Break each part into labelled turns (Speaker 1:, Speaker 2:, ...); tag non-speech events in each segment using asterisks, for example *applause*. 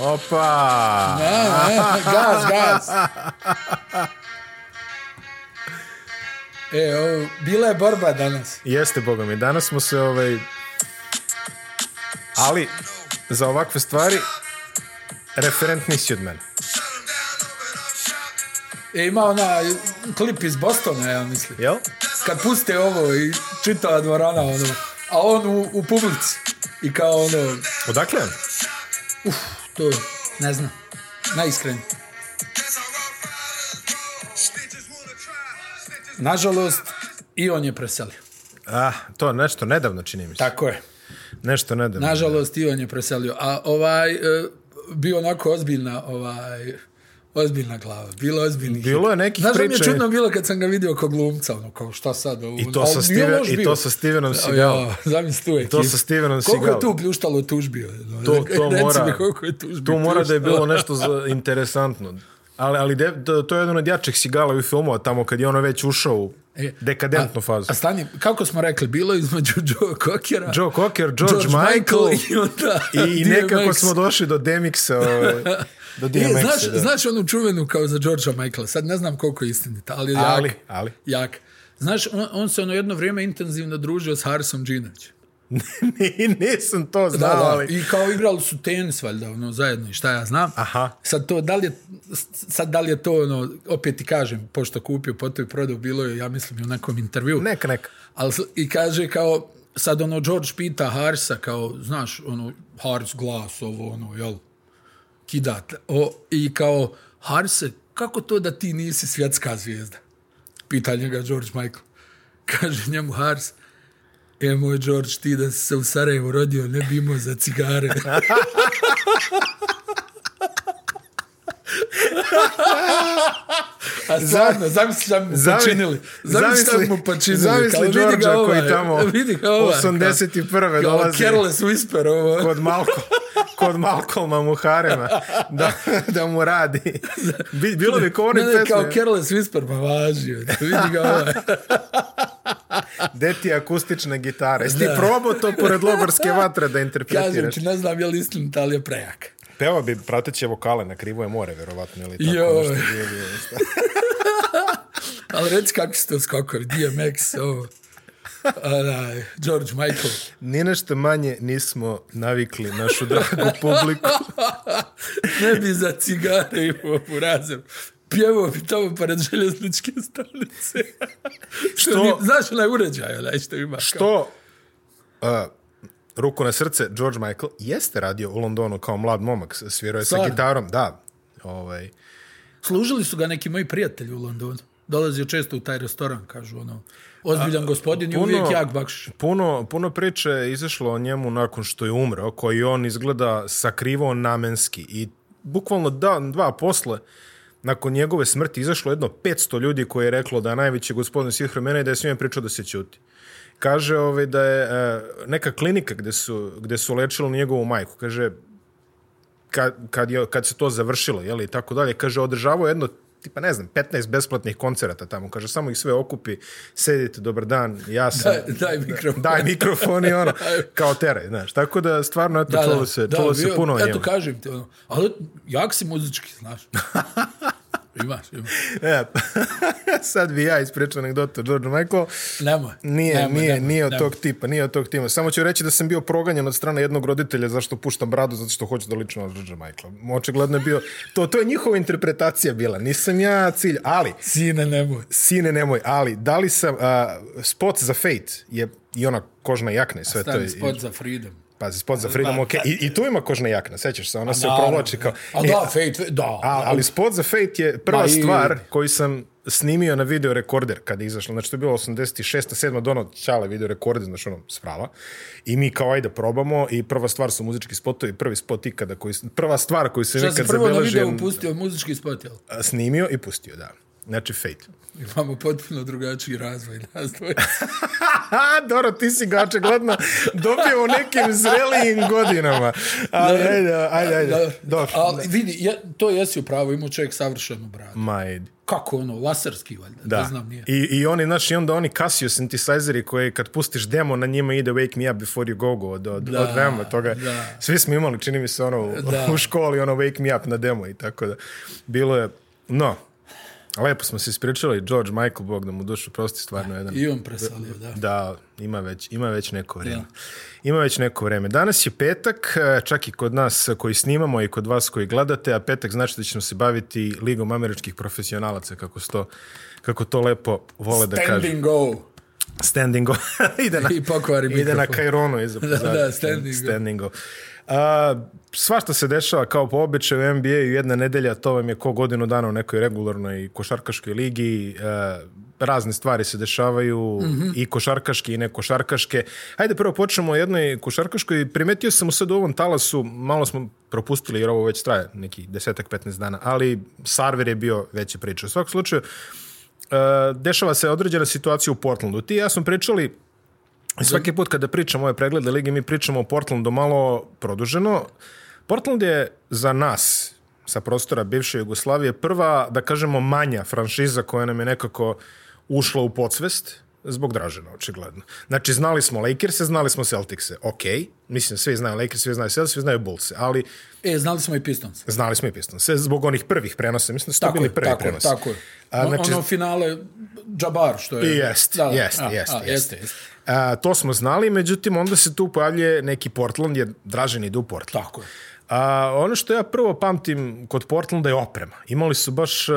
Speaker 1: Opa!
Speaker 2: Ne, ne, gaz, gaz. E, ovo, bila je borba danas.
Speaker 1: Jeste, boga mi. Danas smo se, ovaj... Ali, za ovakve stvari, referent nisi od mene.
Speaker 2: E, ima ona klip iz Bostona, ja mislim.
Speaker 1: Jel?
Speaker 2: Kad puste ovo i čitava dvorana, ono, a on u, u publici. I kao ono,
Speaker 1: Odakle on?
Speaker 2: uf, to, ne znam, najiskrenije. Nažalost, i on je preselio.
Speaker 1: Ah, to nešto nedavno čini mi se.
Speaker 2: Tako je.
Speaker 1: Nešto nedavno.
Speaker 2: Nažalost, i on je preselio. A ovaj, e, bio onako ozbiljna, ovaj, ozbiljna glava. Bilo ozbiljnih.
Speaker 1: Bilo je nekih
Speaker 2: Znaš da mi je
Speaker 1: priča.
Speaker 2: čudno bilo kad sam ga vidio kao glumca, ono, kao šta sad ovo.
Speaker 1: I to
Speaker 2: Ali
Speaker 1: sa,
Speaker 2: nije
Speaker 1: Steven,
Speaker 2: loš
Speaker 1: i
Speaker 2: bio.
Speaker 1: to sa Stevenom Seagalom.
Speaker 2: Ja, zamisli tu ekipu.
Speaker 1: To sa Stevenom
Speaker 2: Koliko je
Speaker 1: Seagalom.
Speaker 2: tu pljuštalo tužbi? ono?
Speaker 1: To, to
Speaker 2: *laughs* Reci
Speaker 1: mora,
Speaker 2: mi koliko je tužbi
Speaker 1: to mora da je bilo
Speaker 2: pljuštalo.
Speaker 1: nešto za, interesantno. Ali, ali de, to- to je jedan od jačih sigala u filmova, tamo kad je ono već ušao u
Speaker 2: E,
Speaker 1: dekadentnu fazu.
Speaker 2: A stani, kako smo rekli, bilo je između *laughs* Joe Cockera,
Speaker 1: Joe Cocker, George, Michael,
Speaker 2: i, onda
Speaker 1: i, i nekako
Speaker 2: DMX.
Speaker 1: smo došli do Demixa. Ovaj, do
Speaker 2: *laughs* E,
Speaker 1: DMX-a,
Speaker 2: znaš,
Speaker 1: da.
Speaker 2: znaš onu čuvenu kao za Georgea Michaela, sad ne znam koliko je istinita, ali je jak.
Speaker 1: Ali, ali.
Speaker 2: Jak. Znaš, on, on se ono jedno vrijeme intenzivno družio s Harisom Džinovićem.
Speaker 1: *laughs* Ni- nisam to
Speaker 2: Da,
Speaker 1: znao,
Speaker 2: da,
Speaker 1: ali...
Speaker 2: i kao igrali su tenis valjda, ono, zajedno i šta ja znam.
Speaker 1: Aha.
Speaker 2: Sad to, da li je, sad da li je to, ono, opet ti kažem, pošto kupio, potom i prodao, bilo je, ja mislim, i u nekom intervju.
Speaker 1: Neka, neka.
Speaker 2: Ali, s- I kaže kao, sad ono, George pita Harisa kao, znaš, ono, Haris glas, ovo, ono, jel, kidate. O, I kao, Harise, kako to da ti nisi svjetska zvijezda? Pita njega George Michael. *laughs* Kaže njemu Haris, e moj George, ti da si se u Sarajevu rodio, ne bi imao za cigare. *laughs* A stvarno, zamisli šta bi mu
Speaker 1: Zamisli-
Speaker 2: počinili. Zamisli šta bi mu počinili.
Speaker 1: Zamisli
Speaker 2: kao, vidi ga
Speaker 1: Đorđa
Speaker 2: ovaj,
Speaker 1: koji tamo
Speaker 2: vidi ga ovaj, kao-
Speaker 1: 81.
Speaker 2: kao
Speaker 1: dolazi.
Speaker 2: Careless Whisper ovo.
Speaker 1: kod Malko kod Malcolma Muharema da, da mu radi. Bi- Bilo bi kao one
Speaker 2: Ne, ne, kao
Speaker 1: pesme,
Speaker 2: Careless Whisper, pa ma važio. Vidi ga
Speaker 1: *laughs*
Speaker 2: ovaj.
Speaker 1: deti akustične gitare. Jesi ti
Speaker 2: Da.
Speaker 1: probao to pored
Speaker 2: *laughs*
Speaker 1: logorske vatre da
Speaker 2: Kažem
Speaker 1: interpretiraš?
Speaker 2: ti, ne znam je li istinita, ali je prejak.
Speaker 1: Peva bi prateće vokale na krivo je more, verovatno, ili tako
Speaker 2: Joj.
Speaker 1: nešto. Bio bi, nešto.
Speaker 2: Ali reci kakvi ste skokovi, DMX, ovo. Onaj, George Michael.
Speaker 1: Ni nešto manje nismo navikli našu dragu publiku.
Speaker 2: Ne bi za cigare imao u razem. Pjevao bi tamo pored željezničke stanice.
Speaker 1: Što?
Speaker 2: *laughs* što? Mi, znaš onaj uređaj, onaj što ima. Kao,
Speaker 1: Što, uh, ruku na srce, George Michael jeste radio u Londonu kao mlad momak, svirao je sa
Speaker 2: Stvarno?
Speaker 1: gitarom, da. Ovaj,
Speaker 2: služili su ga neki moji prijatelji u Londonu. Dolazio često u taj restoran, kažu ono. Ozbiljan gospodin i
Speaker 1: puno-
Speaker 2: uvijek jak bakšiš.
Speaker 1: Puno, puno priče je izašlo o njemu nakon što je umrao, koji je on izgleda sakrivao namenski i bukvalno dan, dva posle nakon njegove smrti izašlo jedno 500 ljudi koje je reklo da je najveći gospodin svih vremena i da je svima pričao da se ćuti. Kaže ovaj, da je e, neka klinika gde su, gde su lečili njegovu majku, kaže kad, kad, je, kad se to završilo, jel, i tako dalje, kaže, održavao je jedno tipa, ne znam, 15 besplatnih koncerata tamo, kaže, samo ih sve okupi, sedite, dobar dan, ja sam,
Speaker 2: Daj, *laughs* daj mikrofon.
Speaker 1: daj mikrofon i ono, kao teraj, znaš. Tako da, stvarno, eto, da, Pa čulo se, da, čulo se
Speaker 2: bio-
Speaker 1: puno o njemu.
Speaker 2: Eto, kažem ti, ono, ali jak si muzički,
Speaker 1: *laughs*
Speaker 2: znaš. imaš, imaš.
Speaker 1: E, *laughs* sad bi ja ispričao anegdotu George Michael.
Speaker 2: Nemoj.
Speaker 1: Nije,
Speaker 2: nemoj,
Speaker 1: nije,
Speaker 2: nemoj,
Speaker 1: nije od
Speaker 2: nemoj.
Speaker 1: tog tipa, nije od tog tipa. Samo ću reći da sam bio proganjan od strane jednog roditelja zašto puštam bradu, zato što hoću da lično od George Michael. Očigledno je bio, to, to je njihova interpretacija bila, nisam ja cilj, ali
Speaker 2: Sine, nemoj.
Speaker 1: Sine nemoj, ali da li sam, uh, spot za Fate je i ona kožna jakna i sve to.
Speaker 2: Stani
Speaker 1: Je,
Speaker 2: spot za freedom.
Speaker 1: Pazi, spot za Freedom, ok. I, I tu ima kožna jakna, sećaš se, ona se
Speaker 2: Naravno.
Speaker 1: provlači kao...
Speaker 2: A
Speaker 1: E,
Speaker 2: da, Fate, Fate, da.
Speaker 1: a, ali spot za Fate je prva
Speaker 2: Ma i-
Speaker 1: stvar koju sam snimio na video rekorder kada je izašla. Znači, to je bilo 86. 7. dono ono čale video rekorder, znači ono, sprava. I mi kao, ajde, probamo. I prva stvar su muzički spotovi, prvi spot ikada koji... Prva stvar koju sam
Speaker 2: Šta si
Speaker 1: ikad
Speaker 2: prvo na
Speaker 1: zabeležio...
Speaker 2: video upustio muzički spot, jel?
Speaker 1: a, Snimio i pustio, da. Znači, fail.
Speaker 2: Imamo potpuno drugačiji razvoj nas dvojica.
Speaker 1: Ha, Doro, ti si ga očigledno dobio u nekim zrelijim godinama. Ali, ajde, ajde, ajde. Dobro.
Speaker 2: Ali vidi, ja, to jesi upravo, imao čovjek savršenu bradu.
Speaker 1: Ma, idi.
Speaker 2: Kako ono, laserski valjda, da. ne znam nije.
Speaker 1: I, I oni, znaš, i onda oni Casio synthesizeri koji kad pustiš demo, na njima ide Wake Me Up Before You Go Go od, od, da, od demo, toga.
Speaker 2: da.
Speaker 1: Svi smo imali, čini mi se, ono,
Speaker 2: Da.
Speaker 1: da. *laughs* u školi, ono, Wake Me Up na demo i tako da. Bilo je, no, lepo smo se ispričali, George Michael, Bog da mu dušu, prosti stvarno jedan.
Speaker 2: I on presalio, da.
Speaker 1: Da, ima već, ima već neko vreme. Ima već neko vreme. Danas je petak, e, čak i kod nas koji snimamo i kod vas koji gledate, a petak znači da ćemo se baviti Ligom američkih profesionalaca, kako, sto, kako to lepo vole da kažu.
Speaker 2: Standing go.
Speaker 1: Standing *laughs* go. ide na,
Speaker 2: I pokvari
Speaker 1: ide na
Speaker 2: mikrofon. *laughs*
Speaker 1: Kajronu iza
Speaker 2: Da, da, standing go.
Speaker 1: standing go. A, svašta se dešava kao po običaju u NBA-u jedna nedelja, to vam je ko godinu dana u nekoj regularnoj košarkaškoj ligi. A, razne stvari se dešavaju
Speaker 2: Mhm.
Speaker 1: i košarkaške i ne košarkaške. Hajde prvo počnemo o jednoj košarkaškoj. Primetio sam sad u ovom talasu, malo smo propustili jer ovo već traje nekih desetak, 15 dana, ali Sarver je bio veća priča. U svakom slučaju, e, dešava se određena situacija u Portlandu. Ti i ja smo pričali Svaki put kada pričamo ove preglede lige, mi pričamo o Portlandu malo produženo. Portland je za nas, sa prostora bivše Jugoslavije, prva, da kažemo, manja franšiza koja nam je nekako ušla u podsvest zbog Dražena, očigledno. Znači, znali smo Lakers-e, znali smo Celtics-e. Ok, mislim, svi znaju Lakers, svi znaju Celtics, svi znaju Bulls-e, ali
Speaker 2: E, znali smo i Pistons.
Speaker 1: znali smo i Pistons-e zbog onih prvih prenosa. Mislim da su to
Speaker 2: Tako
Speaker 1: bili
Speaker 2: je,
Speaker 1: prvi
Speaker 2: tako je,
Speaker 1: prenosi.
Speaker 2: tako je.
Speaker 1: A,
Speaker 2: znači,
Speaker 1: znači-
Speaker 2: ono finale Džabar, što je...
Speaker 1: Jest,
Speaker 2: Da, da,
Speaker 1: jest,
Speaker 2: a,
Speaker 1: jest,
Speaker 2: a,
Speaker 1: jest.
Speaker 2: jeste, jeste.
Speaker 1: A, to smo znali, međutim, onda se tu pojavljuje neki Portland, jer Dražen ide u Portland.
Speaker 2: Tako je.
Speaker 1: A, ono što ja prvo pamtim kod Portlanda je oprema. Imali su baš... e,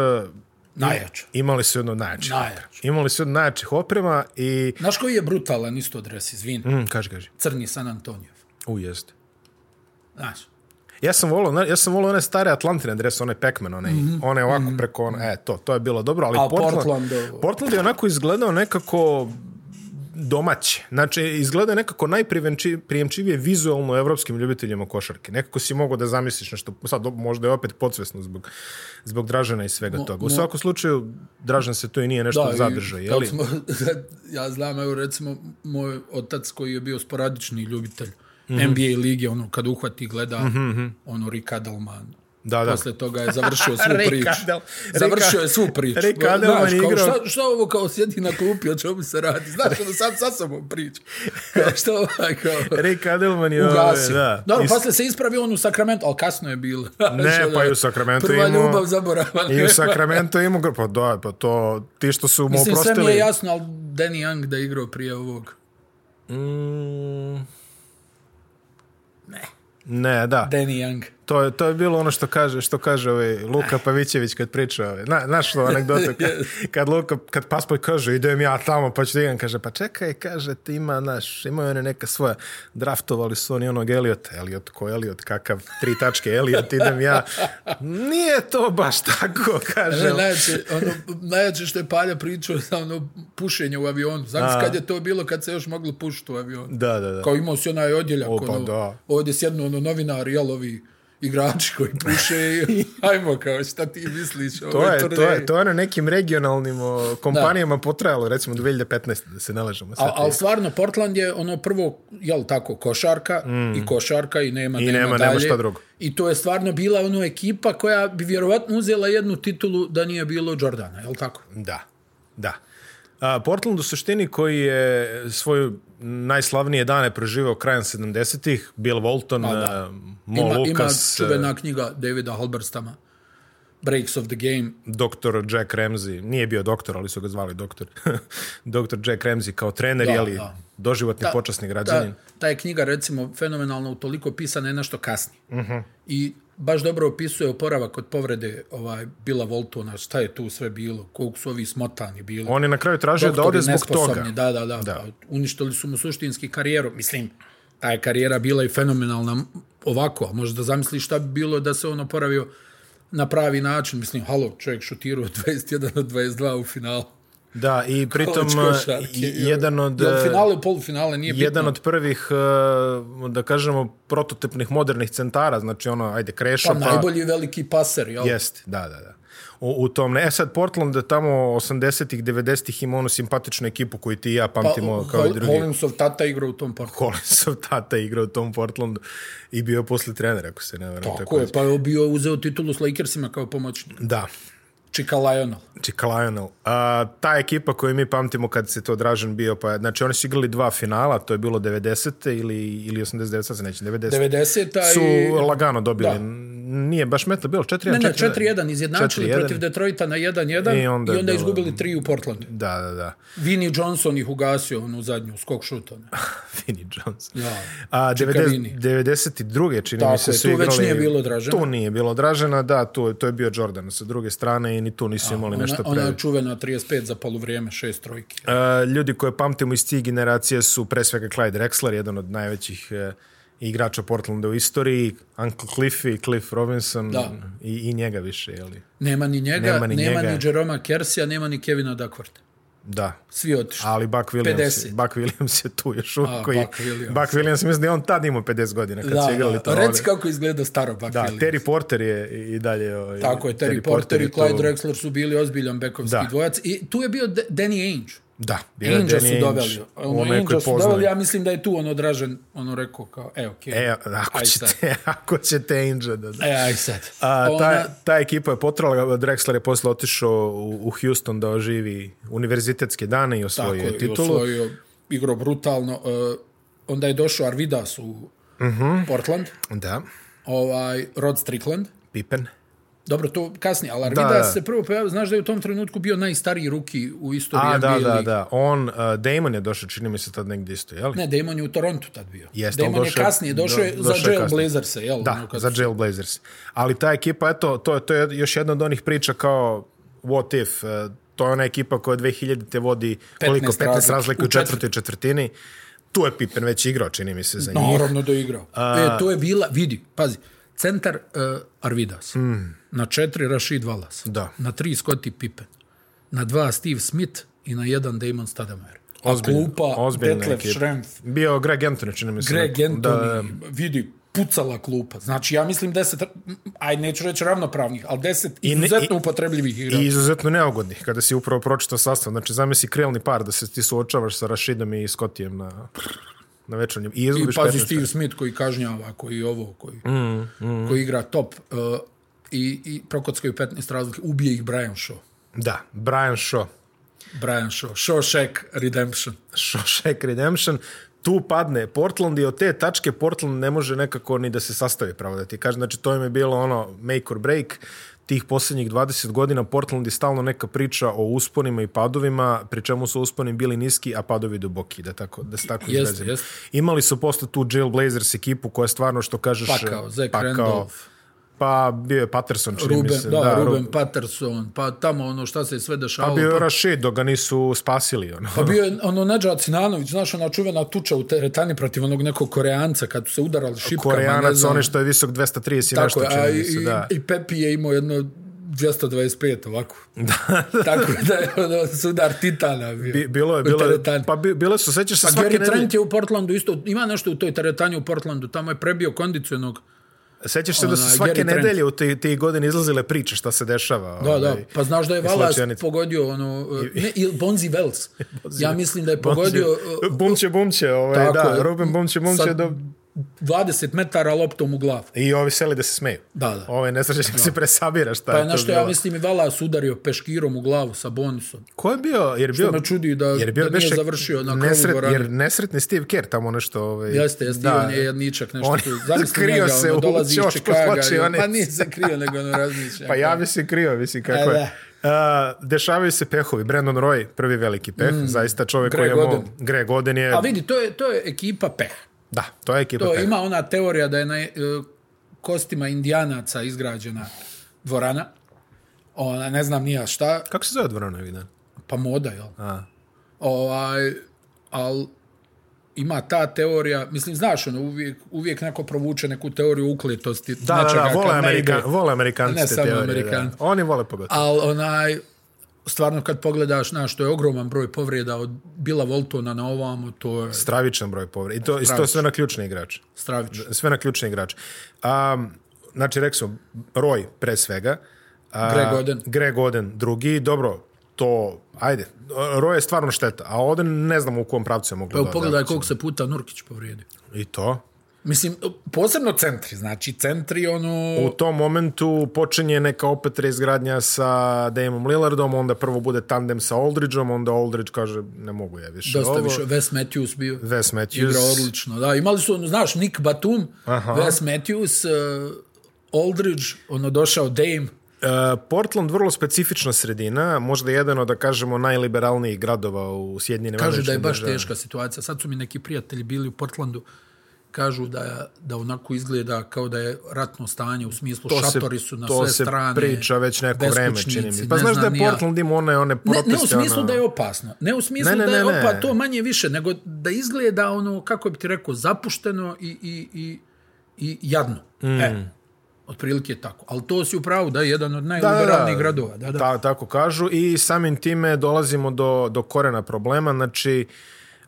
Speaker 2: Najjače.
Speaker 1: Imali su jedno od najjačih.
Speaker 2: Najjače.
Speaker 1: oprema. Imali su jedno od najjačih oprema i...
Speaker 2: Znaš koji je brutalan isto dres, izvini?
Speaker 1: Mm, kaži, kaži.
Speaker 2: Crni San Antonijev.
Speaker 1: U, jeste.
Speaker 2: Znaš,
Speaker 1: Ja sam volao, na- ja sam volao one stare Atlantine drese, one Pac-Man, one, mm -hmm. one ovako mm -hmm. preko, one, e, to, to je bilo dobro, ali
Speaker 2: Mhm. A
Speaker 1: Portland,
Speaker 2: Portlandovo?
Speaker 1: Portland je onako izgledao nekako domaće. Znači, izgleda nekako najprijemčivije vizualno evropskim ljubiteljima košarke. Nekako si mogao da zamisliš nešto, sad možda je opet podsvesno zbog, zbog Dražana i svega toga. U svakom slučaju, Dražan se tu i nije nešto
Speaker 2: i
Speaker 1: zadržao, je
Speaker 2: kad
Speaker 1: li?
Speaker 2: Smo, *laughs* ja znam, evo recimo, moj otac koji je bio sporadični ljubitelj
Speaker 1: Mhm.
Speaker 2: NBA lige, ono, kad uhvati i gleda, ono, Rick Adelman.
Speaker 1: Da, da.
Speaker 2: Posle toga je
Speaker 1: *laughs*
Speaker 2: završio svu
Speaker 1: Rick
Speaker 2: priču.
Speaker 1: Adel-
Speaker 2: završio
Speaker 1: Rick-
Speaker 2: je svu priču.
Speaker 1: Rick
Speaker 2: Znaš,
Speaker 1: Adelman je
Speaker 2: kao,
Speaker 1: igrao-
Speaker 2: Šta, šta ovo kao sjedi na klupi, o čemu se radi? Znaš, ono sam sa sobom priča. Kao, šta ovaj, kao...
Speaker 1: Rick Adelman je...
Speaker 2: Ugasio.
Speaker 1: Da,
Speaker 2: Dobro,
Speaker 1: Is-
Speaker 2: posle se ispravio on u Sacramento, ali kasno je bilo.
Speaker 1: Ne,
Speaker 2: Što
Speaker 1: pa
Speaker 2: da-
Speaker 1: i u Sacramento
Speaker 2: Prva
Speaker 1: imao-
Speaker 2: ljubav zaboravila.
Speaker 1: I u Sacramento ima ga, pa da, pa to, ti što su mu
Speaker 2: Mislim, sve mi
Speaker 1: oprostili...
Speaker 2: je jasno, ali Danny Young da je igrao prije ovog.
Speaker 1: Mm. Ne, da.
Speaker 2: Danny Young.
Speaker 1: To je, to je bilo ono što kaže, što kaže ovaj Luka Pavićević kad priča. Ovaj. Na, znaš što anegdota? Kad, kad Luka, kad Paspoj kaže, idem ja tamo, pa ću da igram, kaže, pa čekaj, kaže, ti ima, naš, imaju one neka svoja, draftovali su oni onog Eliota. Eliot, ko Eliot, kakav, tri tačke, Eliot, idem ja. Nije to baš tako, kaže.
Speaker 2: Ne, najjače, ono, najjače što je Palja pričao za ono pušenje u avionu. Znam kad je to bilo kad se još moglo pušiti u avionu.
Speaker 1: Da, da, da.
Speaker 2: Kao imao si onaj odjeljak.
Speaker 1: O, pa
Speaker 2: ono,
Speaker 1: da.
Speaker 2: Ovdje sjednu ono, novinari, jel ovi igrači koji puše
Speaker 1: *laughs*
Speaker 2: i ajmo kao šta ti misliš o
Speaker 1: To
Speaker 2: ovoj
Speaker 1: je, to
Speaker 2: turneji?
Speaker 1: je, to je na nekim regionalnim o, kompanijama potrajalo, recimo 2015. da se nalažemo.
Speaker 2: A, ali stvarno, Portland je ono prvo, jel tako, košarka i košarka i nema, I
Speaker 1: Mm. nema- nema
Speaker 2: dalje.
Speaker 1: šta drugo.
Speaker 2: I to je stvarno bila ono ekipa koja bi vjerovatno uzela jednu titulu da nije bilo Jordana, jel tako?
Speaker 1: Da, da. A, Portland u suštini koji je svoju najslavnije dane proživao krajem 70-ih, Bill Walton, a, Mo
Speaker 2: Pa Ima, ima
Speaker 1: Lucas, eh,
Speaker 2: čuvena knjiga Davida Halberstama, Breaks of the Game.
Speaker 1: doktor Jack Ramsey, nije bio doktor, ali su ga zvali doktor, *laughs* doktor Jack Ramsey kao trener,
Speaker 2: Da,
Speaker 1: jeli
Speaker 2: da.
Speaker 1: doživotni počasni
Speaker 2: Ta,
Speaker 1: građanin.
Speaker 2: ta je knjiga, recimo, fenomenalno utoliko pisana je nešto kasnije. Uh
Speaker 1: Mhm.
Speaker 2: -huh. I baš dobro opisuje oporavak od povrede ovaj, Bila Voltona, šta je tu sve bilo, koliko su ovi smotani bili.
Speaker 1: On je na kraju tražio da ode
Speaker 2: doktori
Speaker 1: zbog toga.
Speaker 2: nesposobni, Da, da, da, da. Uništili su mu suštinski karijeru. Mislim, ta je karijera bila i fenomenalna ovako, a možda zamisliš šta bi bilo da se on *laughs* oporavio na pravi način. Mislim, halo, čovjek šutirao 21 od 22 u finalu.
Speaker 1: Da, i pritom
Speaker 2: košarke,
Speaker 1: i-
Speaker 2: joj.
Speaker 1: jedan od...
Speaker 2: Jel finale, polufinale, nije bitno.
Speaker 1: jedan od prvih, eh, da kažemo, prototipnih modernih centara, znači ono, ajde, kreša,
Speaker 2: Pa,
Speaker 1: pa...
Speaker 2: najbolji veliki paser, jel?
Speaker 1: Jeste, da, da, da. U, u tom, ne. E sad, Portland je tamo 80-ih, 90-ih ima onu simpatičnu ekipu koju ti i ja pamtimo pa, kao i
Speaker 2: Hol-
Speaker 1: drugi.
Speaker 2: Hollinsov tata igra u tom parku.
Speaker 1: Collinsov *laughs* tata igrao u tom Portlandu i bio je posle trener, ako se ne vrame.
Speaker 2: Tako je, pa je bio uzeo titulu s Lakersima kao pomoćnik.
Speaker 1: Da,
Speaker 2: Čika Lionel.
Speaker 1: Čika Lionel. A, ta ekipa koju mi pamtimo kad se to Dražan bio, pa, znači oni su igrali dva finala, to je bilo 90. ili, ili 89. sad se neće, 90.
Speaker 2: 90-a
Speaker 1: su
Speaker 2: i...
Speaker 1: lagano dobili.
Speaker 2: Da.
Speaker 1: N- Nije baš metal bilo, 4-1.
Speaker 2: Ne, ne, 4-1 izjednačili
Speaker 1: 4:1.
Speaker 2: protiv Detroita na 1-1
Speaker 1: I
Speaker 2: i
Speaker 1: onda
Speaker 2: onda,
Speaker 1: je bilo-
Speaker 2: izgubili tri u Portlandu.
Speaker 1: Da, da, da.
Speaker 2: Vinnie Johnson ih ugasio onu zadnju skok šuta. ne.
Speaker 1: *laughs* Vinnie Jones.
Speaker 2: Ja.
Speaker 1: A
Speaker 2: Čika
Speaker 1: 90,
Speaker 2: Vini.
Speaker 1: 92. čini mi
Speaker 2: Tako
Speaker 1: se
Speaker 2: je,
Speaker 1: su
Speaker 2: tu
Speaker 1: igrali...
Speaker 2: već nije bilo Dražena.
Speaker 1: Tu nije bilo Dražena, da, tu, to je bio Jordan sa druge strane i ni tu nisu imali
Speaker 2: Ona,
Speaker 1: nešto
Speaker 2: ona je
Speaker 1: previše.
Speaker 2: čuvena 35 za poluvrijeme, šest trojki.
Speaker 1: Uh, ljudi koje pamtimo iz tih generacija su pre svega Clyde Drexler, jedan od najvećih uh, igrača Portlanda u istoriji, Uncle Cliffy, Cliff Robinson
Speaker 2: Da.
Speaker 1: i, i njega više, jeli?
Speaker 2: Nema ni njega,
Speaker 1: Nema
Speaker 2: nema
Speaker 1: ni
Speaker 2: ni, nema
Speaker 1: njega.
Speaker 2: ni Jeroma Kersija, nema ni Kevina Duckworth.
Speaker 1: Da.
Speaker 2: Svi otišli.
Speaker 1: Ali Buck Williams,
Speaker 2: 50.
Speaker 1: Buck Williams je tu još uvijek.
Speaker 2: A,
Speaker 1: koji-
Speaker 2: Buck Williams.
Speaker 1: Buck Williams, mislim da je on tad imao 50 godina kad su igrali to.
Speaker 2: Reci kako izgleda staro Buck
Speaker 1: Da,
Speaker 2: Williams.
Speaker 1: Terry Porter je i- i dalje... ovaj,
Speaker 2: Tako je, Terry, Porter
Speaker 1: je
Speaker 2: i
Speaker 1: tu-
Speaker 2: Clyde Drexler su bili ozbiljan bekovski
Speaker 1: Da.
Speaker 2: dvojac. I tu je bio De- Danny Ainge.
Speaker 1: Da, bio je
Speaker 2: Ainge
Speaker 1: Danny
Speaker 2: su
Speaker 1: Ainge,
Speaker 2: doveli. Ono,
Speaker 1: onaj koji
Speaker 2: Ainge su
Speaker 1: poznaje.
Speaker 2: doveli, ja mislim da je tu ono dražen, ono rekao kao, e, okej.
Speaker 1: E, ako
Speaker 2: Aj
Speaker 1: ćete, *laughs* ako ćete Ainge da...
Speaker 2: E, aj sad.
Speaker 1: A,
Speaker 2: Ona-
Speaker 1: ta, ta ekipa je potrala, Drexler je posle otišao u, u Houston da oživi univerzitetske dane i
Speaker 2: Tako
Speaker 1: osvojio je
Speaker 2: je, i
Speaker 1: titulu.
Speaker 2: osvojio, igrao brutalno. E, onda je došao Arvidas u
Speaker 1: Mhm.
Speaker 2: Portland,
Speaker 1: Da,
Speaker 2: ovaj, Rod Strickland.
Speaker 1: Pippen.
Speaker 2: Dobro, to kasnije, ali
Speaker 1: Da,
Speaker 2: Arvidas
Speaker 1: da.
Speaker 2: se prvo pojavio, znaš da je u tom trenutku bio najstariji ruki u istoriji
Speaker 1: A,
Speaker 2: NBA
Speaker 1: da, da,
Speaker 2: lige.
Speaker 1: da. On, uh, Damon je došao, čini mi se tad negdje isto, jel?
Speaker 2: Ne, Damon je u Torontu tad bio.
Speaker 1: Jeste, on
Speaker 2: Damon
Speaker 1: došao-
Speaker 2: je kasnije, došao je
Speaker 1: do-
Speaker 2: za
Speaker 1: došao je
Speaker 2: Jail
Speaker 1: kasnije.
Speaker 2: Blazersa, jel?
Speaker 1: Da,
Speaker 2: ono, kad
Speaker 1: za Jailblazers. Ali ta ekipa, eto, to, je- to je još jedna od onih priča kao what if, e, to je ona ekipa koja 2000-te vodi koliko,
Speaker 2: 15
Speaker 1: 15 razlike,
Speaker 2: razlike
Speaker 1: u
Speaker 2: u
Speaker 1: četvrtoj četvrtini. Tu je Pippen već igrao, čini mi se, za njih.
Speaker 2: Naravno da je igrao. E, to je bila, vidi, pazi, centar uh, Arvidas, na četiri Rashid Wallace,
Speaker 1: Mm. Da.
Speaker 2: na tri Scottie Pippen, na dva Steve Smith i na jedan Damon Stadamer.
Speaker 1: Ozbiljna-
Speaker 2: A klupa
Speaker 1: ozbiljna
Speaker 2: Detlef
Speaker 1: ekipa.
Speaker 2: Schrempf,
Speaker 1: Bio Greg Anthony, čini mi se.
Speaker 2: Greg
Speaker 1: neko- da,
Speaker 2: Anthony, vidi, pucala klupa. Znači, ja mislim deset, aj neću reći ravnopravnih, ali deset
Speaker 1: ne-
Speaker 2: izuzetno
Speaker 1: i-
Speaker 2: upotrebljivih igrača.
Speaker 1: I izuzetno neugodnih, kada si upravo pročitao sastav. Znači, zamisli krilni par da se ti suočavaš sa Rašidom i Scottijem na, na večernjem. I
Speaker 2: I
Speaker 1: izgubiš
Speaker 2: pazi
Speaker 1: 15.
Speaker 2: Steve Smith koji kažnjava, koji ovo, koji,
Speaker 1: Mm,
Speaker 2: koji igra top uh, i, i prokockaju 15 razlike, ubije ih Brian Shaw.
Speaker 1: Da, Brian Shaw.
Speaker 2: Brian Shaw, Shawshank Redemption.
Speaker 1: Shawshank Redemption, tu padne Portland i od te tačke Portland ne može nekako ni da se sastavi, pravo da ti kažem. Znači, to im je bilo ono make or break. Tih posljednjih 20 godina Portland je stalno neka priča o usponima i padovima, pri čemu su usponi bili niski, a padovi duboki, da, tako, da se tako
Speaker 2: Jeste,
Speaker 1: izrazim.
Speaker 2: jeste.
Speaker 1: Imali su posle tu Jail Blazers ekipu koja je stvarno, što kažeš...
Speaker 2: Pakao, Pa Zach Randolph.
Speaker 1: Pa bio je Patterson, čini mi
Speaker 2: Ruben,
Speaker 1: se.
Speaker 2: da, Ruben
Speaker 1: Ru-
Speaker 2: Patterson, pa tamo ono šta se sve dešavalo.
Speaker 1: Bio je
Speaker 2: pa,
Speaker 1: Rashid, dok ga nisu spasili. Ono.
Speaker 2: pa bio je ono Nedžad Sinanović, znaš ona čuvena tuča u teretani protiv onog nekog Koreanca kad su se udarali šipkama. ne
Speaker 1: Koreanac,
Speaker 2: znam.
Speaker 1: onaj što je visok 230 i nešto,
Speaker 2: Tako, je, a
Speaker 1: čini mi
Speaker 2: i,
Speaker 1: se, da.
Speaker 2: i Pepi je imao jedno 225 ovako. Da. Tako da je ono sudar Titana bio.
Speaker 1: Bi- Bilo je,
Speaker 2: u
Speaker 1: bilo je,
Speaker 2: teretani.
Speaker 1: pa bi, bile su, sećaš se
Speaker 2: Pa
Speaker 1: svake
Speaker 2: Gary
Speaker 1: nedelje,
Speaker 2: Trent je u Portlandu isto, ima nešto u toj teretani u Portlandu, tamo je prebio kondicionog.
Speaker 1: sećaš se da su
Speaker 2: onaj,
Speaker 1: svake
Speaker 2: Gary Trent.
Speaker 1: nedelje u te, te godine izlazile priče šta se dešava.
Speaker 2: Da,
Speaker 1: ovaj.
Speaker 2: da, pa znaš da je
Speaker 1: iz
Speaker 2: Valas
Speaker 1: Lačionice.
Speaker 2: pogodio ono, ne, ili Bonzi
Speaker 1: *laughs*
Speaker 2: Wells. ja mislim da je pogodio uh,
Speaker 1: Bumće, bumće, ovaj,
Speaker 2: Tako
Speaker 1: da,
Speaker 2: je.
Speaker 1: Ruben Bumće, bumće,
Speaker 2: Sad-
Speaker 1: do...
Speaker 2: 20 metara loptom u glavu.
Speaker 1: i ovi seli da se smeju.
Speaker 2: Da, da.
Speaker 1: Ovaj nesrećnik se presabira šta je
Speaker 2: Pa je
Speaker 1: to
Speaker 2: nešto,
Speaker 1: bilo.
Speaker 2: ja mislim, i Valas udario peškirom u glavu sa Bonisom.
Speaker 1: Ko je bio, jer bio...
Speaker 2: To me čudi da,
Speaker 1: Jer je bio
Speaker 2: da nije
Speaker 1: beše
Speaker 2: završio na krovu
Speaker 1: nesret,
Speaker 2: dvorane.
Speaker 1: jer nesretni Steve Kerr tamo nešto... Ovaj,
Speaker 2: Jeste, jeste, da, on je jedničak, nešto
Speaker 1: On
Speaker 2: tu.
Speaker 1: je
Speaker 2: Zamisli
Speaker 1: krio
Speaker 2: njega,
Speaker 1: se
Speaker 2: ono,
Speaker 1: u
Speaker 2: dolazi iz
Speaker 1: ćošku
Speaker 2: Čikaga.
Speaker 1: svlačionice.
Speaker 2: Pa nije se krio, nego ono razmišlja.
Speaker 1: Pa javi se krivo, mislim kako
Speaker 2: E,
Speaker 1: je. Uh, dešavaju se pehovi. Brandon Roy, prvi veliki peh, mm. zaista čovjek
Speaker 2: Greg
Speaker 1: koji je imao...
Speaker 2: Oden.
Speaker 1: Greg Oden je...
Speaker 2: A vidi, to je, to je ekipa peh.
Speaker 1: Da, to je ekipa
Speaker 2: To
Speaker 1: peha.
Speaker 2: ima ona teorija da je na e, kostima indijanaca izgrađena dvorana. Ona, ne znam nija šta,
Speaker 1: Kako se zove dvorana ovih dana?
Speaker 2: pa moda, jel? A. Ovaj, al ima ta teorija, mislim, znaš, ono, uvijek, uvijek neko provuče neku teoriju ukletosti.
Speaker 1: Da, da, da, vole,
Speaker 2: kad ne ide.
Speaker 1: Amerika, vole Amerikanci
Speaker 2: Ne
Speaker 1: te
Speaker 2: samo
Speaker 1: teorije.
Speaker 2: Amerikanci.
Speaker 1: Da. Oni vole pogotovo.
Speaker 2: Ali onaj, stvarno kad pogledaš, znaš, to je ogroman broj povreda od Bila Voltona na ovamo, to je
Speaker 1: Stravičan broj povreda. I to, i to sve na ključni igrač.
Speaker 2: stravično.
Speaker 1: Sve na ključni igrač. Um, znači, rekao sam, Roy pre svega. A,
Speaker 2: Greg Oden.
Speaker 1: Greg Oden drugi. Dobro, to, ajde. Roy je stvarno šteta, a Oden ne znam u kom pravcu je moglo
Speaker 2: Evo,
Speaker 1: da-
Speaker 2: pogledaj koliko se puta Nurkić povrijedio.
Speaker 1: I to?
Speaker 2: Mislim, posebno centri, znači centri ono...
Speaker 1: U tom momentu počinje neka opet reizgradnja sa Damon Lillardom, onda prvo bude tandem sa Aldridgeom, onda Aldridge kaže ne mogu ja više
Speaker 2: Dosta
Speaker 1: ovo.
Speaker 2: više, Wes Matthews bio.
Speaker 1: Wes Matthews.
Speaker 2: Igrao odlično, da. Imali su, ono, znaš, Nick Batum,
Speaker 1: Aha.
Speaker 2: Wes Matthews, uh, Aldridge, ono, došao Dame.
Speaker 1: E, Portland vrlo specifična sredina, možda jedan od, da kažemo, najliberalnijih gradova u Sjedinjenim
Speaker 2: Kažu da je
Speaker 1: Američkim
Speaker 2: baš
Speaker 1: Državama.
Speaker 2: teška situacija. Sad su mi neki prijatelji bili u Portlandu, kažu da, da onako izgleda kao da je ratno stanje, u smislu
Speaker 1: To se-
Speaker 2: šatori su na
Speaker 1: to
Speaker 2: sve
Speaker 1: se
Speaker 2: strane.
Speaker 1: priča već neko vreme,
Speaker 2: beskućnici,
Speaker 1: čini mi. Pa
Speaker 2: ne
Speaker 1: znaš da
Speaker 2: znam
Speaker 1: je
Speaker 2: ni ja.
Speaker 1: Portland ima one, one
Speaker 2: Ne,
Speaker 1: proteste.
Speaker 2: ne u smislu
Speaker 1: ono-
Speaker 2: da je opasno. Ne u smislu
Speaker 1: Ne, ne,
Speaker 2: da je
Speaker 1: ne, ne.
Speaker 2: opa to manje više, nego da izgleda ono, kako bi ti rekao, zapušteno i, i, i, i jadno. Mm. E, otprilike je tako. Ali to si u pravu da je jedan od najliberalnijih gradova. Da, da.
Speaker 1: Ta, tako kažu i samim time dolazimo do, do korena problema. Znači,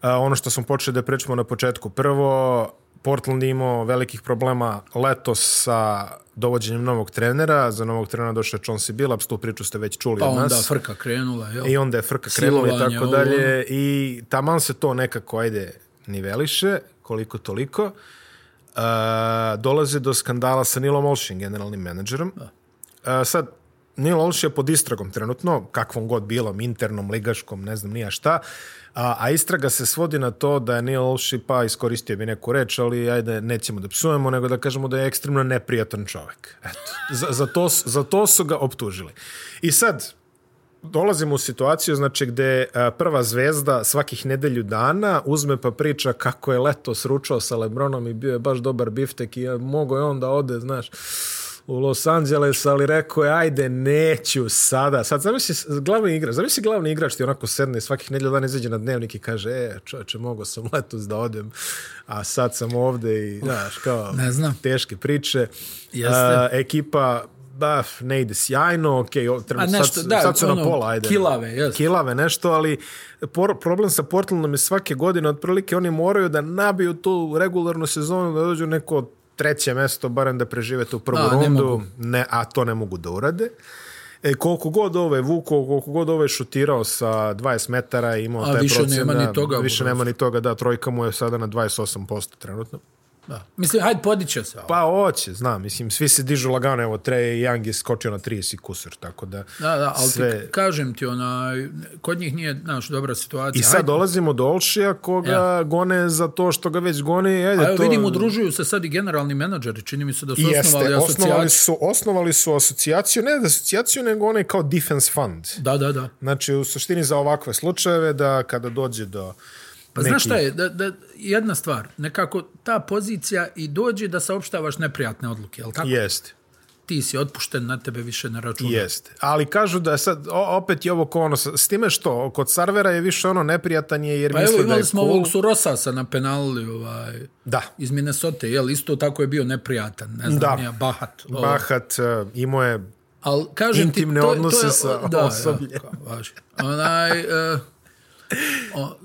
Speaker 1: a, ono što smo počeli da pričamo na početku. Prvo, Portland je imao velikih problema letos sa dovođenjem novog trenera. Za novog trenera došao je Chauncey Billups, tu priču ste već čuli
Speaker 2: pa
Speaker 1: od nas. E,
Speaker 2: onda frka krenula. Jel?
Speaker 1: I onda je frka krenula i
Speaker 2: Silovanje,
Speaker 1: tako
Speaker 2: ovo,
Speaker 1: dalje. I taman se to nekako, ajde, niveliše, koliko toliko. Uh, dolaze do skandala sa Nilom Olšin, generalnim menadžerom. Uh, sad, Nil Olš je pod istragom trenutno, kakvom god bilom, internom, ligaškom, ne znam nija šta, a, a istraga se svodi na to da je Nil Olši, pa iskoristio bi neku reč, ali ajde, nećemo da psujemo, nego da kažemo da je ekstremno neprijatan čovek. Eto, za, za, to, s- za to su ga optužili. I sad, dolazimo u situaciju znači gde a, prva zvezda svakih nedelju dana uzme pa priča kako je letos ručao sa Lebronom i bio je baš dobar biftek i a, mogo je on da ode, znaš, u Los Angeles, ali rekao je ajde neću sada. Sad zamisli s- glavni igrač, zamisli glavni igrač ti onako sedne i svakih nedelju dana izađe na dnevnik i kaže e čoveče mogo sam letos da odem, a sad sam ovde i znaš kao
Speaker 2: Ne znam.
Speaker 1: teške priče.
Speaker 2: Jeste.
Speaker 1: A, ekipa da, ne ide sjajno, okej, okay,
Speaker 2: A
Speaker 1: trenutno,
Speaker 2: nešto,
Speaker 1: sad,
Speaker 2: da,
Speaker 1: sad su
Speaker 2: ono,
Speaker 1: na pola, ajde.
Speaker 2: kilave, jes.
Speaker 1: Kilave nešto, ali por, problem sa Portlandom je svake godine, otprilike oni moraju da nabiju tu regularnu sezonu, da dođu neko treće mesto, barem da prežive tu prvu
Speaker 2: A, ne
Speaker 1: rundu,
Speaker 2: mogu.
Speaker 1: ne, a to ne mogu da urade. E, koliko god ove vuko, koliko god ove šutirao sa 20 metara i imao
Speaker 2: A
Speaker 1: taj
Speaker 2: više
Speaker 1: procen,
Speaker 2: nema
Speaker 1: da,
Speaker 2: ni toga,
Speaker 1: više
Speaker 2: Buraz.
Speaker 1: nema ni toga, da, trojka mu je sada na 28% trenutno.
Speaker 2: Da. Mislim, hajde, podiće se. Pa,
Speaker 1: Pa oće, znam, mislim, svi se dižu lagano, evo, Trey Young je skočio na 30 kusur, tako da...
Speaker 2: da, da, ali sve... ti, kažem ti, onaj, kod njih nije, znaš, dobra situacija.
Speaker 1: I sad
Speaker 2: Hajde.
Speaker 1: dolazimo do Olšija koga ja. gone za to što ga već goni. Ajde,
Speaker 2: A evo
Speaker 1: to...
Speaker 2: vidim, udružuju se sad i generalni menadžeri. Čini mi se da su
Speaker 1: Jeste,
Speaker 2: osnovali
Speaker 1: osnovali
Speaker 2: asocijaciju.
Speaker 1: su, osnovali su asocijaciju, ne da asocijaciju, nego onaj kao defense fund.
Speaker 2: Da, da, da.
Speaker 1: Znači, u suštini za ovakve slučajeve da kada dođe do...
Speaker 2: Pa znaš šta je, da, da, jedna stvar, nekako ta pozicija i dođe da saopštavaš neprijatne odluke, jel tako? Je.
Speaker 1: Jeste.
Speaker 2: Ti si otpušten, na tebe više ne računa.
Speaker 1: Jeste. Ali kažu da sad, o, opet je ovo ko ono, s s time što, kod Sarvera je više ono neprijatan je jer
Speaker 2: Pa
Speaker 1: misli da
Speaker 2: evo
Speaker 1: je
Speaker 2: imali smo
Speaker 1: cool.
Speaker 2: ovog Surosasa na penali ovaj,
Speaker 1: Da.
Speaker 2: iz Minnesota, jel? Isto tako je bio neprijatan, ne znam,
Speaker 1: Da.
Speaker 2: da. ja, bahat. Ovo.
Speaker 1: Bahat, e, imao je
Speaker 2: Al, kažem
Speaker 1: Intimne
Speaker 2: ti, to,
Speaker 1: odnose
Speaker 2: to je,
Speaker 1: sa
Speaker 2: da,
Speaker 1: osobljem.
Speaker 2: Ja, kao, važi. Onaj, uh, o,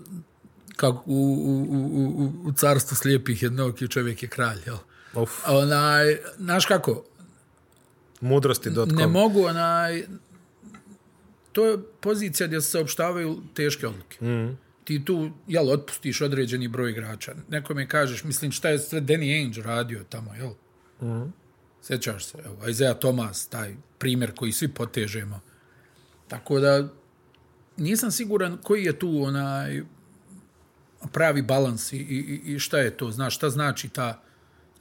Speaker 2: kako u, u, u, u, u carstvu slijepih jednog i čovjek je kralj, jel?
Speaker 1: Uf.
Speaker 2: Onaj, znaš kako,
Speaker 1: mudrosti.com.
Speaker 2: ne mogu onaj to je pozicija gdje se saopštavaju teške odluke. Mm. Ti tu, jel, otpustiš određeni broj igrača. Nekome kažeš, mislim, šta je sve Danny Ainge radio tamo, jel? Mm. Sjećaš se, evo, Isaiah Thomas, taj primjer koji svi potežemo. Tako da, nisam siguran koji je tu onaj pravi balans i, i, i šta je to, znaš, šta znači ta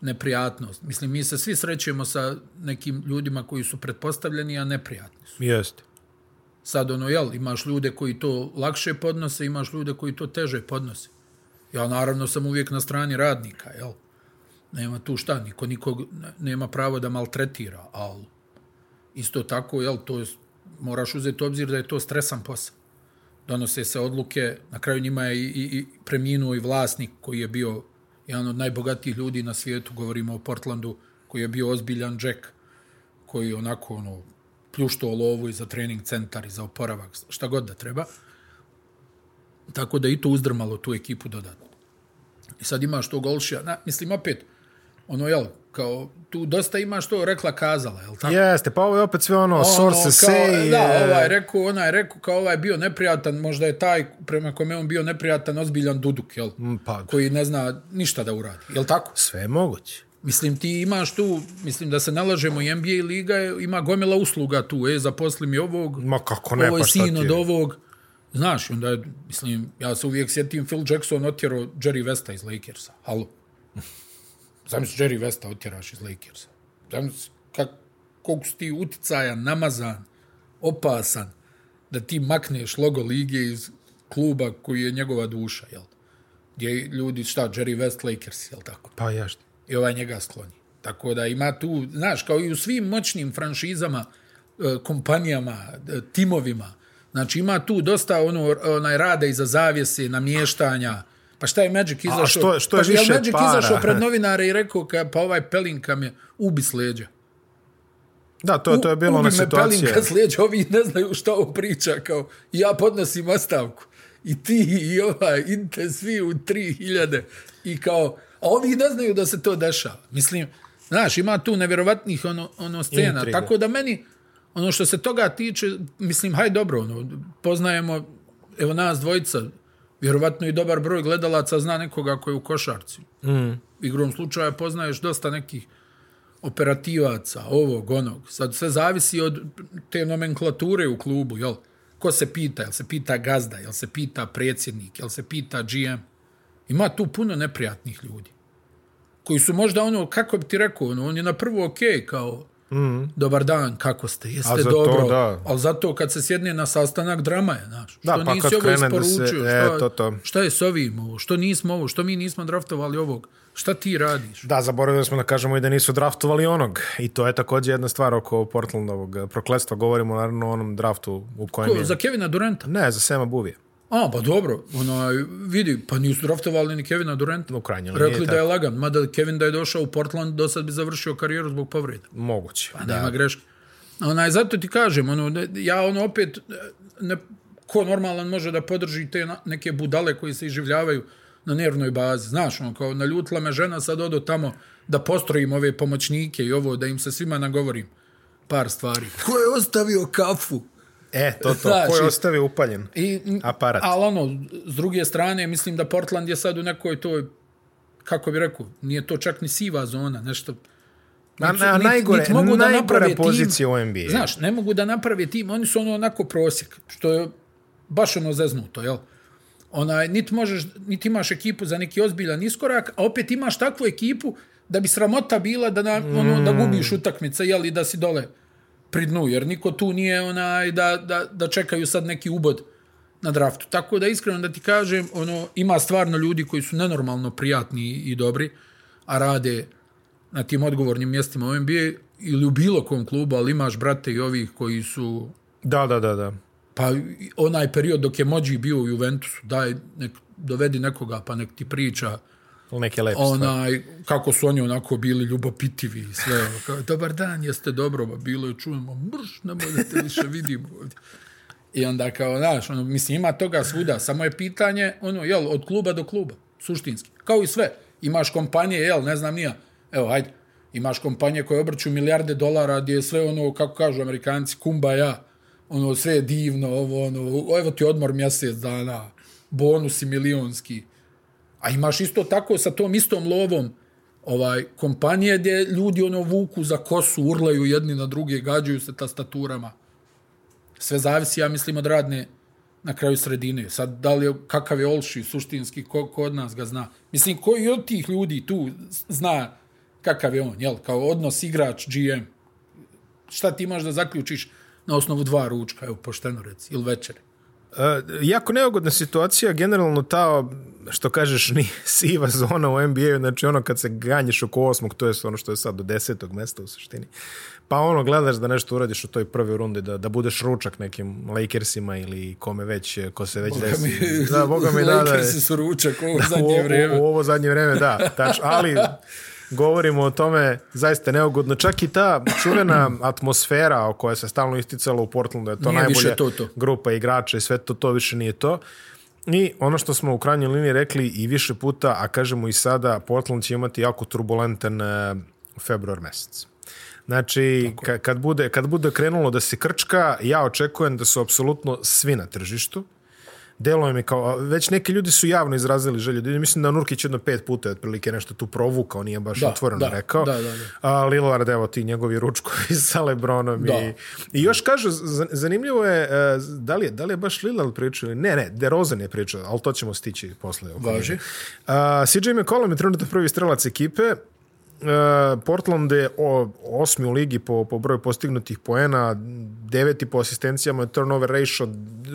Speaker 2: neprijatnost. Mislim, mi se svi srećemo sa nekim ljudima koji su pretpostavljeni, a neprijatni su.
Speaker 1: Jeste.
Speaker 2: Sad, ono, jel, imaš ljude koji to lakše podnose, imaš ljude koji to teže podnose. Ja, naravno, sam uvijek na strani radnika, jel? Nema tu šta, niko nikog ne- nema pravo da maltretira, ali isto tako, jel, to je, moraš uzeti u obzir da je to stresan posao. Donose se odluke, na kraju njima je i, i, i preminuo i vlasnik koji je bio jedan od najbogatijih ljudi na svijetu, govorimo o Portlandu, koji je bio ozbiljan Jack, koji onako, ono, pljušto lovu i za trening centar i za oporavak, šta god da treba. Tako da je i to uzdrmalo tu ekipu dodatno. I sad imaš to golšija, na, mislim opet, ono jel, kao tu dosta imaš to rekla kazala, jel tako?
Speaker 1: Jeste, pa ovo je opet sve ono,
Speaker 2: Ono,
Speaker 1: source say...
Speaker 2: Da,
Speaker 1: e,
Speaker 2: ovaj rekao, onaj rekao kao ovaj je bio neprijatan, možda je taj prema kome je on bio neprijatan ozbiljan duduk, jel?
Speaker 1: pa-
Speaker 2: Koji ne zna ništa da uradi, jel tako?
Speaker 1: Sve je moguće.
Speaker 2: Mislim, ti imaš tu, mislim da se nalažemo i NBA liga, je- ima gomila usluga tu, e, zaposli mi ovog,
Speaker 1: Ma kako ne,
Speaker 2: ovo je
Speaker 1: pa šta
Speaker 2: sin
Speaker 1: ti
Speaker 2: od
Speaker 1: je?
Speaker 2: ovog. Znaš, onda, je, mislim, ja se uvijek sjetim, Phil Jackson otjerao Jerry Vesta iz Lakersa. Halo. Zamisli, Jerry Vesta otjeraš iz Lakersa. Zamisli, kak, koliko si ti uticajan, namazan, opasan, da ti makneš logo lige iz kluba koji je njegova duša, jel? Gdje ljudi, šta, Jerry West Lakers, jel tako?
Speaker 1: Pa jaš.
Speaker 2: i ovaj njega skloni. Tako da ima tu, znaš, kao i u svim moćnim franšizama, e, kompanijama, e, timovima, znači ima tu dosta ono, onaj rada iza zavjese, namještanja, Pa šta je Magic izašao?
Speaker 1: što- što je
Speaker 2: pa jel
Speaker 1: više
Speaker 2: Magic
Speaker 1: para?
Speaker 2: izašao pred novinare i rekao, ka, pa ovaj Pelinka me ubi s leđa.
Speaker 1: Da, to, to je bila ona
Speaker 2: Ubi me
Speaker 1: situacija.
Speaker 2: Pelinka s leđa, ovi ne znaju šta ovo priča, kao ja podnosim ostavku. I ti i ovaj, idite svi u 3000 i kao, a ovi ne znaju da se to dešava. Mislim, znaš, ima tu nevjerovatnih ono, ono scena,
Speaker 1: Intriga.
Speaker 2: Intriga. tako da meni, ono što se toga tiče, mislim, haj dobro, ono, poznajemo, evo nas dvojica, vjerovatno i dobar broj gledalaca zna nekoga koji je u košarci. Mm. Igrom slučaja poznaješ dosta nekih operativaca, ovog, onog. Sad sve zavisi od te nomenklature u klubu, jel? Ko se pita? Jel se pita gazda? Jel se pita predsjednik? Jel se pita GM? Ima tu puno neprijatnih ljudi. Koji su možda ono, kako bi ti rekao, ono, on je na prvo okej, okay, kao, mm. dobar dan, kako ste, jeste
Speaker 1: Mhm. za to,
Speaker 2: dobro.
Speaker 1: da.
Speaker 2: Ali zato kad se sjedne na sastanak, drama je, znaš.
Speaker 1: Da,
Speaker 2: što
Speaker 1: pa
Speaker 2: nisi
Speaker 1: kad
Speaker 2: ovo
Speaker 1: krene da se-
Speaker 2: isporučio?
Speaker 1: e,
Speaker 2: šta,
Speaker 1: to, to.
Speaker 2: šta je s ovim ovo? Što nismo ovo? Što mi nismo draftovali ovog? Šta ti radiš?
Speaker 1: Da, zaboravili smo da kažemo i da nisu draftovali onog. I to je također jedna stvar oko Portlandovog e, prokletstva. Govorimo naravno o onom draftu u kojem
Speaker 2: Ko,
Speaker 1: je...
Speaker 2: za Kevina Duranta?
Speaker 1: Ne, za Sema Buvije.
Speaker 2: A, pa dobro, onaj, vidi, pa nisu draftovali ni Kevina Duranta.
Speaker 1: U krajnjoj liniji je
Speaker 2: Rekli da je lagan, mada Kevin da je došao u Portland, do sad bi završio karijeru zbog povreda.
Speaker 1: Moguće.
Speaker 2: Pa da. nema greške. Onaj, zato ti kažem, ono, ne- ja ono opet, ne, ko normalan može da podrži te na- neke budale koji se iživljavaju na nervnoj bazi. Znaš, ono, kao naljutila me žena, sad odo tamo da postrojim ove pomoćnike i ovo, da im se svima nagovorim par stvari. Ko je ostavio kafu?
Speaker 1: E, to to.
Speaker 2: Znaš,
Speaker 1: Ko je
Speaker 2: i-
Speaker 1: ostavio upaljen?
Speaker 2: I,
Speaker 1: Aparat.
Speaker 2: Ali ono, s druge strane, mislim da Portland je sad u nekoj toj, kako bi rekao, nije to čak ni siva zona, nešto...
Speaker 1: Na,
Speaker 2: Nit su-
Speaker 1: na,
Speaker 2: nit-
Speaker 1: najgore,
Speaker 2: nit mogu da naprave
Speaker 1: najgore
Speaker 2: tim.
Speaker 1: pozicija u NBA.
Speaker 2: Znaš, ne mogu da naprave tim, oni su ono onako prosjek, što je baš ono zeznuto, jel? Onaj, niti možeš, niti imaš ekipu za neki ozbiljan iskorak, a opet imaš takvu ekipu da bi sramota bila da, na, ono, da gubiš utakmice, jel, i da si dole pri dnu, jer niko tu nije onaj da, da, da čekaju sad neki ubod na draftu. Tako da iskreno da ti kažem, ono ima stvarno ljudi koji su nenormalno prijatni i dobri, a rade na tim odgovornim mjestima u NBA ili u bilo kom klubu, ali imaš brate i ovih koji su
Speaker 1: Da, da, da, da.
Speaker 2: pa i onaj period dok je Mođi bio u Juventusu, daj nek, dovedi nekoga pa nek ti priča
Speaker 1: Ili Neke lepe stvari.
Speaker 2: onaj, kako su oni onako bili ljubopitivi i sve. ono, Kao, Dobar dan, jeste dobro, ba, bilo je čujemo, mrš, ne možete više vidimo ovdje. I onda kao, znaš, ono, mislim, ima toga svuda, samo je pitanje, ono, jel, od kluba do kluba, suštinski. Kao i sve, imaš kompanije, jel, ne znam nija, evo, hajde, imaš kompanije koje obrću milijarde dolara, gdje je sve ono, kako kažu amerikanci, kumbaja, ono, sve je divno, ovo, ono, evo ti odmor mjesec dana, bonusi milionski, A imaš isto tako sa tom istom lovom ovaj kompanije gdje ljudi ono vuku za kosu, urlaju jedni na druge, gađaju se tastaturama. Sve zavisi, ja mislim, od radne na kraju sredine. Sad, da li je, kakav je Olši suštinski, ko, ko od nas ga zna? Mislim, koji od tih ljudi tu zna kakav je on, jel? Kao odnos igrač, GM. Šta ti imaš da zaključiš na osnovu dva ručka, evo, pošteno reci, ili večere?
Speaker 1: E, jako neugodna situacija, generalno ta, što kažeš, ni siva zona u NBA-u, znači ono kad se ganješ oko osmog, to je ono što je sad do desetog mesta u suštini, pa ono gledaš da nešto uradiš u toj prvoj rundi, da, da budeš ručak nekim Lakersima ili kome već, e, ko se već desi.
Speaker 2: *laughs*
Speaker 1: Da, boga mi da, da.
Speaker 2: Lakersi su ručak u ovo zadnje
Speaker 1: u,
Speaker 2: vrijeme.
Speaker 1: U, u ovo zadnje vreme, da. Tač, ali govorimo o tome zaista neugodno. Čak i ta čuvena atmosfera o kojoj se stalno isticalo u Portlandu, je to
Speaker 2: Nije više
Speaker 1: najbolja
Speaker 2: to, to.
Speaker 1: grupa igrača i sve to, to više nije to. I ono što smo u krajnjoj liniji rekli i više puta, a kažemo i sada, Portland će imati jako turbulentan e, februar mesec. Znači, ka, kad, bude, kad bude krenulo da se krčka, ja očekujem da su apsolutno svi na tržištu. Deluje mi kao, a već neki ljudi su javno izrazili želju. da idu. Mislim da Nurkić jedno pet puta je otprilike nešto tu provukao, nije baš
Speaker 2: Da,
Speaker 1: otvoreno
Speaker 2: da,
Speaker 1: rekao.
Speaker 2: da, da, da.
Speaker 1: A Lillard, evo ti njegovi ručkovi *laughs* sa Lebronom.
Speaker 2: Da.
Speaker 1: I, I još kažu, z- zanimljivo je, e, da li je, da li je baš Lillard pričao? ili- Ne, ne, DeRozan je pričao, ali to ćemo stići posle. oko
Speaker 2: Važi.
Speaker 1: njega. A, CJ McCollum je trenutno prvi strelac ekipe. E, Portland je o, osmi u ligi po, po broju postignutih poena, deveti po asistencijama, turnover ratio,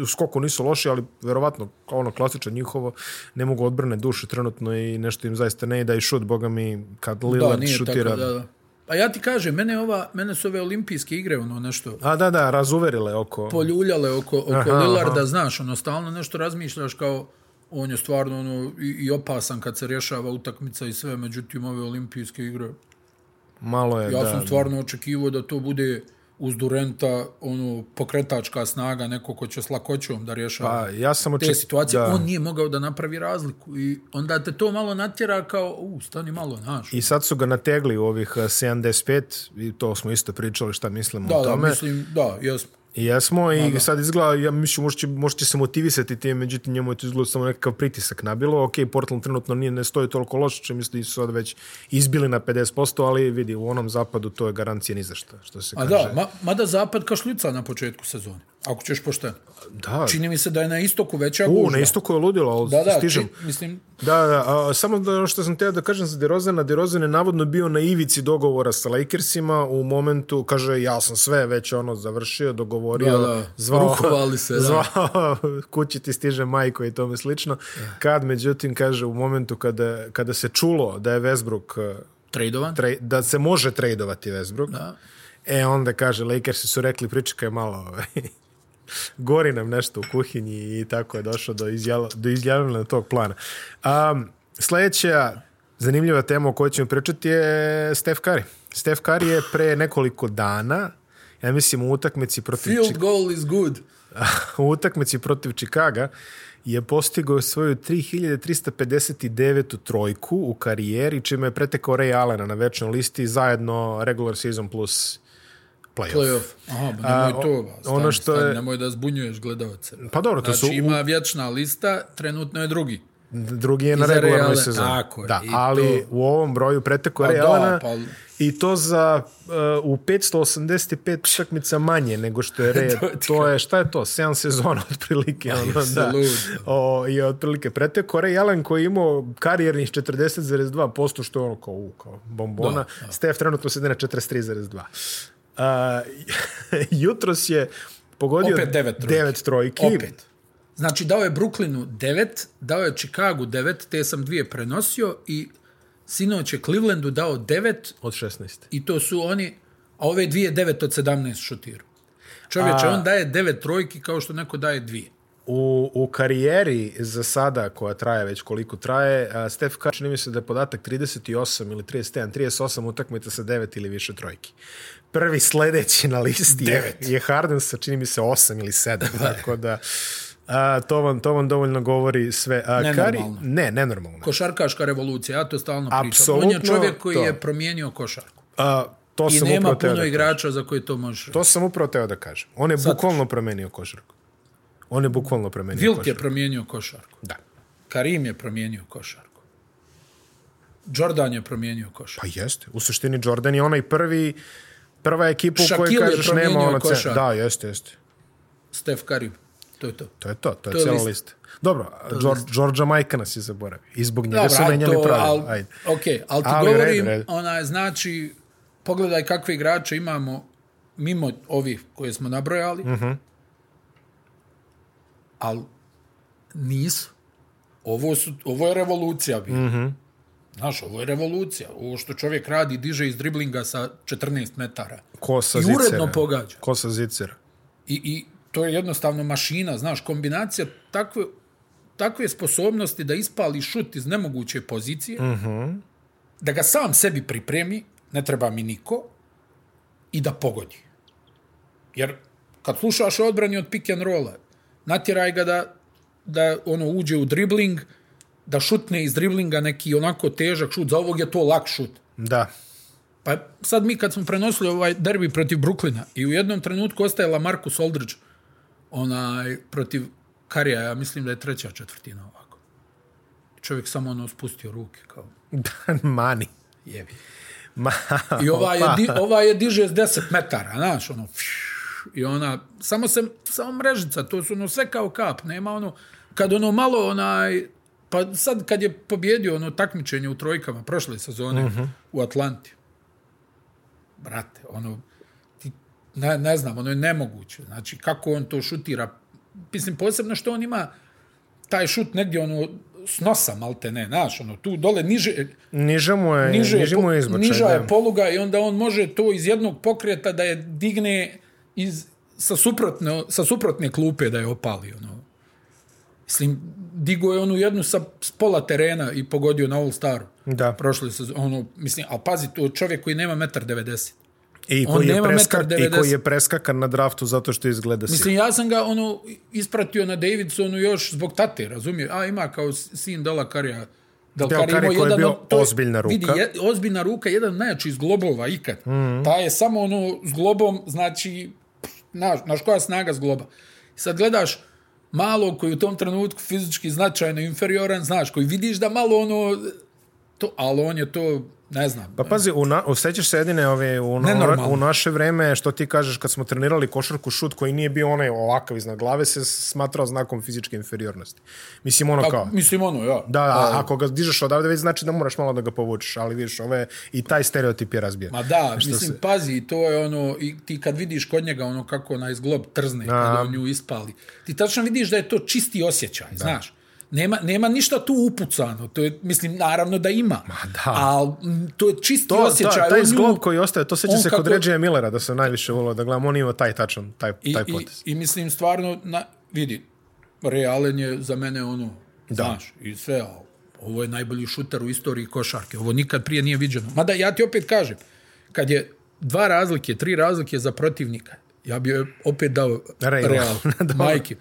Speaker 1: u skoku nisu loši, ali verovatno kao ono klasično njihovo, ne mogu odbrane duše trenutno i nešto im zaista ne ide i šut, boga mi, kad
Speaker 2: Da,
Speaker 1: Lillard
Speaker 2: nije
Speaker 1: šutira.
Speaker 2: tako, da, da. A ja ti kažem, mene, je ova, mene su ove olimpijske igre, ono nešto,
Speaker 1: A da, da, razuverile oko...
Speaker 2: poljuljale oko, oko
Speaker 1: Aha,
Speaker 2: aha,
Speaker 1: aha.
Speaker 2: Lillarda, znaš, ono, stalno nešto razmišljaš kao, on je stvarno ono, i, i opasan kad se rješava utakmica i sve, međutim, ove olimpijske igre,
Speaker 1: Malo je,
Speaker 2: Ja
Speaker 1: da.
Speaker 2: sam stvarno očekivao da to bude uz Durenta ono, pokretačka snaga, neko ko će s lakoćom da rješava
Speaker 1: Pa, ja sam
Speaker 2: te
Speaker 1: oček...
Speaker 2: situacije.
Speaker 1: da.
Speaker 2: On nije mogao da napravi razliku i onda te to malo natjera kao, u, stani malo, znaš.
Speaker 1: I sad su ga nategli u ovih eh, 75 i to smo isto pričali šta mislimo
Speaker 2: Da,
Speaker 1: o
Speaker 2: da,
Speaker 1: tome.
Speaker 2: mislim, da, jesmo.
Speaker 1: I jesmo i sad izgleda, ja mislim, možda će, možda će se motivisati tim, međutim njemu je to izgleda samo nekakav pritisak nabilo. Ok, Portland trenutno nije, ne stoji toliko loše, čim misli su sad već izbili na 50%, ali vidi, u onom zapadu to je garancija ni za šta, što se
Speaker 2: A
Speaker 1: kaže.
Speaker 2: Pa da, ma, mada zapad kašljuca na početku sezone, ako ćeš pošteno.
Speaker 1: da,
Speaker 2: Čini mi se da je na istoku veća
Speaker 1: u,
Speaker 2: gužva.
Speaker 1: na istoku je ludilo, ali
Speaker 2: Da, da,
Speaker 1: stižem.
Speaker 2: Či, mislim,
Speaker 1: Da, da, a, samo da, ono što sam teo da kažem za Derozana, Derozan je navodno bio na ivici dogovora sa Lakersima u momentu, kaže, ja sam sve već ono završio, dogovorio,
Speaker 2: Da, da,
Speaker 1: zvao,
Speaker 2: rukovali se, da.
Speaker 1: zvao *laughs* kući ti stiže majko i tome slično. Kad, međutim, kaže, u momentu kada, kada se čulo da je Westbrook, eh,
Speaker 2: tradovan.
Speaker 1: tre, da se može tradovati Westbrook,
Speaker 2: Da.
Speaker 1: e, onda kaže, Lakersi su rekli, pričekaj malo, ovaj, *laughs* gori nam nešto u kuhinji i tako je došlo do, izjavljena, do izjavljena tog plana. Um, sljedeća zanimljiva tema o kojoj ćemo pričati je Steph Curry. Steph Curry je pre nekoliko dana, ja mislim u utakmici protiv, Čik-
Speaker 2: Field goal is good.
Speaker 1: u utakmici protiv Čikaga je postigao svoju 3359. trojku u karijeri, čime je pretekao Ray Allena na večnoj listi, zajedno regular season plus playoff.
Speaker 2: Playoff. Aha, ba nemoj
Speaker 1: A,
Speaker 2: to.
Speaker 1: o-
Speaker 2: Ba. Stani,
Speaker 1: ono što
Speaker 2: stani,
Speaker 1: je-
Speaker 2: Nemoj da zbunjuješ gledavace.
Speaker 1: Pa dobro, to
Speaker 2: Znači,
Speaker 1: su
Speaker 2: su... ima vječna lista, trenutno je drugi.
Speaker 1: Drugi je na
Speaker 2: za
Speaker 1: regularnoj
Speaker 2: Reale,
Speaker 1: sezoni.
Speaker 2: tako je,
Speaker 1: da,
Speaker 2: i
Speaker 1: ali u ovom broju preteko pa
Speaker 2: da,
Speaker 1: Realna
Speaker 2: pa-
Speaker 1: i to za uh, u 585 utakmica manje nego što
Speaker 2: *laughs*
Speaker 1: je Real.
Speaker 2: To ti
Speaker 1: to je šta je to? 7 sezona *laughs* otprilike ono da.
Speaker 2: Apsolutno.
Speaker 1: O, je otprilike preteko Ray Allen koji je imao karijernih 40,2% što je ono kao, u, kao bombona. Da, da. Steph trenutno sedi na 43,2. Uh, *laughs* jutros je pogodio
Speaker 2: Opet devet trojki.
Speaker 1: devet trojki.
Speaker 2: Opet. Znači, dao je Brooklynu 9, dao je Chicagu 9, te sam dvije prenosio i sinoć je Clevelandu dao 9
Speaker 1: Od 16.
Speaker 2: i to su oni, a ove dvije 9 od 17 šutiru. Čovječe,
Speaker 1: A-
Speaker 2: on daje 9 trojki kao što neko daje dvije.
Speaker 1: U, u karijeri za sada, koja traje već koliko traje, a, Steph Curry čini mi se da je podatak 38 ili 31, 38 utakmica sa 9 ili više trojki. Prvi sledeći na listi je,
Speaker 2: Devet.
Speaker 1: je Harden sa čini mi se 8 ili
Speaker 2: *laughs*
Speaker 1: 7, tako da a, to, vam, to vam dovoljno govori sve. A, Curry,
Speaker 2: Nenormalno.
Speaker 1: ne, nenormalno.
Speaker 2: Košarkaška revolucija, ja to stalno pričam. On je
Speaker 1: Apsolutno
Speaker 2: čovjek koji
Speaker 1: to.
Speaker 2: je promijenio košarku.
Speaker 1: A, to
Speaker 2: I
Speaker 1: sam
Speaker 2: nema
Speaker 1: upravo teo
Speaker 2: puno
Speaker 1: da kažem.
Speaker 2: igrača za koje to može.
Speaker 1: To sam upravo teo da kažem. On je bukvalno promenio košarku. On je bukvalno promenio
Speaker 2: Vilt je
Speaker 1: košarku.
Speaker 2: promijenio košarku.
Speaker 1: Da.
Speaker 2: Karim je promijenio košarku. Jordan je promijenio košarku.
Speaker 1: Pa jeste. U suštini Jordan je onaj prvi prva ekipa u kojoj
Speaker 2: Shaquille je
Speaker 1: kažeš nema
Speaker 2: promijenio
Speaker 1: ono
Speaker 2: košar.
Speaker 1: cena. Da, jeste, jeste.
Speaker 2: Steph Curry. To je to.
Speaker 1: To je to, to je,
Speaker 2: je
Speaker 1: cijela
Speaker 2: list.
Speaker 1: lista. Dobro, George, Georgia Majka nas je zaboravio. I zbog njega
Speaker 2: Dobro,
Speaker 1: su
Speaker 2: ali
Speaker 1: menjali
Speaker 2: to-
Speaker 1: pravila.
Speaker 2: al-
Speaker 1: Ajde.
Speaker 2: Okej, ali ti
Speaker 1: Ali u redu,
Speaker 2: govorim,
Speaker 1: u redu.
Speaker 2: onaj, znači, pogledaj kakve igrače imamo mimo ovih koje smo nabrojali,
Speaker 1: Mhm.
Speaker 2: ali nisu. Ovo, su, ovo je revolucija bila.
Speaker 1: Mhm.
Speaker 2: Znaš, ovo je revolucija. Ovo što čovjek radi, diže iz driblinga sa 14 metara.
Speaker 1: Ko sa
Speaker 2: I
Speaker 1: zicera.
Speaker 2: uredno pogađa.
Speaker 1: Ko sa zicera.
Speaker 2: I, I to je jednostavno mašina, znaš, kombinacija takve, takve sposobnosti da ispali šut iz nemoguće pozicije, mm -hmm. da ga sam sebi pripremi, ne treba mi niko, i da pogodi. Jer kad slušaš o odbrani od pick and rolla, natjeraj ga da, da ono uđe u dribling, da šutne iz driblinga neki onako težak šut, za ovog je to lak šut.
Speaker 1: Da. *laughs*
Speaker 2: Pa sad mi kad smo prenosili ovaj derbi protiv Brooklyna i u jednom trenutku ostaje Lamarcus Aldridge onaj, protiv Karija, ja mislim da je treća četvrtina ovako. Čovjek samo ono spustio ruke kao
Speaker 1: Mani.
Speaker 2: jebi.
Speaker 1: Ma,
Speaker 2: I ova je,
Speaker 1: opa.
Speaker 2: di, ova je diže s 10 metara, znaš, ono, fš, i ona, samo se, samo mrežica, to su ono sve kao kap, nema ono, kad ono malo onaj, pa sad kad je pobjedio ono takmičenje u trojkama prošle sezone uh -huh. u Atlanti, brate, ono, ti, ne, ne znam, ono je nemoguće, znači kako on to šutira, mislim, posebno što on ima taj šut negdje ono, s nosa, malte ne, znaš, ono, tu dole niže,
Speaker 1: Niže mu Pa je,
Speaker 2: niže
Speaker 1: niže
Speaker 2: je, po,
Speaker 1: mu je izbačaj.
Speaker 2: niža
Speaker 1: da.
Speaker 2: je poluga i onda on može to iz jednog pokreta da je digne iz, sa, suprotne, sa suprotne klupe da je opali. Ono. Mislim, digo je onu jednu sa s pola terena i pogodio na All Staru.
Speaker 1: Da.
Speaker 2: Prošle se, ono, mislim, a pazi, to je čovjek koji nema 1,90 m.
Speaker 1: I
Speaker 2: On
Speaker 1: koji, je
Speaker 2: nema
Speaker 1: preskak,
Speaker 2: metar
Speaker 1: I koji
Speaker 2: 90.
Speaker 1: je preskakan na draftu zato što izgleda si.
Speaker 2: Mislim, ja sam ga ono ispratio na Davidsonu još zbog tate, razumije? A ima kao sin Dela Karija. Del
Speaker 1: Del
Speaker 2: Carrey
Speaker 1: Carrey
Speaker 2: imao
Speaker 1: koji je
Speaker 2: jedan
Speaker 1: bio
Speaker 2: od- to je-
Speaker 1: ozbiljna ruka.
Speaker 2: Vidi, je, ozbiljna ruka, jedan od najjačih zglobova ikad. Mm
Speaker 1: Mhm.
Speaker 2: -hmm. Ta je samo ono zglobom, znači, naš, naš koja snaga zgloba. Sad gledaš malo koji u tom trenutku fizički značajno inferioran, znaš, koji vidiš da malo ono, to, ali on je to, ne znam.
Speaker 1: Pa pazi, u na, osjećaš se jedine ove, u, na,
Speaker 2: Nenormalno.
Speaker 1: u naše vreme, što ti kažeš kad smo trenirali košarku šut koji nije bio onaj ovakav iznad glave, se smatrao znakom fizičke inferiornosti. Mislim, ono kao...
Speaker 2: Mislim ono, ja.
Speaker 1: Da, da, ako ga dižeš odavde, već znači da moraš malo da ga povučeš, ali vidiš, ove, i taj stereotip je razbijen.
Speaker 2: Ma da,
Speaker 1: Što
Speaker 2: mislim,
Speaker 1: se-
Speaker 2: pazi, to je ono, i ti kad vidiš kod njega ono kako onaj zglob trzne,
Speaker 1: Aha.
Speaker 2: kad on nju ispali, ti tačno vidiš da je to čisti osjećaj, da. znaš. Nema, nema ništa tu upucano, to je, mislim, naravno da ima, Ma
Speaker 1: da.
Speaker 2: ali m, to je čisti
Speaker 1: To,
Speaker 2: osjećaj.
Speaker 1: ta, taj
Speaker 2: on nju-
Speaker 1: zglob koji ostaje, to seća
Speaker 2: on
Speaker 1: se kod
Speaker 2: kako-
Speaker 1: Reggie Millera, da se najviše volio da gledam, on ima taj tačan, taj,
Speaker 2: I,
Speaker 1: taj
Speaker 2: i,
Speaker 1: potez.
Speaker 2: I mislim, stvarno, na, vidi, realen je za mene ono, da. znaš, i sve, ali ovo je najbolji šuter u istoriji košarke, ovo nikad prije nije viđeno. Mada ja ti opet kažem, kad je dva razlike, tri razlike za protivnika, ja bi joj opet dao
Speaker 1: Real.
Speaker 2: Real, Real majke.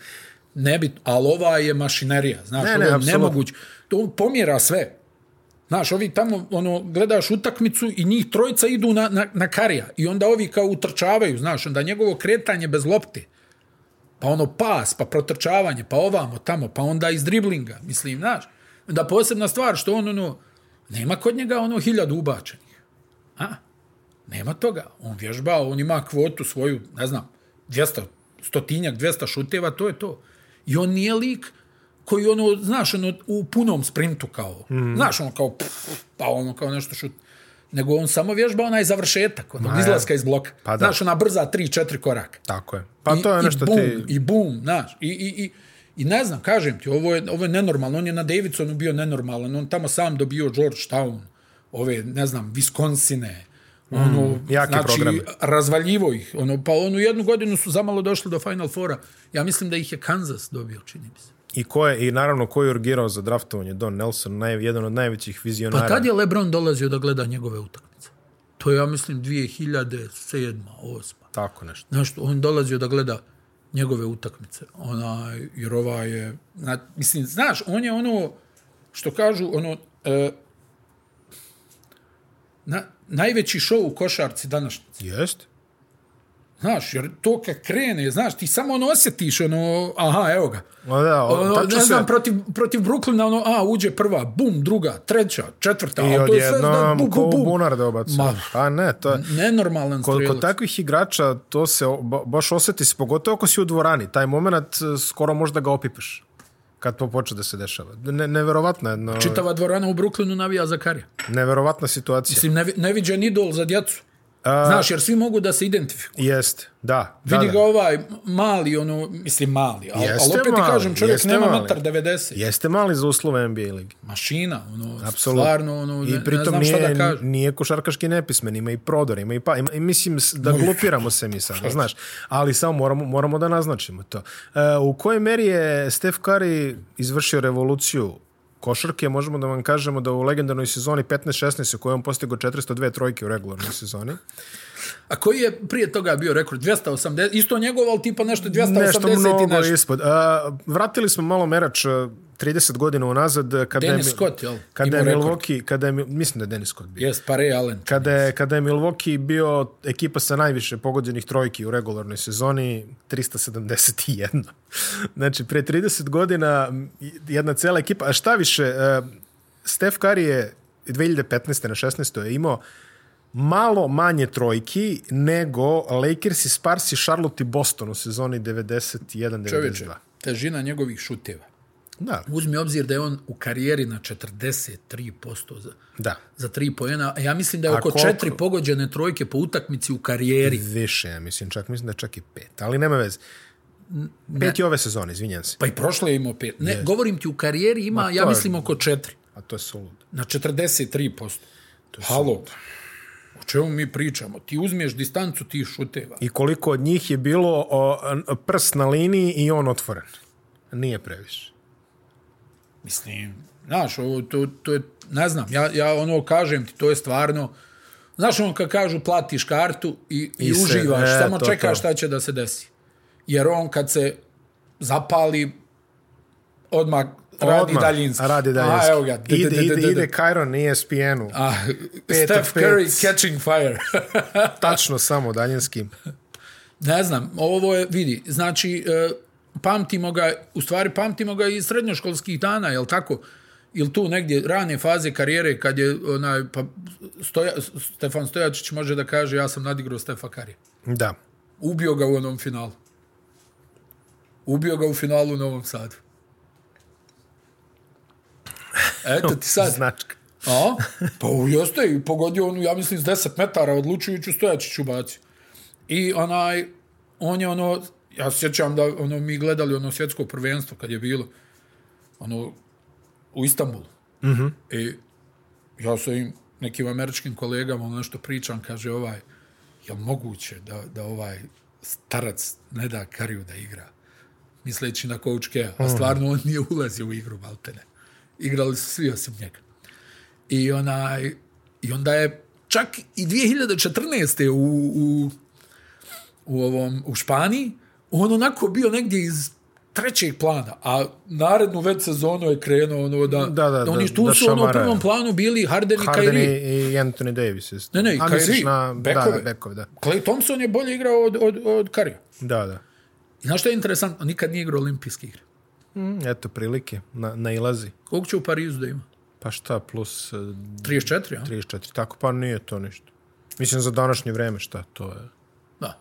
Speaker 2: Ne bi, ali ova je mašinerija, znaš,
Speaker 1: Ne,
Speaker 2: ne,
Speaker 1: ne,
Speaker 2: ne, ovo je
Speaker 1: apsolutno.
Speaker 2: nemoguće. To pomjera sve. Znaš, ovi tamo, ono, gledaš utakmicu i njih trojica idu na, na, na karija i onda ovi kao utrčavaju, znaš, onda njegovo kretanje bez lopte, pa ono pas, pa protrčavanje, pa ovamo, tamo, pa onda iz driblinga, mislim, znaš. Da posebna stvar što on, ono, nema kod njega ono hiljadu ubačenih. A? Nema toga. On vježba, on ima kvotu svoju, ne znam, 200, stotinjak, 200 šuteva, to je to. I on nije lik koji ono, znaš, ono, u punom sprintu kao,
Speaker 1: Mhm.
Speaker 2: mm. znaš, ono kao, pff, pa ono kao nešto šut. Nego on samo vježba onaj završetak, onog
Speaker 1: ja.
Speaker 2: izlaska iz bloka.
Speaker 1: Pa da.
Speaker 2: Znaš, ona brza 3-4 koraka.
Speaker 1: Tako je. Pa to je ono što
Speaker 2: I bum,
Speaker 1: ti...
Speaker 2: I bum, znaš. I, i, i, I ne znam, kažem ti, ovo je, ovo je nenormalno. On je na Davidsonu bio nenormalan. On tamo sam dobio Georgetown, ove, ne znam, Wisconsine. Ono, mm,
Speaker 1: jaki
Speaker 2: znači,
Speaker 1: program.
Speaker 2: razvaljivo ih. Ono, pa onu jednu godinu su zamalo došli do Final Fora. Ja mislim da ih je Kansas dobio, čini mi se.
Speaker 1: I, ko je, I naravno ko je urgirao za draftovanje Don Nelson, naj, jedan od najvećih vizionara.
Speaker 2: Pa tad je LeBron dolazio da gleda njegove utakmice. To je, ja mislim, 2007. 8.
Speaker 1: Tako nešto.
Speaker 2: Znaš, on dolazio da gleda njegove utakmice. Ona, jer ova je... Na, mislim, znaš, on je ono, što kažu, ono... E, na, najveći šou u košarci današnjice.
Speaker 1: Jest?
Speaker 2: Znaš, jer to kad krene, znaš, ti samo ono osjetiš, ono, aha, evo ga.
Speaker 1: O, da, o,
Speaker 2: Ono,
Speaker 1: tačno
Speaker 2: ne
Speaker 1: se-
Speaker 2: znam, protiv, protiv Brooklyna, ono, a, uđe prva, bum, druga, treća, četvrta,
Speaker 1: I
Speaker 2: a to je sve, da,
Speaker 1: odjednom
Speaker 2: bum,
Speaker 1: ko
Speaker 2: bum,
Speaker 1: u
Speaker 2: bum.
Speaker 1: bunar da obacu.
Speaker 2: Ma.
Speaker 1: Pa ne, to je...
Speaker 2: Nenormalan
Speaker 1: Kod,
Speaker 2: strelac.
Speaker 1: kod takvih igrača to se o- ba- baš osjeti se, pogotovo ako si u dvorani. Taj moment e, skoro možda ga opipaš kad to počne da se dešava. Ne, neverovatna, jedna,
Speaker 2: Čitava dvorana u Brooklynu navija za karija.
Speaker 1: neverovatna situacija.
Speaker 2: Mislim, nevi, neviđen idol za djecu. A... Znaš, jer svi mogu da se identifikuju.
Speaker 1: Jest, da. da,
Speaker 2: Vidi
Speaker 1: da.
Speaker 2: ga ovaj mali, ono, mislim mali, ali,
Speaker 1: Jeste
Speaker 2: ali opet
Speaker 1: mali,
Speaker 2: ti kažem, čovjek
Speaker 1: jeste
Speaker 2: nema
Speaker 1: mali.
Speaker 2: metar 90.
Speaker 1: Jeste mali za uslove NBA ligi.
Speaker 2: Mašina, ono,
Speaker 1: Apsolutno.
Speaker 2: Absolut. stvarno, ono, ne,
Speaker 1: I pritom
Speaker 2: ne znam
Speaker 1: nije,
Speaker 2: šta da kažem.
Speaker 1: nije košarkaški nepismen, ima i prodor, ima i pa, ima, i mislim s- da glupiramo se mi sad, znaš, ali samo moramo, moramo da naznačimo to. E, u kojoj meri je Steph Curry izvršio revoluciju košarke, možemo da vam kažemo da u legendarnoj sezoni 15-16 u kojoj on postigo 402 trojke u regularnoj sezoni.
Speaker 2: A koji je prije toga bio rekord? 280, isto njegov, ali tipa nešto 280
Speaker 1: Nešto
Speaker 2: i
Speaker 1: mnogo
Speaker 2: nešto.
Speaker 1: ispod. A, vratili smo malo merač a, 30 godina unazad e, kada
Speaker 2: Dennis
Speaker 1: je, Mi-
Speaker 2: Scott, jel?
Speaker 1: Kada je
Speaker 2: Imao rekord.
Speaker 1: Milwaukee, kada je, Mi- mislim da je Dennis Scott bio.
Speaker 2: Jest, Pare Allen.
Speaker 1: Kada je, kada je Milwaukee bio ekipa sa najviše pogođenih trojki u regularnoj sezoni, 371. *laughs* znači, pre 30 godina jedna cela ekipa, a šta više, eh, Steph Curry je 2015. na 16. je imao malo manje trojki nego Lakers i Spars i Charlotte i Boston u sezoni 91-92.
Speaker 2: Čovječe, težina njegovih šuteva.
Speaker 1: Da,
Speaker 2: Uzmi obzir da je on u karijeri na 43% za,
Speaker 1: da.
Speaker 2: za 3 pojena. A Ja mislim da je oko
Speaker 1: koliko?
Speaker 2: 4 pogođene trojke po utakmici u karijeri.
Speaker 1: Više, ja mislim, čak mislim da je čak i pet, ali nema veze. Pet je ove sezone, izvinjam se.
Speaker 2: Pa i prošle je imao 5. Ne, govorim ti, u karijeri ima, ja
Speaker 1: to je-
Speaker 2: mislim, oko 4.
Speaker 1: A to je suludo.
Speaker 2: Na 43%. Halo, o čemu mi pričamo? Ti uzmiješ distancu tih šuteva.
Speaker 1: I koliko od njih je bilo o, n- prst na liniji i on otvoren. Nije previše.
Speaker 2: Mislim, znaš, ovo, to, to je, ne znam, ja, ja ono kažem ti, to je stvarno, znaš ono kad kažu platiš kartu i, i,
Speaker 1: I
Speaker 2: I
Speaker 1: se-
Speaker 2: uživaš,
Speaker 1: e,
Speaker 2: se, samo
Speaker 1: to,
Speaker 2: čekaš
Speaker 1: to.
Speaker 2: šta će da se desi. Jer on kad se zapali, odmah radi
Speaker 1: Odmah,
Speaker 2: daljinski.
Speaker 1: a Radi daljinski.
Speaker 2: A, evo ga.
Speaker 1: Ide, ide, ide Kajron ESPN-u.
Speaker 2: A,
Speaker 1: Pet
Speaker 2: Steph
Speaker 1: od pet.
Speaker 2: Curry catching fire. *laughs*
Speaker 1: Tačno samo daljinski.
Speaker 2: ne znam, ovo je, vidi, znači, e, pamtimo ga, u stvari pamtimo ga iz srednjoškolskih dana, jel tako? Ili tu negdje rane faze karijere kad je onaj, pa Stoja, Stefan Stojačić može da kaže ja sam nadigrao Stefa Karija.
Speaker 1: Da.
Speaker 2: Ubio ga u onom finalu. Ubio ga u finalu u Novom Sadu. Eto ti sad.
Speaker 1: Značka.
Speaker 2: A? *laughs* Pa u- jeste i pogodio onu, ja mislim, s 10 metara odlučujuću stojačiću bacio. I onaj, on je ono, ja se sjećam da ono, mi gledali ono svjetsko prvenstvo kad je bilo, ono, u Istanbulu. Mm -hmm. I ja sa im nekim američkim kolegama ono nešto pričam, kaže ovaj, je moguće da, da ovaj starac ne da Kariju da igra? Misleći na coach Kea,
Speaker 1: Mm.
Speaker 2: a stvarno on nije ulazio u igru, maltene. Igrali su svi osim njega. I, onaj, I onda je čak i 2014. u, u, u, ovom, u Španiji, on onako bio negdje iz trećeg plana, a narednu već sezonu je krenuo ono da,
Speaker 1: Da, da,
Speaker 2: oni
Speaker 1: da-
Speaker 2: tu
Speaker 1: da
Speaker 2: su ono u
Speaker 1: šamaraju.
Speaker 2: prvom planu bili Harden i
Speaker 1: Harden i,
Speaker 2: Kyrie.
Speaker 1: i Anthony Davis. isto.
Speaker 2: Ne, ne, i
Speaker 1: A, misliš
Speaker 2: Kyrie,
Speaker 1: Na, Da,
Speaker 2: bekove.
Speaker 1: da, bekove, da.
Speaker 2: Clay Thompson je bolje igrao od, od, od Karija.
Speaker 1: Da, da.
Speaker 2: I znaš što je interesantno? Nikad nije igrao olimpijske igre.
Speaker 1: Mm, eto, prilike. Na, nailazi.
Speaker 2: Koliko će u Parizu da ima?
Speaker 1: Pa šta, plus eh,
Speaker 2: 34, a?
Speaker 1: 34. Tako, pa nije to ništa. Mislim, za današnje vreme, šta to je?
Speaker 2: Da.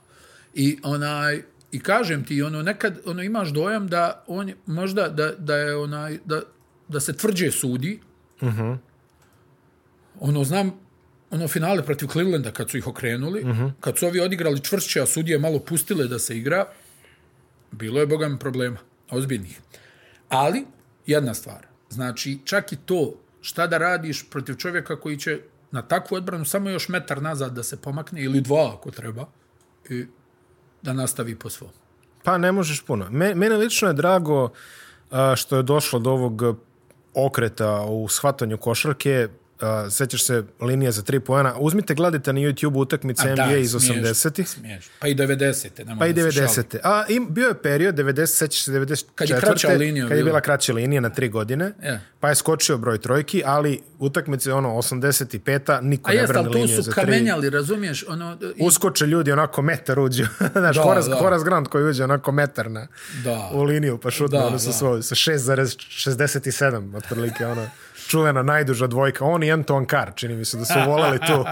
Speaker 2: I onaj i kažem ti ono nekad ono imaš dojam da on je- možda da, da je onaj da, da se tvrđe sudi. Mhm. Ono znam ono finale protiv Clevelanda kad su ih okrenuli, kad su ovi odigrali čvršće, a sudije malo pustile da se igra, bilo je bogam problema, ozbiljnih. Ali jedna stvar, znači čak i to šta da radiš protiv čovjeka koji će na takvu odbranu samo još metar nazad da se pomakne ili dva ako treba i da nastavi po svom.
Speaker 1: Pa ne možeš puno. Me, mene lično je drago a, što je došlo do ovog okreta u shvatanju košarke. A, sećaš se linija za tri pojena. Uzmite, gledajte na YouTube utakmice NBA iz 80-ih.
Speaker 2: Smiješ. Pa i 90. nemoj
Speaker 1: Pa i
Speaker 2: da se šalim.
Speaker 1: 90. A im, bio je period, 90, sećaš se 94.
Speaker 2: Kad je kraća linija
Speaker 1: Kad je bila
Speaker 2: bila. E.
Speaker 1: kraća linija na tri godine.
Speaker 2: Je.
Speaker 1: Pa je skočio broj trojki, ali utakmice ono 85-a, niko
Speaker 2: A
Speaker 1: ne
Speaker 2: jeste,
Speaker 1: brani
Speaker 2: ali
Speaker 1: liniju za
Speaker 2: tu su
Speaker 1: tri.
Speaker 2: kamenjali, razumiješ? Ono, i-
Speaker 1: Uskoče ljudi onako metar uđu. *laughs* Znaš,
Speaker 2: Da,
Speaker 1: Horace,
Speaker 2: da.
Speaker 1: Horace Grant koji uđe onako metar na,
Speaker 2: da.
Speaker 1: u liniju, pa šutno
Speaker 2: Da,
Speaker 1: ono sa
Speaker 2: da.
Speaker 1: svoj, sa 6,67 otprilike, ona čuvena najduža dvojka. On i Anton Carr, čini mi se da su voleli
Speaker 2: *laughs*
Speaker 1: tu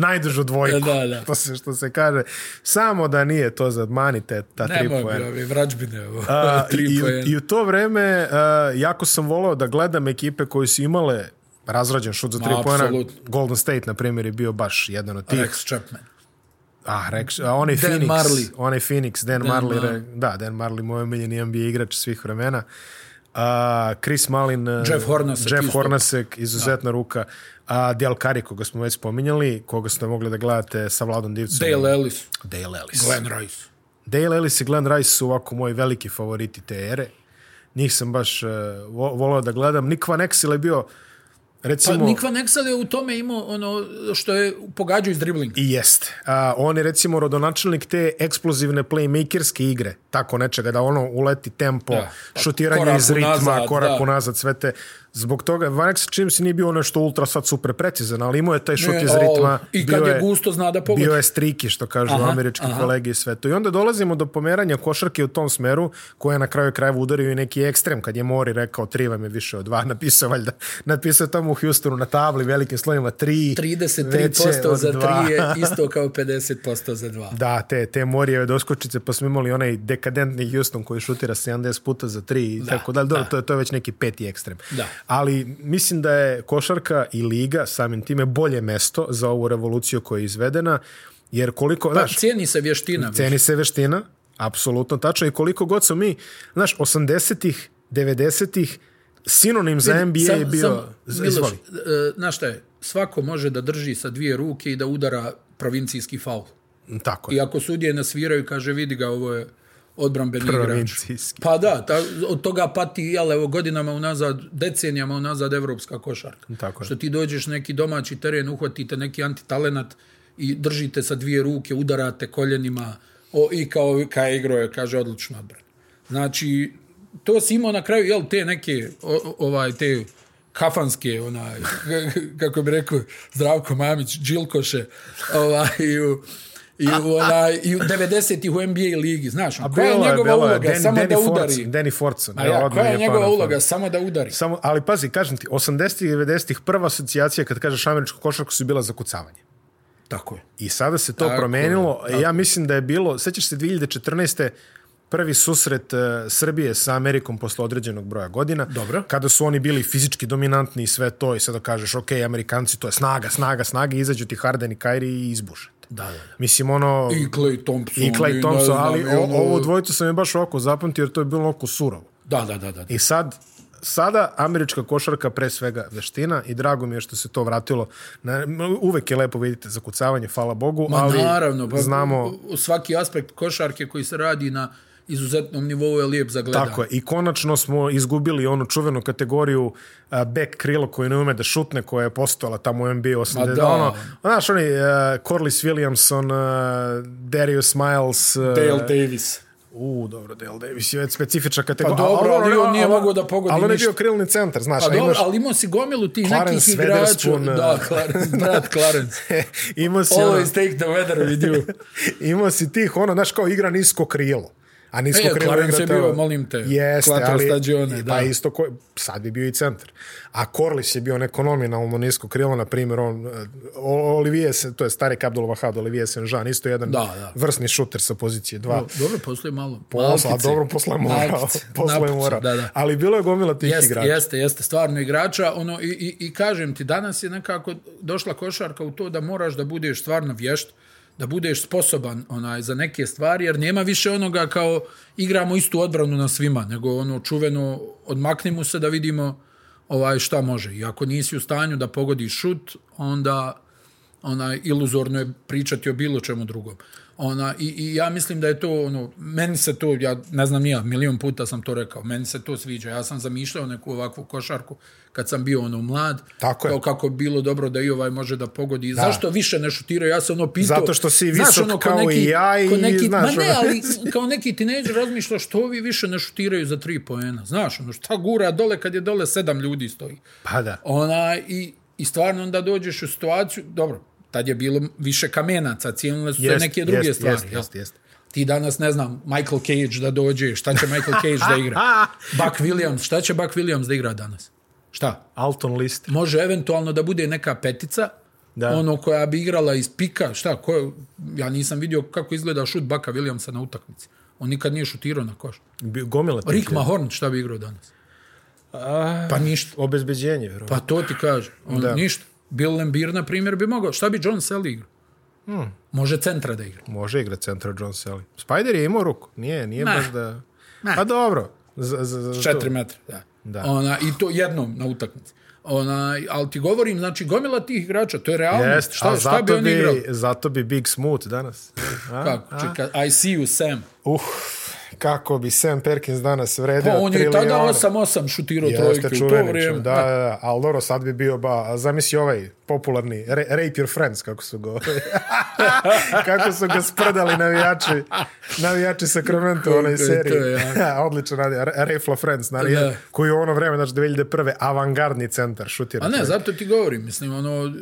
Speaker 1: najdužu dvojku.
Speaker 2: Da, da.
Speaker 1: To se, što se kaže, samo da nije to zadmanite ta tri
Speaker 2: Nemoj
Speaker 1: poena.
Speaker 2: bi ovi vrađbine. ovo,
Speaker 1: A,
Speaker 2: *laughs* tri
Speaker 1: i,
Speaker 2: poena.
Speaker 1: i, I u to vreme uh, jako sam volao da gledam ekipe koje su imale razrađen šut za tri poena.
Speaker 2: apsolutno.
Speaker 1: Golden State, na primjer, je bio baš jedan od tih.
Speaker 2: Rex Chapman.
Speaker 1: Ah, Rex, a onaj
Speaker 2: Dan
Speaker 1: Phoenix,
Speaker 2: Marley.
Speaker 1: onaj Phoenix, Dan, Dan Marley,
Speaker 2: Marley.
Speaker 1: Re, da, Dan Marley, moj omiljeni NBA igrač svih vremena. A, Chris Malin, eh,
Speaker 2: Jeff Hornacek
Speaker 1: Jeff
Speaker 2: isto.
Speaker 1: Hornacek izuzetna da. ruka. A Del Curry, koga smo već spominjali, koga ste mogli da gledate sa Vladom Divcom.
Speaker 2: Dale Ellis.
Speaker 1: Dale Ellis.
Speaker 2: Glenn Rice.
Speaker 1: Dale Ellis i Glenn Rice su ovako moji veliki favoriti te ere. njih sam baš uh, volao da gledam. Nikva Nexil je bio, recimo...
Speaker 2: Pa Nikva Nexal je u tome imao ono što je pogađao iz driblinga.
Speaker 1: I jest. A, on je recimo rodonačelnik te eksplozivne playmakerske igre, tako nečega, da ono uleti tempo, da,
Speaker 2: pa
Speaker 1: šutiranje
Speaker 2: korak
Speaker 1: iz ritma,
Speaker 2: unazad,
Speaker 1: korak
Speaker 2: da.
Speaker 1: unazad, sve te... Zbog toga, Vanex čim si nije bio nešto ultra sad super precizan, ali imao je taj šut
Speaker 2: Ne,
Speaker 1: iz
Speaker 2: o,
Speaker 1: ritma.
Speaker 2: i kad
Speaker 1: bio
Speaker 2: je gusto, zna da pogodi.
Speaker 1: Bio je striki, što kažu
Speaker 2: Aha,
Speaker 1: američki
Speaker 2: aha.
Speaker 1: kolege i sve to. I onda dolazimo do pomeranja košarke u tom smeru, koja je na kraju krajeva udario i neki ekstrem, kad je Mori rekao tri vam je više od dva, *laughs* napisao valjda, napisao je tamo u Houstonu na tabli velikim slovima tri,
Speaker 2: 33%
Speaker 1: veće od
Speaker 2: za
Speaker 1: dva.
Speaker 2: 3 *laughs* je isto kao 50% za 2.
Speaker 1: Da, te, te morijeve doskočice, pa smo imali onaj dekadentni Houston koji šutira 70 puta za 3 i tako dalje. Dobro, to, je, to je već neki peti ekstrem.
Speaker 2: Da.
Speaker 1: Ali mislim da je košarka i liga samim time bolje mesto za ovu revoluciju koja je izvedena, jer koliko,
Speaker 2: Pa,
Speaker 1: znaš,
Speaker 2: cijeni se vještina. više.
Speaker 1: ceni se veština, apsolutno tačno, i koliko god su mi, znaš, 80-ih, 90-ih, sinonim za NBA je bio...
Speaker 2: Miloš,
Speaker 1: izvoli.
Speaker 2: e, znaš šta je, svako može da drži sa dvije ruke i da udara provincijski faul.
Speaker 1: Tako je.
Speaker 2: I ako sudije nasviraju, kaže, vidi ga, ovo je odbranbeni igrač.
Speaker 1: Provincijski.
Speaker 2: Pa da, ta, od toga pati, jel, evo, godinama unazad, decenijama unazad evropska košarka.
Speaker 1: Tako je.
Speaker 2: Što ti dođeš na neki domaći teren, uhvatite neki antitalenat i držite sa dvije ruke, udarate koljenima o, i kao kaj igro je, kaže, odlično odbran. Znači, to si imao na kraju, jel, te neke, o, o- ovaj, te kafanske, onaj, *laughs* kako bi rekao Zdravko Mamić, džilkoše, ovaj, i u, i u, onaj, i u 90-ih u NBA ligi, znaš, on, koja je
Speaker 1: Bilo
Speaker 2: njegova
Speaker 1: bilo
Speaker 2: uloga?
Speaker 1: Dan-
Speaker 2: samo
Speaker 1: Danny
Speaker 2: da udari.
Speaker 1: Fortson, Danny Fortson.
Speaker 2: Ma
Speaker 1: evo,
Speaker 2: ja,
Speaker 1: odmah
Speaker 2: koja je njegova
Speaker 1: pametan.
Speaker 2: uloga? Samo da udari.
Speaker 1: Samo, ali pazi, kažem ti, 80-ih i 90-ih prva asocijacija kad kažeš američku košarku su bila zakucavanje.
Speaker 2: Tako je.
Speaker 1: I sada se to
Speaker 2: Tako je,
Speaker 1: promenilo. Ja mislim da je bilo, sećaš se 2014. prvi susret e, Srbije sa Amerikom posle određenog broja godina.
Speaker 2: Dobro.
Speaker 1: Kada su oni bili fizički dominantni i sve to i sada kažeš, ok, Amerikanci, to je snaga, snaga, snaga, i izađu ti Harden i Kyrie i izbušete.
Speaker 2: Da, da.
Speaker 1: Mislim, ono...
Speaker 2: I Clay Thompson.
Speaker 1: I Clay
Speaker 2: ne
Speaker 1: Thompson,
Speaker 2: znam,
Speaker 1: ali
Speaker 2: i
Speaker 1: o,
Speaker 2: ono-
Speaker 1: ovo dvojicu sam je baš oko zapamtio jer to je bilo oko surovo.
Speaker 2: Da, da, da, da.
Speaker 1: I sad, sada američka košarka pre svega veština i drago mi je što se to vratilo. Na, uvek je lepo vidite zakucavanje, hvala Bogu,
Speaker 2: Ma
Speaker 1: ali
Speaker 2: naravno, pa,
Speaker 1: znamo
Speaker 2: svaki aspekt košarke koji se radi na izuzetnom nivou je lijep za gledanje.
Speaker 1: Tako je, i konačno smo izgubili onu čuvenu kategoriju a, back krilo koji ne ume da šutne, koja je postojala tamo u NBA 80.
Speaker 2: da.
Speaker 1: Da. Ono, znaš, oni, uh, Corliss Williamson, uh, Darius Miles, uh,
Speaker 2: Dale Davis.
Speaker 1: U, dobro, Dale Davis je već specifična kategorija. ono,
Speaker 2: Pa dobro, ali on nije mogao da pogodi
Speaker 1: Ali on je
Speaker 2: ništa.
Speaker 1: bio krilni centar, znaš.
Speaker 2: Pa
Speaker 1: a
Speaker 2: dobro,
Speaker 1: imaš-
Speaker 2: ali imao si gomilu tih nekih
Speaker 1: Clarence
Speaker 2: igrača.
Speaker 1: Weatherspoon,
Speaker 2: Da,
Speaker 1: eh.
Speaker 2: Clarence, brat *laughs* Clarence.
Speaker 1: *laughs* imao si, ono,
Speaker 2: Always take the weather with you.
Speaker 1: *laughs* imao si tih, ono, znaš, kao igra nisko krilo. A nisko
Speaker 2: E,
Speaker 1: krilo igra
Speaker 2: Clarence je
Speaker 1: te-
Speaker 2: bio, molim te,
Speaker 1: Jeste,
Speaker 2: kvator
Speaker 1: ali,
Speaker 2: stagione,
Speaker 1: i-
Speaker 2: da.
Speaker 1: pa isto, ko, sad bi bio i centar. A Corliss je bio neko nominalno nisko krilo, na primjer, on, eh, O- Olivier, se- to je stari Abdul Wahad, Olivier Saint-Jean, isto jedan
Speaker 2: Da, da.
Speaker 1: vrsni šuter sa pozicije 2.
Speaker 2: Dobro, posle malo.
Speaker 1: Posla,
Speaker 2: malkice.
Speaker 1: dobro, posla je morao. *laughs*
Speaker 2: Malkice,
Speaker 1: Posla je
Speaker 2: napucu,
Speaker 1: morao.
Speaker 2: Da, da.
Speaker 1: Ali bilo je gomila tih
Speaker 2: Jeste,
Speaker 1: igrača.
Speaker 2: jeste, jeste, stvarno igrača. Ono, i, i, I kažem ti, danas je nekako došla košarka u to da moraš da budeš stvarno vješt, da budeš sposoban onaj za neke stvari, jer nema više onoga kao igramo istu odbranu na svima, nego ono čuveno odmakni mu se da vidimo ovaj šta može. I ako nisi u stanju da pogodiš šut, onda ona iluzorno je pričati o bilo čemu drugom. Ona, i, I ja mislim da je to, ono, meni se to, ja ne znam nija, milion puta sam to rekao, meni se to sviđa. Ja sam zamišljao neku ovakvu košarku kad sam bio ono mlad.
Speaker 1: Tako je.
Speaker 2: Kao kako bi bilo dobro da i ovaj može da pogodi. Da. Zašto više ne šutirao? Ja sam ono pitao.
Speaker 1: Zato što si
Speaker 2: Znaš,
Speaker 1: visok
Speaker 2: ko
Speaker 1: kao i ja i
Speaker 2: ko neki,
Speaker 1: znaš,
Speaker 2: Ma ne,
Speaker 1: ono.
Speaker 2: ali kao neki tineđer razmišlja što ovi više ne šutiraju za tri poena. Znaš, ono, šta gura dole kad je dole sedam ljudi stoji.
Speaker 1: Pa da.
Speaker 2: Ona, i, I stvarno onda dođeš u situaciju, dobro, tad je bilo više kamenaca, cijenile su se
Speaker 1: Jest,
Speaker 2: neke druge
Speaker 1: jest,
Speaker 2: stvari.
Speaker 1: jest,
Speaker 2: jel?
Speaker 1: jest, jest.
Speaker 2: Ti danas, ne znam, Michael Cage da dođe, šta će Michael Cage
Speaker 1: *laughs*
Speaker 2: da igra? Buck Williams, šta će Buck Williams da igra danas? Šta?
Speaker 1: Alton List.
Speaker 2: Može eventualno da bude neka petica,
Speaker 1: Da.
Speaker 2: ono koja bi igrala iz pika, šta, ko, je- ja nisam vidio kako izgleda šut Bucka Williamsa na utakmici. On nikad nije šutirao na koš.
Speaker 1: Bi- Gomila tih
Speaker 2: Rick
Speaker 1: ljudi.
Speaker 2: Mahorn, šta bi igrao danas? Pa ništa.
Speaker 1: Obezbeđenje, vjerovatno.
Speaker 2: Pa to ti kaže. On,
Speaker 1: Da.
Speaker 2: da. Ništa. Bill Lambir, na primjer, bi mogao. Šta bi John Sally igrao? Hmm. Može centra da igra.
Speaker 1: Može igra centra John Sally. Spider je imao ruku. Nije, nije
Speaker 2: Ne.
Speaker 1: baš da...
Speaker 2: Ne.
Speaker 1: Pa dobro. Za, za, za,
Speaker 2: Četiri metra. Da.
Speaker 1: Da.
Speaker 2: Ona, I to jednom na utakmici. Ona, ali ti govorim, znači, gomila tih igrača, to je realno.
Speaker 1: Jest,
Speaker 2: šta,
Speaker 1: a
Speaker 2: šta bi
Speaker 1: zato
Speaker 2: on igrao? *laughs*
Speaker 1: bi, zato bi Big Smooth danas. A?
Speaker 2: Kako? Čeka, I see you, Sam.
Speaker 1: Uh, kako bi Sam Perkins danas vredio
Speaker 2: Pa on je i tada
Speaker 1: trilijone.
Speaker 2: 8-8 šutirao
Speaker 1: Jeste
Speaker 2: trojke u to
Speaker 1: čuveni,
Speaker 2: vrijeme.
Speaker 1: ču- da, da, da, ali dobro, sad bi bio ba, a zamisli ovaj popularni, ra- Rape Your Friends, kako su go, *laughs* kako su ga sprdali navijači, navijači Sacramento u onoj
Speaker 2: Koliko je to
Speaker 1: seriji. *laughs* Odličan radio, Ra- Rape La Friends, naravno,
Speaker 2: Da.
Speaker 1: koji je u ono vreme, znači 2001. avangardni centar šutira.
Speaker 2: A ne,
Speaker 1: trojke.
Speaker 2: zato ti govorim, mislim, ono, m-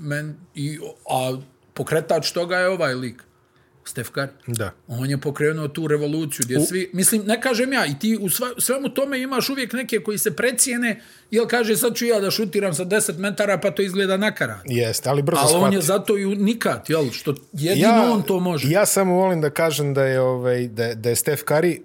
Speaker 2: men, i, a pokretač toga je ovaj lik, Stef Curry.
Speaker 1: Da.
Speaker 2: On je pokrenuo tu revoluciju gdje svi, mislim, ne kažem ja, i ti u sva, svemu tome imaš uvijek neke koji se precijene, jel kaže sad ću ja da šutiram sa 10 metara pa to izgleda nakarat.
Speaker 1: Jeste, ali brzo
Speaker 2: Ali on
Speaker 1: shvati.
Speaker 2: je zato i unikat, jel, što jedino ja, on to može.
Speaker 1: Ja samo volim da kažem da je, ovaj, da, je- da je Stef Curry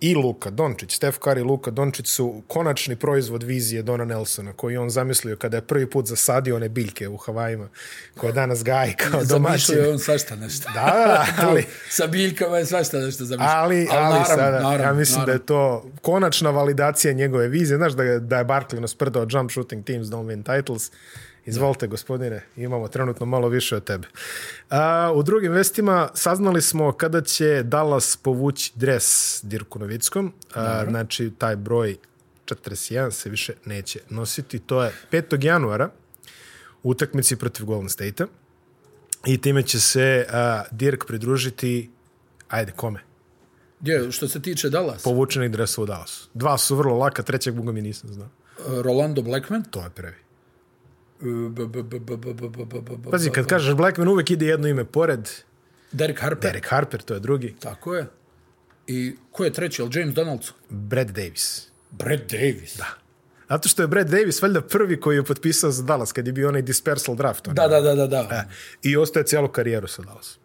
Speaker 1: i Luka Dončić, Stef Curry i Luka Dončić su konačni proizvod vizije Dona Nelsona, koji je on zamislio kada je prvi put zasadio one biljke u Havajima, koje danas gaji
Speaker 2: *laughs*
Speaker 1: kao domaćin.
Speaker 2: Zamišljao je on svašta nešto.
Speaker 1: Da,
Speaker 2: *laughs*
Speaker 1: da, ali,
Speaker 2: Sa biljkama je svašta nešto zamišljao.
Speaker 1: ali, ali
Speaker 2: naravno,
Speaker 1: sada, ja
Speaker 2: naravno,
Speaker 1: mislim da
Speaker 2: naravno.
Speaker 1: je to konačna validacija njegove vizije. Znaš da je, da je Barkley nas prdao jump shooting teams don't win titles. Izvolite, gospodine, imamo trenutno malo više od tebe. A, u drugim vestima saznali smo kada će Dallas povući dres Dirku Novickom. A, znači, taj broj 41 se više neće nositi. To je 5. januara u utakmici protiv Golden State-a. I time će se a, Dirk pridružiti, ajde, kome?
Speaker 2: Gdje, što se tiče Dallas, po...
Speaker 1: povučenih dresova u Dallasu. Dva su vrlo laka, trećeg Boga mi nisam znao.
Speaker 2: Rolando Blackman,
Speaker 1: To je prvi.
Speaker 2: b- b- b- b- b- b- b- b- b-
Speaker 1: Pazi, kad kažeš Blackman, uvek ide jedno ime pored.
Speaker 2: Derek Harper,
Speaker 1: Derek Harper, to je drugi.
Speaker 2: tako je. I ko je treći, jel James Donaldson?
Speaker 1: Brad Davis.
Speaker 2: Brad Davis. Da.
Speaker 1: Zato što je Brad Davis valjda prvi koji je potpisao za Dallas, kad je bio onaj dispersal draft. onaj.
Speaker 2: Da, da, da, da,
Speaker 1: E.
Speaker 2: da.
Speaker 1: I ostaje cijelu karijeru sa Dallasom.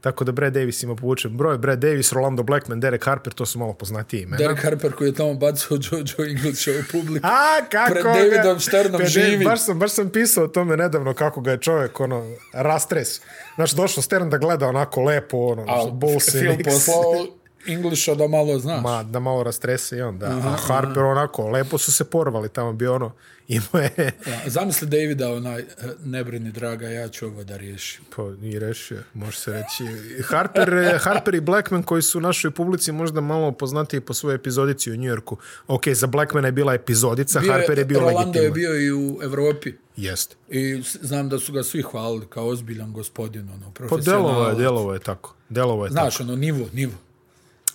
Speaker 1: Tako da Brad Davis ima povučen broj. Brad Davis, Rolando Blackman, Derek Harper, to su malo poznatije imena.
Speaker 2: Derek Harper koji je tamo bacao Jojo Inglisha u publiku.
Speaker 1: A, kako
Speaker 2: Pred
Speaker 1: ga-
Speaker 2: Davidom Šternom
Speaker 1: Pred-
Speaker 2: živi.
Speaker 1: Baš sam, baš sam pisao o tome nedavno kako ga je čovjek ono, rastres. Znaš, došao Stern da gleda onako lepo, ono,
Speaker 2: A
Speaker 1: Bulls i
Speaker 2: film
Speaker 1: Knicks.
Speaker 2: poslao Inglisha da malo znaš.
Speaker 1: Ma, da malo rastrese i on, da.
Speaker 2: Mhm.
Speaker 1: A Harper onako, lepo su se porvali tamo, bio ono, *laughs* imao je,
Speaker 2: Da, Zamisli Davida onaj, e, ne brini draga, ja ću ovo da riješim.
Speaker 1: pa i rešio, može se reći. Harper, eh, Harper i Blackman koji su u našoj publici možda malo poznatiji po svojoj epizodici u Njujorku. Ok, za Blackmana je bila epizodica, bio Harper je bio
Speaker 2: Rolando
Speaker 1: legitiman.
Speaker 2: je bio i u Evropi.
Speaker 1: Jeste.
Speaker 2: I s- znam da su ga svi hvalili kao ozbiljan gospodin, ono,
Speaker 1: Pa delovo je,
Speaker 2: profesionalac.
Speaker 1: delovo je tako. Delovo je tako.
Speaker 2: Znaš, ono, nivo, nivo.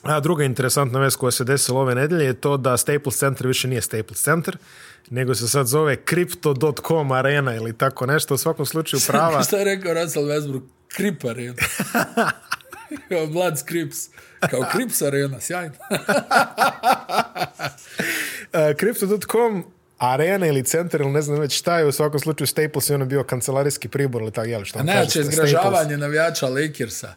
Speaker 1: A druga interesantna vest koja se desila ove nedelje je to da Staples Center više nije Staples Center, nego se sad zove Crypto.com Arena ili tako nešto. U svakom slučaju
Speaker 2: *laughs*
Speaker 1: prava...
Speaker 2: Šta je rekao Russell Westbrook? Krip
Speaker 1: *laughs*
Speaker 2: arena. Kao Blood Crips. Kao Crips arena, sjajno.
Speaker 1: E, Crypto.com Arena ili centar ili ne znam već šta je u svakom slučaju Staples je ono bio kancelarijski pribor ili tako jel što vam
Speaker 2: Najjače
Speaker 1: kažete, Staples.
Speaker 2: zgražavanje navijača Lakersa.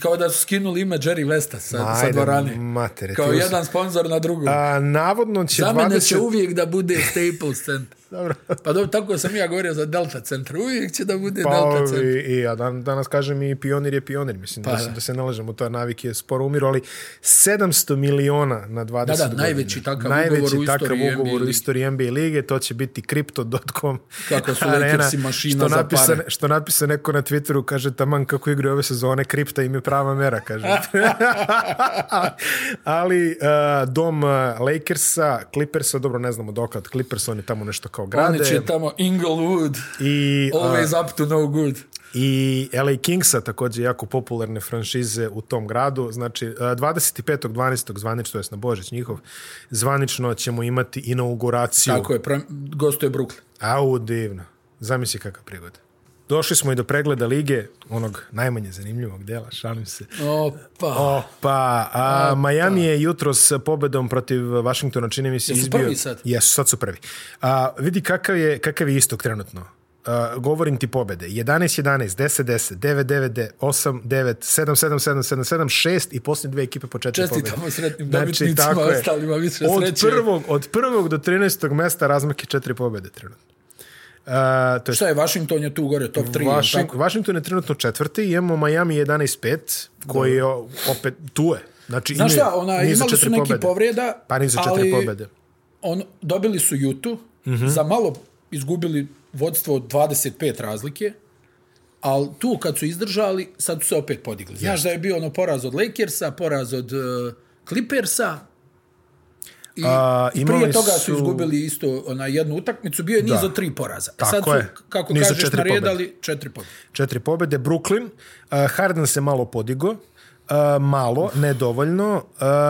Speaker 2: Kao da su skinuli ime Jerry Vesta sa,
Speaker 1: Ma,
Speaker 2: sa
Speaker 1: ajde,
Speaker 2: dvorane.
Speaker 1: matere,
Speaker 2: Kao
Speaker 1: ti us-
Speaker 2: jedan sponsor na drugom.
Speaker 1: A, navodno će
Speaker 2: Za mene
Speaker 1: 20...
Speaker 2: će uvijek da bude Staples Center.
Speaker 1: *laughs* Dobro.
Speaker 2: Pa dobro, tako sam ja govorio za Delta Centar. Uvijek će da bude
Speaker 1: Pa,
Speaker 2: Delta Centar. Pa
Speaker 1: i, i ja dan, danas kažem i pionir je pionir, mislim da, se,
Speaker 2: da.
Speaker 1: da se ne lažemo, to je navik je sporo umiru, ali 700 miliona na 20
Speaker 2: Da, da,
Speaker 1: godina.
Speaker 2: najveći takav ugovor u
Speaker 1: takav
Speaker 2: istoriji
Speaker 1: ugovor
Speaker 2: NBA
Speaker 1: u istoriji NBA lige, to će biti Crypto.com
Speaker 2: *laughs* Kako su Lakersi mašina
Speaker 1: što
Speaker 2: za
Speaker 1: napisa,
Speaker 2: pare.
Speaker 1: Što napisa neko na Twitteru, kaže taman kako igre ove sezone, kripta im je prava mera,
Speaker 2: *laughs*
Speaker 1: kaže. ali uh, dom uh, Lakersa, Clippersa, dobro ne znamo dokad, Clippers oni tamo nešto kao grade.
Speaker 2: Oni će tamo Inglewood,
Speaker 1: I, uh,
Speaker 2: always up to no good.
Speaker 1: i LA Kingsa, također jako popularne franšize u tom gradu. Znači, eh, 25.12. zvanično, to jest na Božić njihov, zvanično ćemo imati inauguraciju.
Speaker 2: Tako je, pre, gostuje Brooklyn.
Speaker 1: Au, divno. Zamisli kakva prigoda. Došli smo i do pregleda lige, onog najmanje zanimljivog dela, šalim se.
Speaker 2: Opa.
Speaker 1: Opa, a, Miami je jutro s pobedom protiv Washingtona, čini mi se
Speaker 2: Jesu
Speaker 1: izbio.
Speaker 2: prvi sad?
Speaker 1: Jesu, sad su prvi. A, vidi kakav je, kakav je istok trenutno. A, govorim ti pobede. 11, 11, 10, 10, 9, 9, 9, 8, 9, 7, 7, 7, 7, 7, 6 i posljednje dve ekipe po četiri pobede.
Speaker 2: Čestitamo sretnim
Speaker 1: Znači,
Speaker 2: dobitnicima,
Speaker 1: tako je.
Speaker 2: ostalima više
Speaker 1: od
Speaker 2: sreće.
Speaker 1: prvog, od prvog do 13. mesta razmak je četiri pobede trenutno. A, to je
Speaker 2: Šta je, Washington je tu gore, top 3.
Speaker 1: Vašing, Washington je trenutno četvrti, imamo Miami 11-5, koji je o- opet tu je. Znači,
Speaker 2: Znaš
Speaker 1: imaju
Speaker 2: šta, ona,
Speaker 1: niz za
Speaker 2: imali su
Speaker 1: četiri
Speaker 2: neki
Speaker 1: pobjede.
Speaker 2: povreda,
Speaker 1: Pa ni za četiri
Speaker 2: ali
Speaker 1: pobjede.
Speaker 2: On, dobili su
Speaker 1: Mhm.
Speaker 2: Jutu, za malo izgubili vodstvo od 25 razlike, Ali tu kad su izdržali, sad su se opet podigli. Znaš da je bio ono poraz od Lakersa, poraz od uh, Clippersa. I
Speaker 1: A,
Speaker 2: i
Speaker 1: imali
Speaker 2: prije toga su...
Speaker 1: su-
Speaker 2: izgubili isto ona jednu utakmicu, bio je niz
Speaker 1: Da.
Speaker 2: od tri poraza. E
Speaker 1: Tako
Speaker 2: sad su,
Speaker 1: je.
Speaker 2: kako
Speaker 1: Niz od
Speaker 2: kažeš,
Speaker 1: četiri pobjede.
Speaker 2: naredali četiri pobjede.
Speaker 1: Četiri pobjede, Brooklyn, uh, Harden se malo podigo, uh, malo, nedovoljno,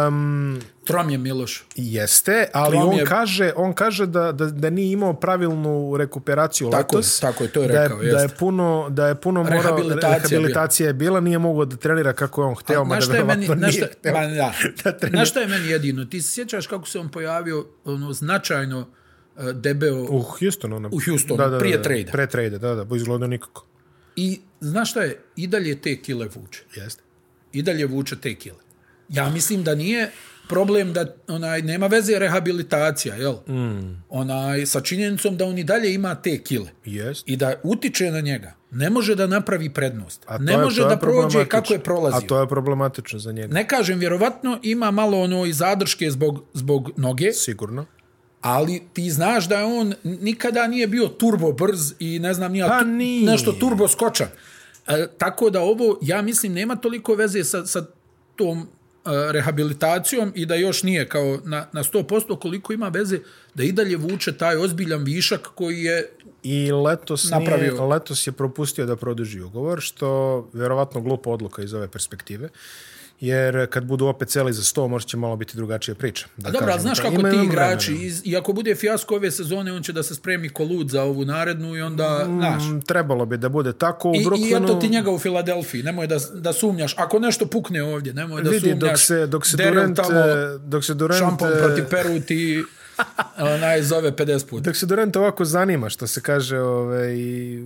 Speaker 1: um,
Speaker 2: Trom je Miloš.
Speaker 1: jeste, ali
Speaker 2: Trom
Speaker 1: on
Speaker 2: je-
Speaker 1: kaže, on kaže da, da, da nije imao pravilnu rekuperaciju
Speaker 2: Tako je,
Speaker 1: letos.
Speaker 2: tako je, to je rekao,
Speaker 1: da je, da je
Speaker 2: jeste.
Speaker 1: puno, da je puno morao,
Speaker 2: Rehabilitacija je bila.
Speaker 1: rehabilitacija je bila, nije mogao da trenira kako je on hteo, mada
Speaker 2: Znaš šta je meni,
Speaker 1: verovatno
Speaker 2: znaš
Speaker 1: nije
Speaker 2: šta,
Speaker 1: hteo.
Speaker 2: ma, da.
Speaker 1: *laughs* da trenira.
Speaker 2: Znaš šta je meni jedino? Ti se sjećaš kako se on pojavio ono, značajno e, debeo
Speaker 1: U Houstonu. Ona.
Speaker 2: U Houstonu, prije
Speaker 1: da,
Speaker 2: trejda.
Speaker 1: Pre trejda, da, da, bo izgledao nikako.
Speaker 2: i znaš šta je? I dalje te kile vuče.
Speaker 1: Jeste.
Speaker 2: i dalje vuče te kile. Ja mislim da nije problem da onaj nema veze rehabilitacija, jel? Mm. Onaj sa činjenicom da on i dalje ima te kile
Speaker 1: Jeste.
Speaker 2: i da utiče na njega. Ne može da napravi prednost.
Speaker 1: A to
Speaker 2: Ne
Speaker 1: je-
Speaker 2: može
Speaker 1: to
Speaker 2: da prođe
Speaker 1: problematično.
Speaker 2: kako je prolazio.
Speaker 1: A to je problematično za njega.
Speaker 2: Ne kažem, vjerovatno ima malo ono i zadrške zbog, zbog noge,
Speaker 1: Sigurno.
Speaker 2: ali ti znaš da je on nikada nije bio turbo brz i ne znam nija,
Speaker 1: Pa
Speaker 2: tu-
Speaker 1: nije.
Speaker 2: nešto turbo skočan. E, tako da ovo, ja mislim, nema toliko veze sa, sa tom e, rehabilitacijom i da još nije kao na, na 100% koliko ima veze da i dalje vuče taj ozbiljan višak koji je
Speaker 1: I letos, nije,
Speaker 2: Napravio.
Speaker 1: letos je propustio da produži ugovor, što vjerovatno glupa odluka iz ove perspektive. Jer kad budu opet celi za 100, možda će malo biti drugačija priča. Da
Speaker 2: Dobro,
Speaker 1: kažem.
Speaker 2: ali znaš
Speaker 1: Da,
Speaker 2: kako
Speaker 1: ima-
Speaker 2: ti
Speaker 1: imam
Speaker 2: igrači,
Speaker 1: vremena.
Speaker 2: iz, i ako bude fijasko ove sezone, on će da se spremi kolud za ovu narednu i onda, znaš,
Speaker 1: Mm, Trebalo bi da bude tako u
Speaker 2: I, I
Speaker 1: Brooklynu.
Speaker 2: eto ti njega u Filadelfiji, nemoj da, da sumnjaš. Ako nešto pukne ovdje, nemoj da
Speaker 1: Vidi,
Speaker 2: sumnjaš.
Speaker 1: dok se, dok se
Speaker 2: Daryl
Speaker 1: Durant,
Speaker 2: tamo
Speaker 1: e, dok se Durant,
Speaker 2: šampon
Speaker 1: e,
Speaker 2: protiv Peru ti onaj zove 50 puta.
Speaker 1: Dok se Durant ovako zanima, što se kaže, ovaj,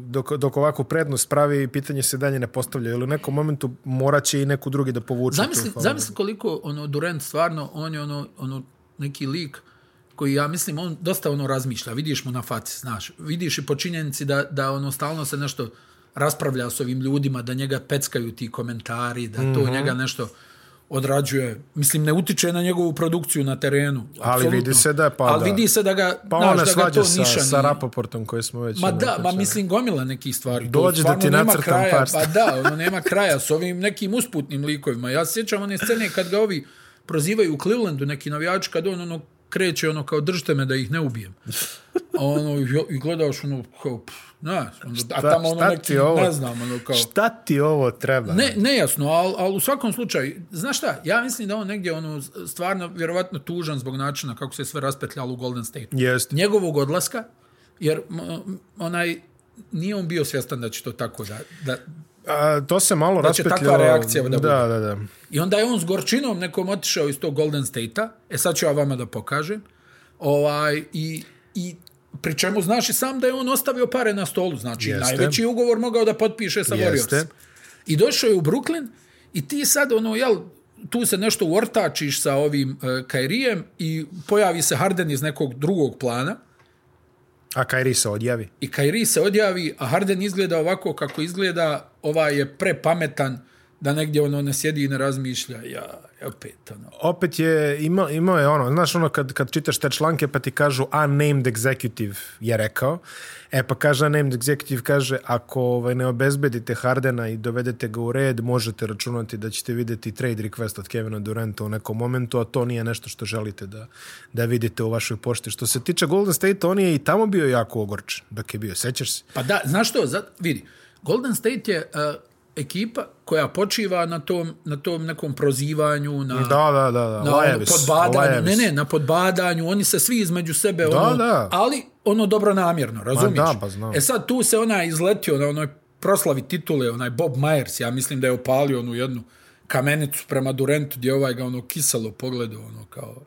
Speaker 1: dok, dok ovako prednost pravi, pitanje se dalje ne postavlja. Ili u nekom momentu morat će i neku drugi da povuče.
Speaker 2: Zamisli,
Speaker 1: tu faulu.
Speaker 2: zamisli koliko ono Durant stvarno, on je ono, ono neki lik koji ja mislim on dosta ono razmišlja, vidiš mu na faci, znaš, vidiš i po činjenici da, da ono stalno se nešto raspravlja s ovim ljudima, da njega peckaju ti komentari, da to mm
Speaker 1: Mhm.
Speaker 2: -hmm. njega nešto odrađuje. Mislim, ne utiče na njegovu produkciju na terenu. apsolutno.
Speaker 1: vidi se da je, pa
Speaker 2: Ali
Speaker 1: da.
Speaker 2: vidi se da ga,
Speaker 1: Pa
Speaker 2: znaš,
Speaker 1: ona
Speaker 2: da ga to
Speaker 1: svađa
Speaker 2: niša
Speaker 1: sa,
Speaker 2: nije.
Speaker 1: sa Rapoportom koji smo već...
Speaker 2: Ma
Speaker 1: ono,
Speaker 2: da, ma
Speaker 1: pričali.
Speaker 2: mislim gomila nekih stvari. To
Speaker 1: Dođe da
Speaker 2: stvarno
Speaker 1: ti
Speaker 2: nema
Speaker 1: nacrtam
Speaker 2: kraja,
Speaker 1: par
Speaker 2: Pa da, ono nema kraja s ovim nekim usputnim likovima. Ja se sjećam one scene kad ga ovi prozivaju u Clevelandu neki navijači kad on ono kreće ono kao držite me da ih ne ubijem. A ono i- i gledaš ono kao pff, znaš, ono, a
Speaker 1: Šta-
Speaker 2: tamo ono
Speaker 1: šta
Speaker 2: neki
Speaker 1: ti ovo?
Speaker 2: ne znam ono kao
Speaker 1: Šta ti ovo treba?
Speaker 2: Ne, nejasno, ali al u svakom slučaju, znaš šta, ja mislim da on negdje ono, stvarno vjerovatno tužan zbog načina kako se sve raspetljalo u Golden State
Speaker 1: Jeste.
Speaker 2: njegovog odlaska, jer m, m, onaj nije on bio svjestan da će to tako da, da
Speaker 1: A, to se malo
Speaker 2: će
Speaker 1: raspetljalo.
Speaker 2: takva reakcija da
Speaker 1: da
Speaker 2: bude.
Speaker 1: Da, da, da.
Speaker 2: I onda je on s gorčinom nekom otišao iz tog Golden State-a, e sad ću ja vama da pokažem, ovaj, i, i pri čemu znaš i sam da je on ostavio pare na stolu, znači Jeste.
Speaker 1: Jeste.
Speaker 2: najveći ugovor mogao da potpiše sa
Speaker 1: Jeste.
Speaker 2: Warriors. I došao je u Brooklyn i ti sad ono, jel, tu se nešto uortačiš sa ovim e, Kairijem i pojavi se Harden iz nekog drugog plana,
Speaker 1: A Kairi se odjavi.
Speaker 2: I Kairi se odjavi, a Harden izgleda ovako kako izgleda, ovaj je prepametan da negdje ono ne sjedi i ne razmišlja. Ja, opet, ono.
Speaker 1: Opet je, ima, imao je ono, znaš ono kad, kad čitaš te članke pa ti kažu unnamed executive je rekao, e pa kaže unnamed executive kaže ako ovaj, ne obezbedite Hardena i dovedete ga u red, možete računati da ćete vidjeti trade request od Kevina Duranta u nekom momentu, a to nije nešto što želite da, da vidite u vašoj pošti. Što se tiče Golden State, on je i tamo bio jako ogorčen dok je bio, sećaš se?
Speaker 2: Pa da, znaš što, zat, vidi, Golden State je uh, ekipa koja počiva na tom, na tom nekom prozivanju, na,
Speaker 1: Da, da, da, da.
Speaker 2: na ono,
Speaker 1: Lajevis,
Speaker 2: podbadanju. Ne,
Speaker 1: Lajevis.
Speaker 2: ne, na podbadanju, oni se svi između sebe, da, ono,
Speaker 1: da.
Speaker 2: ali ono dobro namjerno, razumiješ?
Speaker 1: da, pa znam.
Speaker 2: E sad tu se ona izletio na onoj proslavi titule, onaj Bob Myers, ja mislim da je opalio onu jednu kamenicu prema Durentu gdje je ovaj ga ono kiselo pogledao, ono kao...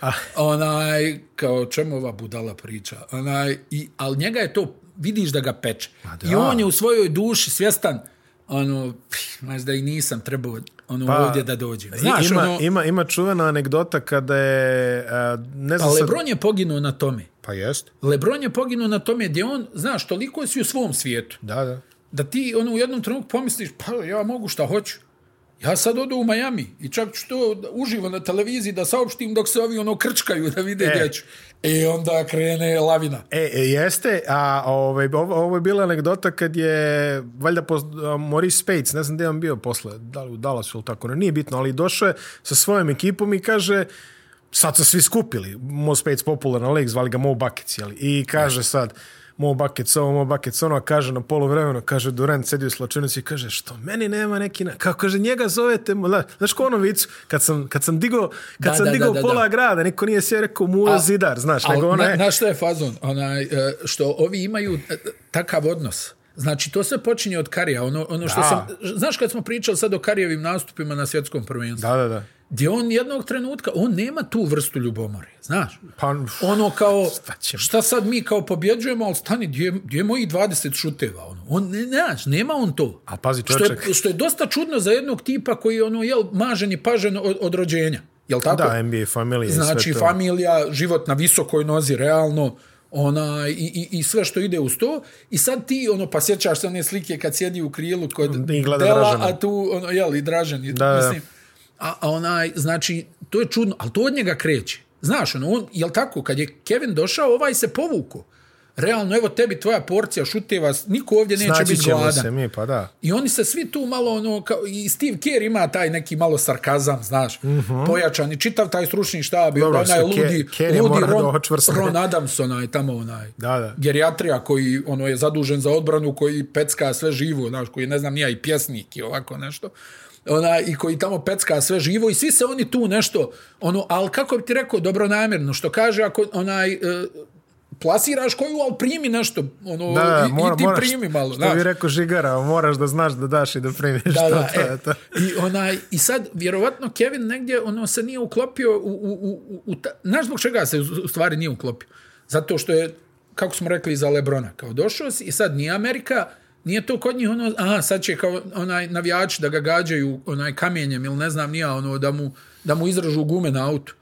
Speaker 1: Ah.
Speaker 2: Onaj, kao čemu ova budala priča? Onaj, i, ali njega je to, vidiš da ga peče.
Speaker 1: da.
Speaker 2: I on je u svojoj duši svjestan, ono, pff, možda i nisam trebao ono, pa, ovdje da dođem. Znaš,
Speaker 1: ima,
Speaker 2: ono,
Speaker 1: ima, ima čuvena anegdota kada je, a, ne
Speaker 2: Pa
Speaker 1: znam sad...
Speaker 2: Lebron je poginuo na tome.
Speaker 1: Pa jest.
Speaker 2: Lebron je poginuo na tome gdje on, znaš, toliko si u svom svijetu,
Speaker 1: Da, da.
Speaker 2: da ti ono, u jednom trenutku pomisliš, pa ja mogu šta hoću. Ja sad odu u Miami i čak ću to da- uživo na televiziji da saopštim dok se ovi ono krčkaju da vide
Speaker 1: E.
Speaker 2: gdje ću. I onda krene lavina.
Speaker 1: E, e, jeste, a ovaj, ovo, ovo je bila anegdota kad je valjda poz, a, Maurice Spates, ne znam gdje je on bio posle, da li u Dallasu ili tako, ne, nije bitno, ali došao je sa svojom ekipom i kaže, sad su svi skupili, Mo Spates popularan lik, zvali ga Mo Buckets, jeli, i kaže sad, Mo Buckets ovo, Mo Buckets ono, a kaže na polu vremenu, kaže Durant sedi u slačunici i kaže, što meni nema neki, na... kako kaže, njega zovete, Mo- da, znaš ko ono vicu, kad sam, kad sam digao, kad
Speaker 2: Da,
Speaker 1: sam
Speaker 2: da,
Speaker 1: digao
Speaker 2: da, da,
Speaker 1: pola
Speaker 2: da.
Speaker 1: grada, niko nije sve rekao Mula
Speaker 2: A-
Speaker 1: Zidar, znaš,
Speaker 2: Al,
Speaker 1: nego ono
Speaker 2: na,
Speaker 1: je,
Speaker 2: na šta je fazon? Onaj, e, što ovi imaju e, takav odnos. Znači, to se počinje od Karija. Ono, ono što
Speaker 1: Da.
Speaker 2: sam, znaš kad smo pričali sad o Karijevim nastupima na svjetskom prvenstvu?
Speaker 1: da, da, da.
Speaker 2: Gdje on jednog trenutka, on nema tu vrstu ljubomore, znaš?
Speaker 1: Pa,
Speaker 2: Ono kao,
Speaker 1: ćemo?
Speaker 2: šta sad mi kao pobjeđujemo, ali stani, gdje, gdje je mojih 20 šuteva? Ono? On, ne, znaš, nema on to.
Speaker 1: a pazi
Speaker 2: Što
Speaker 1: čovječek,
Speaker 2: je, što je dosta čudno za jednog tipa koji je ono, jel, mažen i pažen od, od rođenja. Jel tako?
Speaker 1: da, NBA familija i sve
Speaker 2: Znači,
Speaker 1: to.
Speaker 2: familija, život na visokoj nozi, realno, ona, i, i, i sve što ide uz to. I sad ti, ono, pa sjećaš se one slike kad sjedi u krilu kod
Speaker 1: I gleda
Speaker 2: Dela,
Speaker 1: Dražena.
Speaker 2: a tu, ono, jel, i Dražen,
Speaker 1: Da,
Speaker 2: da,
Speaker 1: da.
Speaker 2: mislim. A, a onaj, znači, to je čudno, ali to od njega kreće. Znaš, ono, on, jel tako, kad je Kevin došao, ovaj se povuko. Realno, evo tebi tvoja porcija šuteva, niko ovdje neće
Speaker 1: Snaći
Speaker 2: biti
Speaker 1: Znači, ćemo
Speaker 2: gladan.
Speaker 1: se mi, pa da.
Speaker 2: I oni se svi tu malo, ono, kao, i Steve Kerr ima taj neki malo sarkazam, znaš, mm -hmm. pojačan i čitav taj stručni štab
Speaker 1: Mhm.
Speaker 2: i
Speaker 1: Dobro,
Speaker 2: onda onaj
Speaker 1: sa Ke-
Speaker 2: ludi,
Speaker 1: Kerr je
Speaker 2: ludi
Speaker 1: mora da
Speaker 2: Ron,
Speaker 1: očvrsne.
Speaker 2: Ron Adams, onaj, tamo onaj,
Speaker 1: Da, da.
Speaker 2: gerijatrija koji ono je zadužen za odbranu, koji pecka sve živo, znaš, koji je, ne znam, nija i pjesnik i ovako nešto, ona, i koji tamo pecka sve živo i svi se oni tu nešto, ono, ali kako bi ti rekao, dobronamjerno, što kaže, ako onaj, e, plasiraš koju, ali primi nešto, ono,
Speaker 1: Da,
Speaker 2: i,
Speaker 1: mora,
Speaker 2: i ti
Speaker 1: moraš,
Speaker 2: primi malo.
Speaker 1: Što
Speaker 2: znaš.
Speaker 1: bi rekao Žigara, moraš da znaš da daš i da primiš.
Speaker 2: Da,
Speaker 1: to,
Speaker 2: da,
Speaker 1: to,
Speaker 2: e,
Speaker 1: je to.
Speaker 2: I, onaj, I sad, vjerovatno, Kevin negdje ono se nije uklopio u... u, u, u, u ta, znaš zbog čega se u, u stvari nije uklopio? Zato što je, kako smo rekli za Lebrona, kao došao si i sad nije Amerika, nije to kod njih ono, aha, sad će kao onaj navijač da ga gađaju onaj kamenjem ili ne znam nija, ono, da mu, da mu izražu gume na autu.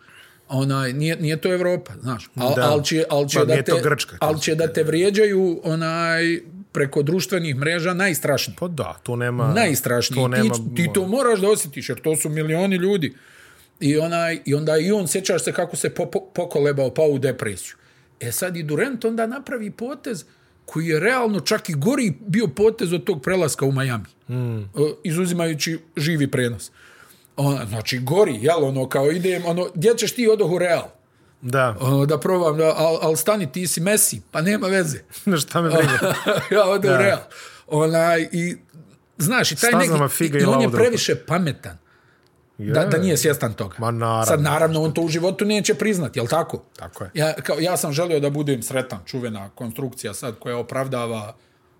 Speaker 2: Onaj, nije, nije to Evropa, znaš. Al,
Speaker 1: Da.
Speaker 2: al će, al će
Speaker 1: Pa,
Speaker 2: da
Speaker 1: nije
Speaker 2: te,
Speaker 1: to Grčka, to
Speaker 2: al će da te vrijeđaju onaj preko društvenih mreža najstrašnije
Speaker 1: Pa da, tu nema...
Speaker 2: najstrašniji.
Speaker 1: Tu nema,
Speaker 2: ti, ti to moraš da osjetiš, jer to su milioni ljudi. I, onaj, i onda i on, sjećaš se kako se po, po, pokolebao, pao u depresiju. E sad i Durant onda napravi potez koji je realno čak i gori bio potez od tog prelaska u Miami.
Speaker 1: Hmm.
Speaker 2: Mm. Izuzimajući živi prenos. Ona, znači, gori, jel, ono, kao idem, ono, gdje ćeš ti odoh u Real?
Speaker 1: Da, *laughs*
Speaker 2: Ono, da probam, da, al, al stani, ti si Messi, pa nema veze.
Speaker 1: šta me briga.
Speaker 2: *laughs* ja ode u Real. Onaj, i, znaš, i taj
Speaker 1: Stazama
Speaker 2: neki,
Speaker 1: figa
Speaker 2: i,
Speaker 1: i
Speaker 2: i on je
Speaker 1: laudrupa.
Speaker 2: previše pametan. Da, da nije svjestan toga.
Speaker 1: Ma naravno.
Speaker 2: Sad, naravno, on to u životu neće priznat, jel tako?
Speaker 1: Tako je.
Speaker 2: Ja, kao, ja sam želio da budem sretan, čuvena konstrukcija sad koja opravdava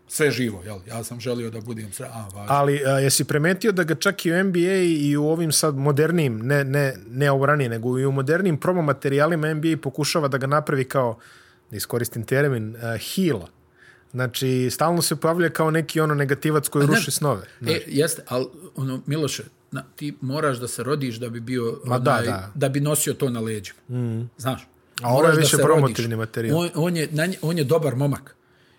Speaker 2: sve živo, jel? Ja sam želio da budem sretan. A, važno.
Speaker 1: Ali a, jesi primetio da ga čak i u NBA i u ovim sad modernim, ne, ne, ne ovo ranije, nego i u modernim promo materijalima NBA pokušava da ga napravi kao, da iskoristim termin, uh, heal. Znači, stalno se pojavlja kao neki ono negativac koji ruši snove.
Speaker 2: E, jeste, ali, ono, Miloše, na, ti moraš da se rodiš da bi bio,
Speaker 1: Ma da,
Speaker 2: onaj,
Speaker 1: da.
Speaker 2: da bi nosio to na leđima. Mm. Znaš?
Speaker 1: A ovo je
Speaker 2: Moraš da
Speaker 1: više
Speaker 2: se
Speaker 1: promotivni
Speaker 2: rodiš.
Speaker 1: materijal.
Speaker 2: On, on, je, na nje, on je dobar momak.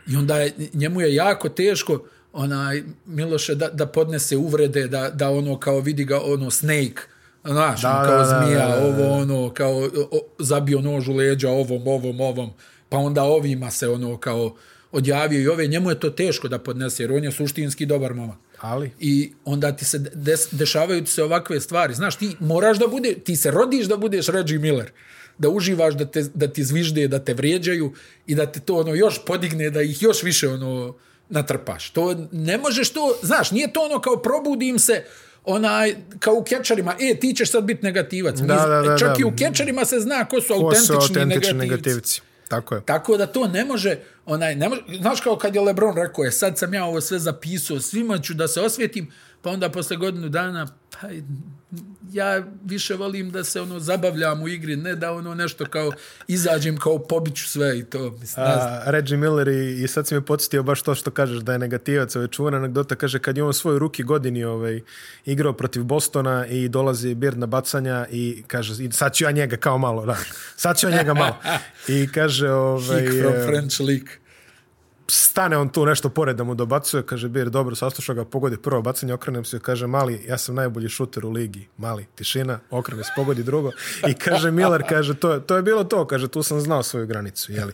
Speaker 2: I onda je, njemu je jako teško onaj Miloše da, da podnese uvrede, da, da ono kao vidi ga ono snake, znaš,
Speaker 1: Da,
Speaker 2: da, kao
Speaker 1: da,
Speaker 2: da,
Speaker 1: da,
Speaker 2: zmija,
Speaker 1: da, da, da.
Speaker 2: ovo ono, kao o- o, zabio nož u leđa ovom, ovom, ovom, pa onda ovima se ono kao odjavio i ove, njemu je to teško da podnese, jer on je suštinski dobar momak.
Speaker 1: Ali?
Speaker 2: I onda ti se des, dešavaju ti se ovakve stvari. Znaš, ti moraš da bude, ti se rodiš da budeš Reggie Miller. Da uživaš, da, te, da ti zvižde, da te vrijeđaju i da te to ono još podigne, da ih još više ono natrpaš. To ne možeš to, znaš, nije to ono kao probudim se onaj, kao u kečarima, e, ti ćeš sad biti negativac. Mi-
Speaker 1: Da, da, da,
Speaker 2: Čak
Speaker 1: da.
Speaker 2: i u kečarima se zna ko su
Speaker 1: Ko
Speaker 2: autentični,
Speaker 1: su autentični
Speaker 2: negativci.
Speaker 1: negativci. Tako je.
Speaker 2: Tako da to ne može, onaj, ne može, znaš kao kad je Lebron rekao je, sad sam ja ovo sve zapisao, svima ću da se osvjetim, pa onda posle godinu dana, pa ja više volim da se ono zabavljam u igri, ne da ono nešto kao izađem kao pobiću sve i to, mislim, ne znam.
Speaker 1: A, Reggie Miller i, i sad si me podsjetio baš to što kažeš da je negativac, ovaj čuvena anegdota kaže kad je on u svojoj ruki godini ovaj, igrao protiv Bostona i dolazi Bird na bacanja i kaže i sad ću ja njega kao malo, da, sad ću ja njega malo i kaže ovaj,
Speaker 2: Kick from
Speaker 1: e,
Speaker 2: French League.
Speaker 1: stane on tu nešto pored da mu dobacuje, kaže Bir, dobro, saslušao ga, pogodi prvo bacanje, okrenem se i kaže Mali, ja sam najbolji šuter u ligi, Mali, tišina, okrene se, pogodi drugo i kaže Miller, kaže, to je, to je bilo to, kaže, tu sam znao svoju granicu, jeli.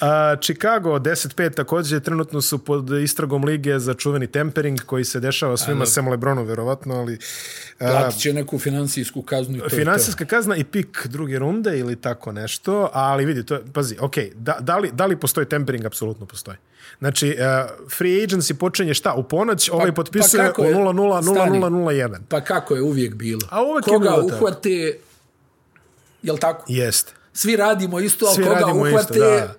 Speaker 1: A, Chicago 10-5 također trenutno su pod istragom lige za čuveni tempering koji se dešava svima, sem Lebronu verovatno, ali a,
Speaker 2: Platit će neku financijsku kaznu i to
Speaker 1: Finansijska kazna i pik druge runde ili tako nešto, ali vidi, to je, pazi, ok, da, da, li, da li postoji tempering? Apsolutno postoji. Znači, uh, free agency počinje šta? U ponoć, ovaj potpisuje
Speaker 2: Pa- kako
Speaker 1: u
Speaker 2: je?
Speaker 1: 000001.
Speaker 2: je to. Pa kako je uvijek bilo?
Speaker 1: A uvijek je
Speaker 2: koga
Speaker 1: bilo tako.
Speaker 2: uhvate, jel tako?
Speaker 1: Jeste.
Speaker 2: Svi radimo isto, ali
Speaker 1: Svi
Speaker 2: koga
Speaker 1: radimo
Speaker 2: uhvate,
Speaker 1: isto, da.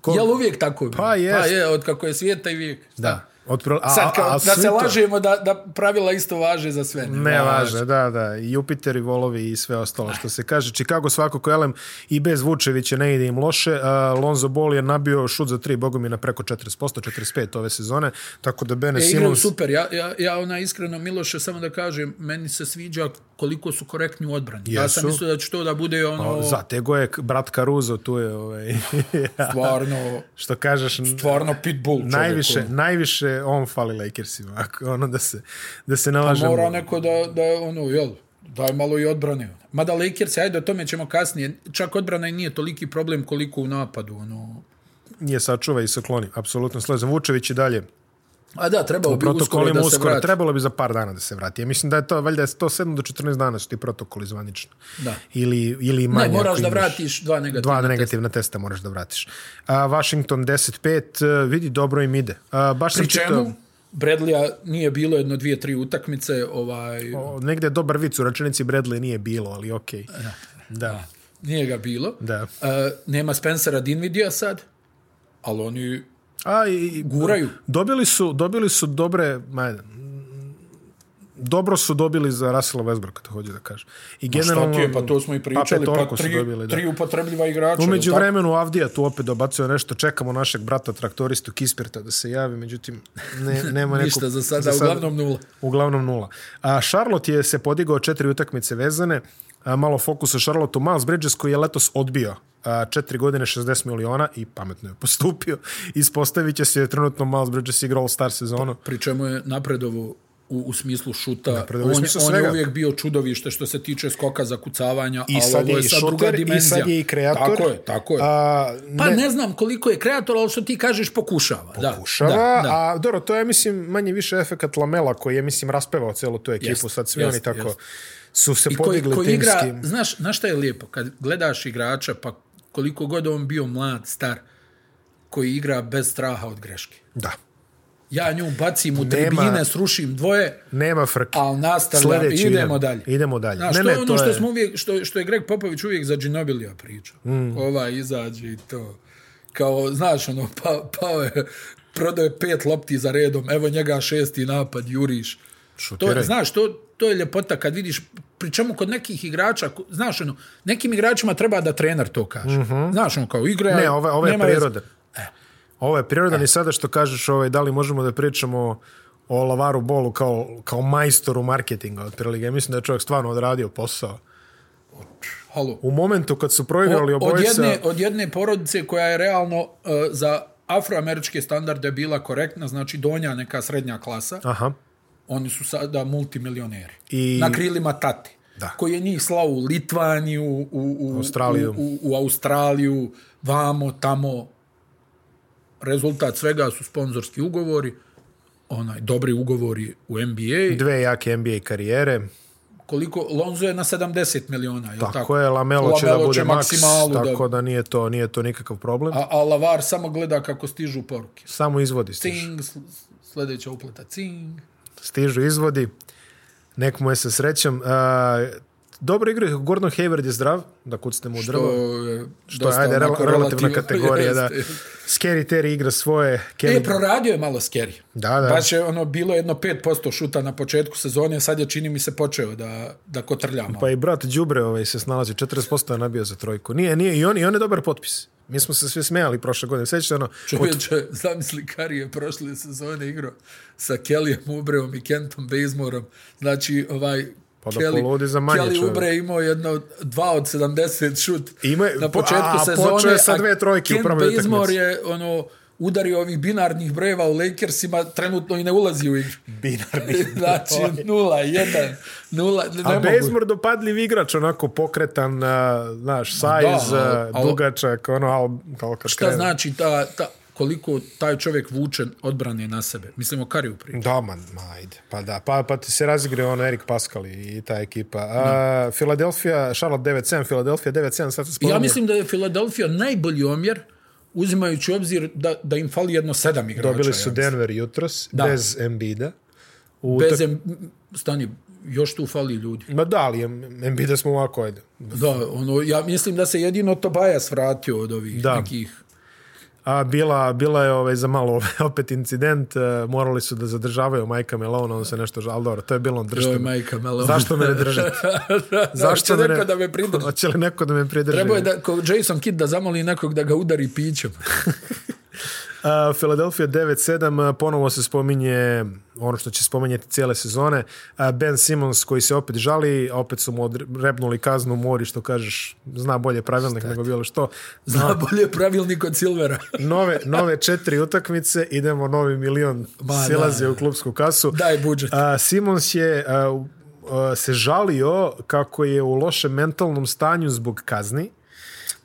Speaker 1: Ko-
Speaker 2: jel uvijek tako je bilo?
Speaker 1: Pa jest.
Speaker 2: Pa je, od kako je svijeta i vijek.
Speaker 1: Da. Od pro... a,
Speaker 2: Sad, kao,
Speaker 1: a, a,
Speaker 2: da
Speaker 1: svi
Speaker 2: se
Speaker 1: to-
Speaker 2: lažemo da, da pravila isto važe za sve. znači,
Speaker 1: Ne važno, da, da. I Jupiter i volovi i sve ostalo što se kaže. Chicago svakako elem i bez Vučevića ne ide im loše. Uh, Lonzo Ball je nabio šut za tri bogomina preko 40%, 45% ove sezone. Tako da Bene
Speaker 2: E, igraju
Speaker 1: Simons...
Speaker 2: super. Ja, ja, ja ona iskreno, Miloše, samo da kažem, meni se sviđa koliko su korektni u odbrani. Ja
Speaker 1: Jesu.
Speaker 2: sam
Speaker 1: Pa,
Speaker 2: mislio da će to da bude ono,
Speaker 1: Zatego je k- brat Caruso, tu je ovaj, *laughs*
Speaker 2: stvarno,
Speaker 1: što kažeš, n-
Speaker 2: stvarno pitbull čovjek.
Speaker 1: najviše, najviše on fali Lakersima, ako, ono da se, da se
Speaker 2: ono.
Speaker 1: nalažemo.
Speaker 2: Mora neko da, da ono, jel, daj malo i odbrane. Mada Lakers, ajde, o tome ćemo kasnije. Čak odbrana i nije toliki problem koliko u napadu. Ono.
Speaker 1: Nije sačuva i se kloni, apsolutno slezam. Vučević i dalje
Speaker 2: A da, trebao bi uskoro
Speaker 1: protokolima
Speaker 2: da
Speaker 1: uskoro,
Speaker 2: se vrati.
Speaker 1: trebalo bi za par dana da se vrati. Ja mislim da je to, valjda je to 7 do 14 dana su ti protokoli zvanično.
Speaker 2: Da.
Speaker 1: Ili, ili manje.
Speaker 2: Ne, moraš
Speaker 1: ako
Speaker 2: da
Speaker 1: imaš.
Speaker 2: vratiš dva negativna.
Speaker 1: Dva negativna testa moraš da vratiš. A, Washington 10-5, e, vidi, dobro im ide. A, baš sam
Speaker 2: Pri čemu? Bradley nije bilo jedno, dvije, tri utakmice. Ovaj,
Speaker 1: O, negde je dobar vic u računici Bradley nije bilo, ali okej. Okay. Da.
Speaker 2: Nije ga bilo.
Speaker 1: Da.
Speaker 2: E, nema Spencera Dinvidija sad, ali oni
Speaker 1: A, i,
Speaker 2: guraju.
Speaker 1: dobili, su, dobili su dobre... Ma, dobro su dobili za Russella Westbrooka, to hoću da kažem. I
Speaker 2: Šta
Speaker 1: generalno...
Speaker 2: ti je, pa to smo i pričali, pa,
Speaker 1: petorku su
Speaker 2: tri,
Speaker 1: dobili, da.
Speaker 2: tri upotrebljiva igrača.
Speaker 1: Umeđu
Speaker 2: jel tako?
Speaker 1: vremenu Avdija tu opet dobacuje nešto, čekamo našeg brata traktoristu Kispirta da se javi, međutim
Speaker 2: *laughs*
Speaker 1: ne, nema neko...
Speaker 2: Ništa za sada, uglavnom nula.
Speaker 1: Uglavnom nula. A Charlotte je se podigao četiri utakmice vezane, a, malo fokusa Charlotte Miles Bridges koji je letos odbio a, četiri godine 60 miliona i pametno je postupio. *laughs* Ispostavit će se jer trenutno Miles Bridges igra All-Star sezonu.
Speaker 2: Pri čemu je napredovo u, u smislu šuta.
Speaker 1: Napredovo u
Speaker 2: on,
Speaker 1: smislu
Speaker 2: on
Speaker 1: svega.
Speaker 2: je uvijek bio čudovište što se tiče skoka za kucavanja,
Speaker 1: I
Speaker 2: ali
Speaker 1: sad
Speaker 2: ovo
Speaker 1: je
Speaker 2: je
Speaker 1: i
Speaker 2: sad druga
Speaker 1: šuter,
Speaker 2: dimenzija.
Speaker 1: i sad je i kreator.
Speaker 2: Tako je, tako je.
Speaker 1: A, ne,
Speaker 2: pa ne. znam koliko je kreator, ali što ti kažeš pokušava.
Speaker 1: pokušava,
Speaker 2: da, da, da.
Speaker 1: a dobro, to je mislim manje više efekat Lamela koji je mislim raspevao celu tu ekipu,
Speaker 2: Jest,
Speaker 1: sad svi oni
Speaker 2: jest,
Speaker 1: tako
Speaker 2: jest.
Speaker 1: su se
Speaker 2: I koji,
Speaker 1: podigli
Speaker 2: koji igra,
Speaker 1: timski.
Speaker 2: znaš, znaš šta je lijepo? Kad gledaš igrača, pa koliko god on bio mlad, star, koji igra bez straha od greške.
Speaker 1: Da,
Speaker 2: Ja nju bacim u
Speaker 1: Nema-
Speaker 2: tribine, srušim dvoje,
Speaker 1: nema frke.
Speaker 2: ali nastavljam,
Speaker 1: Sljedeći
Speaker 2: idemo,
Speaker 1: idemo.
Speaker 2: dalje.
Speaker 1: Idemo dalje.
Speaker 2: Znaš,
Speaker 1: Ne,
Speaker 2: ne, to
Speaker 1: ne,
Speaker 2: je ono
Speaker 1: to
Speaker 2: što,
Speaker 1: je-
Speaker 2: smo uvijek, što, što je Greg Popović uvijek za Ginobilija pričao. Mm. Ova izađe i to. Kao, znaš, ono, pa, pao je, prodao je pet lopti za redom, evo njega šesti napad, juriš. To,
Speaker 1: Šutiraj.
Speaker 2: je, znaš, to, to je ljepota kad vidiš, pri čemu kod nekih igrača, ko- znaš, ono, nekim igračima treba da trener to kaže. Mm -hmm. Znaš, ono, kao igra...
Speaker 1: Mhm. Ne, ovo, ovo je
Speaker 2: nema veze. E.
Speaker 1: prirodan. Ovo je prirodan i sada što kažeš, ovaj, da li možemo da pričamo o- o Lavaru Bolu kao, kao majstoru marketinga otprilike. Mislim da je čovjek stvarno odradio posao.
Speaker 2: Halo.
Speaker 1: U momentu kad su proigrali
Speaker 2: od,
Speaker 1: obojica...
Speaker 2: jedne, od jedne porodice koja je realno uh, za afroameričke standarde bila korektna, znači donja neka srednja klasa,
Speaker 1: Aha.
Speaker 2: oni su sada multimilioneri.
Speaker 1: I-
Speaker 2: Na krilima tate.
Speaker 1: Da.
Speaker 2: Koji je njih slao u Litvaniju, u, u,
Speaker 1: Australiju.
Speaker 2: U, u, u Australiju, vamo, tamo. Rezultat svega su sponzorski ugovori, onaj dobri ugovori u NBA.
Speaker 1: Dve jake NBA karijere.
Speaker 2: Koliko Lonzo je na 70 miliona, je tako,
Speaker 1: Tako je, Lamelo će da bude maks,
Speaker 2: maksimalu da-
Speaker 1: tako da nije to, nije to nikakav problem.
Speaker 2: A, a Lavar samo gleda kako stižu poruke.
Speaker 1: Samo izvodi stižu.
Speaker 2: Cing, sl- sljedeća uplata, cing.
Speaker 1: Stižu izvodi. Nek mu je sa srećom. A, dobro igra, Gordon Hayward je zdrav, da kucne mu u drvo.
Speaker 2: što
Speaker 1: To je, ajde, rel relativna kategorija,
Speaker 2: *laughs*
Speaker 1: da. Scary Terry igra svoje. Kevin...
Speaker 2: E, proradio je malo scary.
Speaker 1: Da, da.
Speaker 2: Baš je ono, bilo jedno 5% šuta na početku sezone, sad je čini mi se počeo da, da kotrlja malo.
Speaker 1: Pa i brat Đubre ovaj, se snalazi, 40% je nabio za trojku. Nije, nije, i on, i on je dobar potpis. Mi smo se svi smejali prošle godine. Sjećate ono,
Speaker 2: Čovječe, *laughs* zamisli Kari je prošle sezone igrao sa Kellyem Ubreom i Kentom Bazemoreom. Znači, ovaj...
Speaker 1: Pa da poludi za manje,
Speaker 2: Kelly
Speaker 1: čovjek.
Speaker 2: Ubre je imao jedno 2 od 70 šut
Speaker 1: Ima-
Speaker 2: na početku
Speaker 1: a, a
Speaker 2: sezone.
Speaker 1: počeo je sa
Speaker 2: a
Speaker 1: dve trojke u
Speaker 2: Kent
Speaker 1: prvoj utakmici.
Speaker 2: Bazemore je ono udari ovih binarnih brojeva u Lakersima trenutno i ne ulazi u
Speaker 1: *laughs*
Speaker 2: igru.
Speaker 1: Binarni.
Speaker 2: Znači, nula, jedan, nula, ne, ne
Speaker 1: A
Speaker 2: mogu.
Speaker 1: bezmor dopadljiv igrač, onako pokretan, a, znaš, size, da,
Speaker 2: a- a-
Speaker 1: dugačak, ono, al, kao kad
Speaker 2: Šta
Speaker 1: krene.
Speaker 2: znači ta, ta, koliko taj čovjek vuče odbrane na sebe? Mislimo Kariju prije.
Speaker 1: Da, man, ma, ajde. Pa da, pa, pa ti se razigre on Erik Pascal i ta ekipa. A, Philadelphia, Charlotte 9-7, Philadelphia 9-7, sad se spomenuo.
Speaker 2: Ja mislim da je Philadelphia najbolji omjer uzimajući u obzir da, da im fali jedno sedam igrača.
Speaker 1: Dobili su
Speaker 2: ja
Speaker 1: Denver jutros,
Speaker 2: Da.
Speaker 1: bez Embida. U
Speaker 2: Bez
Speaker 1: utak-
Speaker 2: em, stani, još tu fali ljudi.
Speaker 1: Ma da, ali Em- Embida smo ovako, ajde.
Speaker 2: Da, ono, ja mislim da se jedino Tobias vratio od ovih da.
Speaker 1: Da.
Speaker 2: nekih.
Speaker 1: A bila, bila je ovaj, za malo *laughs* ovaj, opet incident, e, morali su da zadržavaju Majka Melona, on se nešto žal, ali dobro, to je bilo on
Speaker 2: Joj,
Speaker 1: držite. me.
Speaker 2: majka Melona.
Speaker 1: Zašto me ne držite?
Speaker 2: *laughs* da,
Speaker 1: Zašto
Speaker 2: me ne... da me pridrži.
Speaker 1: Hoće li neko da me pridrži?
Speaker 2: Trebao je da, ko Jason Kidd da zamoli nekog da ga udari pićem.
Speaker 1: A, Philadelphia 9-7, a, ponovo se spominje ono što će spominjati cijele sezone. A, Ben Simmons koji se opet žali, a opet su mu odre- rebnuli kaznu u mori, što kažeš, zna bolje pravilnik nego bilo što.
Speaker 2: *laughs* Zna bolje pravilnik od Silvera.
Speaker 1: Nove, nove četiri utakmice, idemo novi milion
Speaker 2: Ma,
Speaker 1: silazi
Speaker 2: da.
Speaker 1: u klubsku kasu.
Speaker 2: Daj budžet.
Speaker 1: A, Simons je a, u- a, se žalio kako je u lošem mentalnom stanju zbog kazni.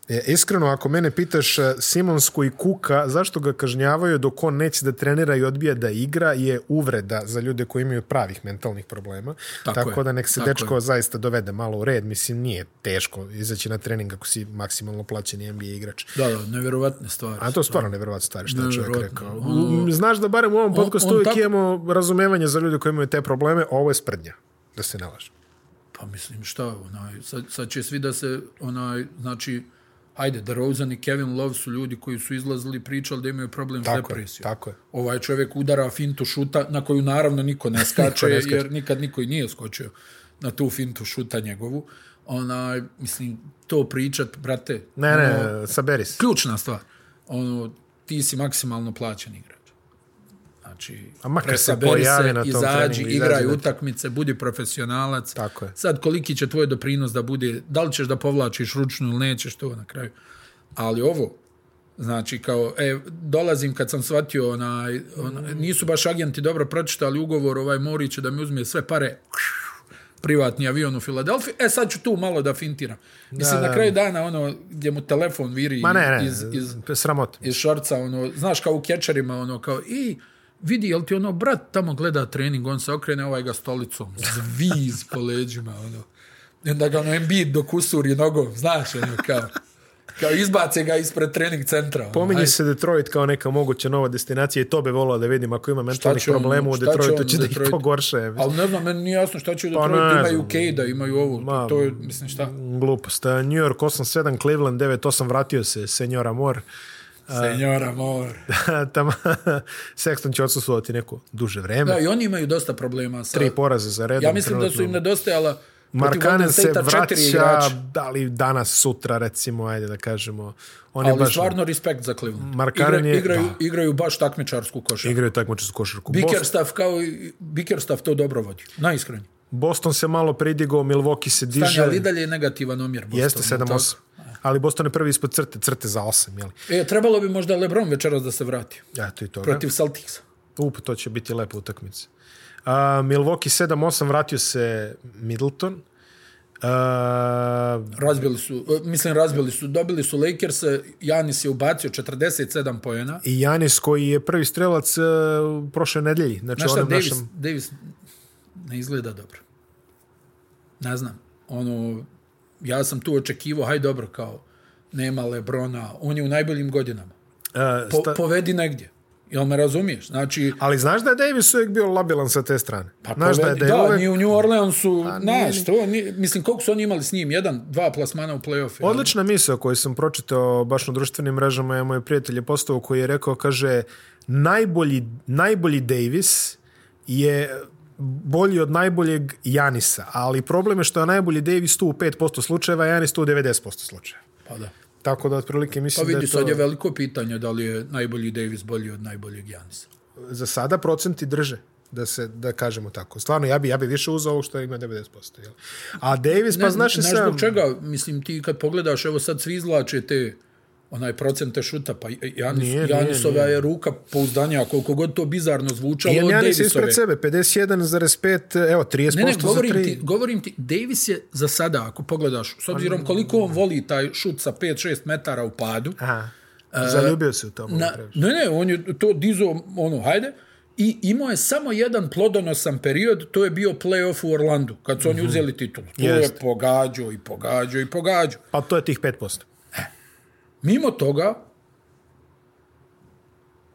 Speaker 1: E, iskreno, ako mene pitaš a, Simons koji kuka, zašto ga kažnjavaju dok on neće da trenira i odbija da igra, je uvreda za ljude koji imaju pravih mentalnih problema.
Speaker 2: Tako
Speaker 1: Tako,
Speaker 2: je,
Speaker 1: Tako da nek se
Speaker 2: tako
Speaker 1: dečko zaista dovede malo u red. Mislim, nije teško izaći na trening ako si maksimalno plaćeni NBA igrač.
Speaker 2: Da, da, nevjerovatne stvari.
Speaker 1: A to je stvarno nevjerovatno stvari što je čovjek
Speaker 2: Nevjerovatno.
Speaker 1: rekao. Znaš da barem u ovom podcastu
Speaker 2: on
Speaker 1: uvijek
Speaker 2: tako-
Speaker 1: imamo razumevanje za ljude koji imaju te probleme, a ovo je sprdnja, da se ne laže.
Speaker 2: Pa mislim, šta, onaj, sad, sad će svi da se, onaj, znači, ajde, DeRozan i Kevin Love su ljudi koji su izlazili i pričali da imaju problem s
Speaker 1: Tako
Speaker 2: depresijom.
Speaker 1: je, tako je.
Speaker 2: Ovaj čovjek udara fintu šuta, na koju naravno
Speaker 1: *laughs*
Speaker 2: niko ne skače,
Speaker 1: ne skače.
Speaker 2: jer nikad niko i nije skočio na tu fintu šuta njegovu. Onaj, mislim, to pričat, brate, ono,
Speaker 1: Ne, ne, saberi se.
Speaker 2: ključna stvar. Ono, ti si maksimalno plaćen igrač. Znači,
Speaker 1: A makar se
Speaker 2: presaberi
Speaker 1: pojavi na tom
Speaker 2: izađi,
Speaker 1: treningu,
Speaker 2: igraj
Speaker 1: izađi da-
Speaker 2: utakmice, budi profesionalac.
Speaker 1: Tako je.
Speaker 2: Sad, koliki će tvoj doprinos da bude, da li ćeš da povlačiš ručnu ili nećeš, to na kraju. Ali ovo, znači, kao, e, dolazim kad sam shvatio, onaj, onaj, nisu baš agenti dobro pročitali ugovor, ovaj Mori će da mi uzme sve pare, privatni avion u Filadelfiji, e sad ću tu malo da fintiram. Mislim,
Speaker 1: Da,
Speaker 2: na
Speaker 1: da.
Speaker 2: kraju dana, ono, gdje mu telefon viri
Speaker 1: Ma ne, ne,
Speaker 2: iz, iz,
Speaker 1: sramot.
Speaker 2: iz šorca, ono, znaš, kao u kečerima, ono, kao, i vidi, jel ti ono, brat tamo gleda trening, on se okrene, ovaj ga stolicom, zviz po leđima, ono. I onda ga, ono, Embiid dok usuri nogom, znaš, ono, kao, kao izbace ga ispred trening centra. Ono,
Speaker 1: Pominje
Speaker 2: aj,
Speaker 1: se Detroit kao neka moguća nova destinacija i to bi volao da vidim ako ima mentalnih
Speaker 2: će on-
Speaker 1: problema u
Speaker 2: šta će on
Speaker 1: Detroitu, će
Speaker 2: u
Speaker 1: da ih
Speaker 2: Detroitu?
Speaker 1: pogorše.
Speaker 2: Ali ne znam, meni nije jasno šta će u Detroitu,
Speaker 1: Pa ne
Speaker 2: imaju
Speaker 1: znam.
Speaker 2: Kejda, imaju ovo, Ma, to je, mislim, šta?
Speaker 1: Glupost. New York 8-7, Cleveland 9-8, vratio se Senjora Moore. *laughs* e.
Speaker 2: Senjora Mor.
Speaker 1: Tamo, *laughs* Sexton će odsustovati neko duže vreme.
Speaker 2: Da, i oni imaju dosta problema sa...
Speaker 1: Tri poraze za redom.
Speaker 2: Ja mislim da su
Speaker 1: trenutno.
Speaker 2: im nedostajala protiv Golden
Speaker 1: Markanen se
Speaker 2: Statea četiri
Speaker 1: vraća,
Speaker 2: igrača.
Speaker 1: da li danas, sutra, recimo, ajde da kažemo. On je
Speaker 2: Ali
Speaker 1: baš
Speaker 2: stvarno respekt za Cleveland.
Speaker 1: Markkanen je-
Speaker 2: igraju, igraju baš takmičarsku košarku.
Speaker 1: igraju takmičarsku košarku. Boston,
Speaker 2: Bickerstaff kao i- Bickerstaff to dobro vodi. Najiskrenije.
Speaker 1: Boston se malo pridigao, Milwaukee se diže.
Speaker 2: Stanje, ali i dalje je negativan omjer. Bostonu,
Speaker 1: Jeste
Speaker 2: tako?
Speaker 1: 7-8. Ali Boston je prvi ispod crte, crte za 8, jeli?
Speaker 2: E, trebalo bi možda LeBron večeras da se vrati.
Speaker 1: Eto i toga.
Speaker 2: Protiv Celticsa.
Speaker 1: Up, to će biti lepa utakmica. A, Milwaukee 7-8, vratio se Middleton. A,
Speaker 2: Razbili su, e, mislim razbili su, dobili su Lakers, e, Janis je ubacio 47 pojena.
Speaker 1: I Janis koji je prvi strelac e, u prošle nedelji. Znači,
Speaker 2: Znaš šta,
Speaker 1: onom
Speaker 2: Davis,
Speaker 1: našem...
Speaker 2: Davis ne izgleda dobro. Ne znam. Ono, ja sam tu očekivao, haj dobro, kao, nema Lebrona, on je u najboljim godinama.
Speaker 1: e,
Speaker 2: Po,
Speaker 1: sta-
Speaker 2: Povedi negdje. Jel me razumiješ? Znači,
Speaker 1: Ali znaš da je Davis uvijek bio labilan sa te strane?
Speaker 2: pa
Speaker 1: znaš
Speaker 2: povedi,
Speaker 1: da je
Speaker 2: da,
Speaker 1: uvijek...
Speaker 2: ni u New Orleansu,
Speaker 1: nije.
Speaker 2: znaš, to, ni, mislim, koliko su oni imali s njim? Jedan, dva plasmana u play-offu. jel?
Speaker 1: Odlična misao koju sam pročitao baš na društvenim mrežama je moj prijatelj je postao koji je rekao, kaže, najbolji, najbolji Davis je bolji od najboljeg Janisa, ali problem je što je najbolji Davis tu u 5% slučajeva, a Janis tu u 90% slučajeva.
Speaker 2: Pa da.
Speaker 1: Tako da otprilike
Speaker 2: Pa
Speaker 1: mislim da
Speaker 2: vidi,
Speaker 1: je
Speaker 2: sad
Speaker 1: to...
Speaker 2: je veliko pitanje da li je najbolji Davis bolji od najboljeg Janisa.
Speaker 1: Za sada procenti drže da se da kažemo tako. Stvarno ja bi ja bi više uzeo ovog što ima 90%, je A Davis pa znaš i
Speaker 2: Znaš
Speaker 1: sam
Speaker 2: zbog čega, mislim, ti kad pogledaš, evo sad svi izlače te onaj procent te šuta, pa Janis,
Speaker 1: Nije,
Speaker 2: nije,
Speaker 1: nije,
Speaker 2: Janisova
Speaker 1: nije.
Speaker 2: je ruka pouzdanija, koliko god to bizarno zvučalo
Speaker 1: Ian
Speaker 2: od
Speaker 1: Janis je
Speaker 2: Davisove.
Speaker 1: ispred sebe, 51,5, evo, 30%
Speaker 2: Ne, ne,
Speaker 1: za
Speaker 2: govorim ti,
Speaker 1: tri.
Speaker 2: govorim ti, Davis je za sada, ako pogledaš, s obzirom koliko on voli taj šut sa 5-6 metara u padu,
Speaker 1: Aha, zaljubio se u to.
Speaker 2: na, ne, ne, on je to dizo, ono, hajde, i imao je samo jedan plodonosan period, to je bio playoff u Orlandu, kad su
Speaker 1: Mhm.
Speaker 2: oni uzeli titul. To je
Speaker 1: Jest.
Speaker 2: pogađao i pogađao i pogađao.
Speaker 1: Pa to je tih 5%.
Speaker 2: Mimo toga,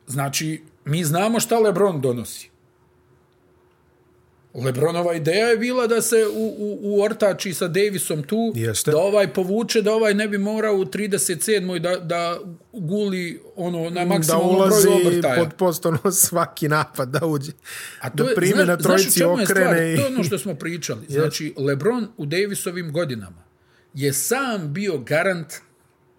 Speaker 2: znači, mi znamo šta Lebron donosi. Lebronova ideja je bila da se u, u, u ortači sa Davisom tu,
Speaker 1: Jeste.
Speaker 2: da ovaj povuče, da ovaj ne bi morao u 37. da, da guli ono, na
Speaker 1: Da
Speaker 2: maksimalnom
Speaker 1: ulazi
Speaker 2: broju obrtaja.
Speaker 1: pod postavno svaki napad, da uđe.
Speaker 2: A
Speaker 1: da primi na
Speaker 2: znaš- znaš u
Speaker 1: trojici
Speaker 2: čemu je stvar?
Speaker 1: okrene i...
Speaker 2: To je ono što smo pričali. Znači, LeBron u Davisovim godinama je sam bio garant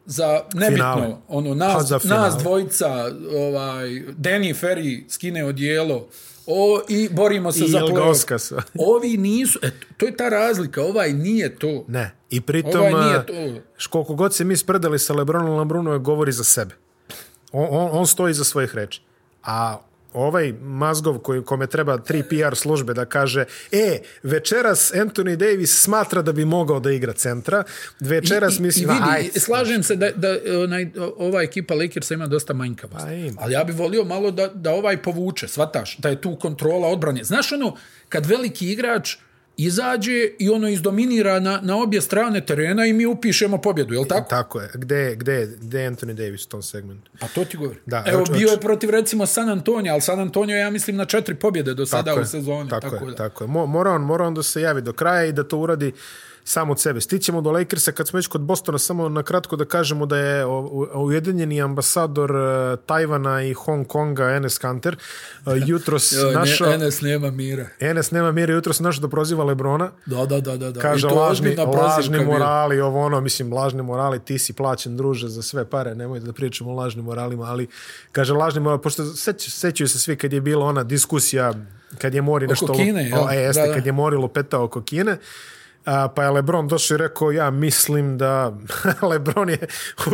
Speaker 2: za nebitno
Speaker 1: Finale.
Speaker 2: ono
Speaker 1: Pa
Speaker 2: nas,
Speaker 1: za finale.
Speaker 2: nas dvojica ovaj Danny Ferry skine odijelo o i borimo se
Speaker 1: I
Speaker 2: za
Speaker 1: El
Speaker 2: play-off.
Speaker 1: Goskasa.
Speaker 2: Ovi nisu, e, to je ta razlika, ovaj nije to.
Speaker 1: Ne, i pritom,
Speaker 2: Ovaj nije
Speaker 1: eh,
Speaker 2: to.
Speaker 1: š- koliko god se mi spredali sa Lebronom, Lebronom je govori za sebe. On, on, on stoji za svojih reči. A ovaj mazgov koji, kome treba tri PR službe da kaže e, večeras Anthony Davis smatra da bi mogao da igra centra, večeras mislim,
Speaker 2: i vidi,
Speaker 1: aj,
Speaker 2: slažem se da, da onaj, ova ekipa Lakersa ima dosta manjkavosti.
Speaker 1: Pa ima.
Speaker 2: Ali ja bih volio malo da, da ovaj povuče, svataš, da je tu kontrola odbrane. Znaš ono, kad veliki igrač izađe i ono izdominira na, na obje strane terena i mi upišemo pobjedu, je li tako?
Speaker 1: tako je. Gde, gde, gde je Anthony Davis u tom segmentu?
Speaker 2: Pa to ti govori.
Speaker 1: Da,
Speaker 2: Evo,
Speaker 1: oč- oč-
Speaker 2: bio je protiv recimo San Antonio, ali San Antonio je, ja mislim na četiri pobjede do sada
Speaker 1: Tako
Speaker 2: u
Speaker 1: je,
Speaker 2: sezoni.
Speaker 1: Tako, tako, je,
Speaker 2: da.
Speaker 1: tako je. Mo- Mora on, mora on da se javi do kraja i da to uradi samo od sebe. Stićemo do Lakersa kad smo već kod Bostona, samo na kratko da kažemo da je o- u- ujedinjeni ambasador eh, Tajvana i Hong Konga Enes Kanter eh, jutros
Speaker 2: Joj, ne-
Speaker 1: našao...
Speaker 2: NS nema mira.
Speaker 1: Enes nema mira jutros našao da proziva Lebrona.
Speaker 2: Da, da, da, da. da.
Speaker 1: Kaže,
Speaker 2: I to je
Speaker 1: lažni,
Speaker 2: ozbiljna prozivka
Speaker 1: lažni
Speaker 2: bila.
Speaker 1: morali, ovo ono, mislim, lažni morali, ti si plaćen, druže, za sve pare, nemoj da pričamo o lažnim moralima, ali, kaže, lažni morali, pošto seću, sećaju se svi kad je bila ona diskusija, kad je Mori nešto...
Speaker 2: Kine,
Speaker 1: o,
Speaker 2: jel?
Speaker 1: a, jeste,
Speaker 2: Da, da.
Speaker 1: kad je Mori lupetao oko Kine, A, pa je Lebron došao i rekao, ja mislim da... *laughs* Lebron je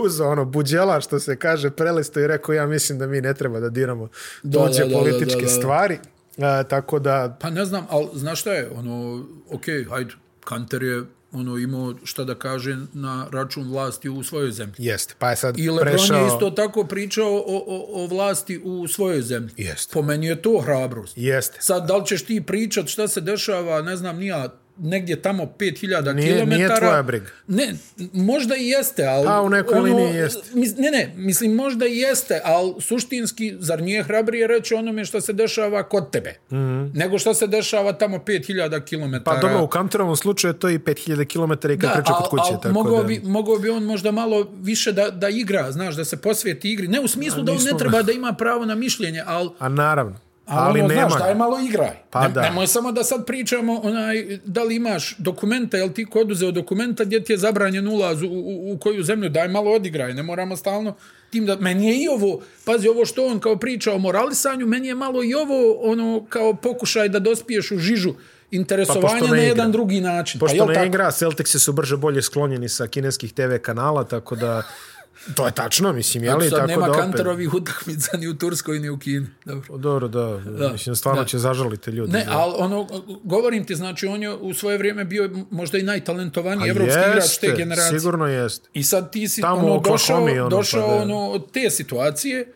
Speaker 1: uzao ono buđela, što se kaže, prelisto i rekao, ja mislim da mi ne treba da diramo
Speaker 2: Da,
Speaker 1: dođe
Speaker 2: da, da, da,
Speaker 1: političke
Speaker 2: da, da.
Speaker 1: stvari. A, tako da,
Speaker 2: Pa ne znam, ali znaš šta je, ono, okej, okay, hajde, Kanter je ono, imao šta da kaže na račun vlasti u svojoj zemlji.
Speaker 1: jeste. Pa je sad
Speaker 2: I Lebron
Speaker 1: prešao...
Speaker 2: je isto tako pričao o, o, o vlasti u svojoj zemlji.
Speaker 1: Jeste.
Speaker 2: Po meni je to hrabrost.
Speaker 1: Jeste.
Speaker 2: Sad, da li ćeš ti pričat šta se dešava, ne znam, nija, negdje tamo 5000
Speaker 1: Nije-
Speaker 2: km.
Speaker 1: nije tvoja briga.
Speaker 2: Ne, možda i jeste, ali...
Speaker 1: Pa, u nekoj liniji jeste.
Speaker 2: mis- Ne, ne, mislim, možda i jeste, ali suštinski, zar nije hrabrije reći onome što se dešava kod tebe, mm -hmm. nego što se dešava tamo 5000 km.
Speaker 1: Mhm. Pa dobro, u Kanterovom slučaju je to i 5000 km i kad da, priča kod kuće.
Speaker 2: al,
Speaker 1: tako
Speaker 2: mogao,
Speaker 1: da...
Speaker 2: bi, mogao bi on možda malo više da, da igra, znaš, da se posvijeti igri. Ne u smislu da on
Speaker 1: nismo-
Speaker 2: ne treba da ima pravo na mišljenje, ali
Speaker 1: A naravno.
Speaker 2: Ali,
Speaker 1: Ali
Speaker 2: ono,
Speaker 1: nema.
Speaker 2: znaš, daj
Speaker 1: ga.
Speaker 2: malo igraj.
Speaker 1: Pa
Speaker 2: Pa
Speaker 1: da.
Speaker 2: ne, nemoj samo da sad pričamo onaj, da li imaš dokumenta, jel ti ko oduzeo dokumenta gdje ti je zabranjen ulaz u, u, u koju zemlju, daj malo odigraj, ne moramo stalno tim da... Meni je i ovo, pazi, ovo što on kao priča o moralisanju, meni je malo i ovo ono kao pokušaj da dospiješ u žižu interesovanja
Speaker 1: ne
Speaker 2: na
Speaker 1: igra.
Speaker 2: jedan drugi način. Pa
Speaker 1: Pošto
Speaker 2: jel
Speaker 1: ne
Speaker 2: tako?
Speaker 1: igra, Celticsi su brže bolje sklonjeni sa kineskih TV kanala, tako da... To je tačno, mislim, jeli?
Speaker 2: Sad
Speaker 1: Tako
Speaker 2: nema
Speaker 1: da opet...
Speaker 2: kanterovih utakmica ni u Turskoj, ni u Kini. Dobro.
Speaker 1: Dobro, da, da. Mislim, stvarno
Speaker 2: da.
Speaker 1: će zažaliti ljudi.
Speaker 2: Ne, ali ono, govorim ti, znači, on je u svoje vrijeme bio možda i najtalentovaniji
Speaker 1: A
Speaker 2: evropski igrač te
Speaker 1: jeste,
Speaker 2: generacije.
Speaker 1: Sigurno jeste.
Speaker 2: I sad ti si
Speaker 1: Tamo u
Speaker 2: ono,
Speaker 1: Oklahomi,
Speaker 2: došao,
Speaker 1: ono,
Speaker 2: ono,
Speaker 1: pa
Speaker 2: došao
Speaker 1: da.
Speaker 2: ono, od te situacije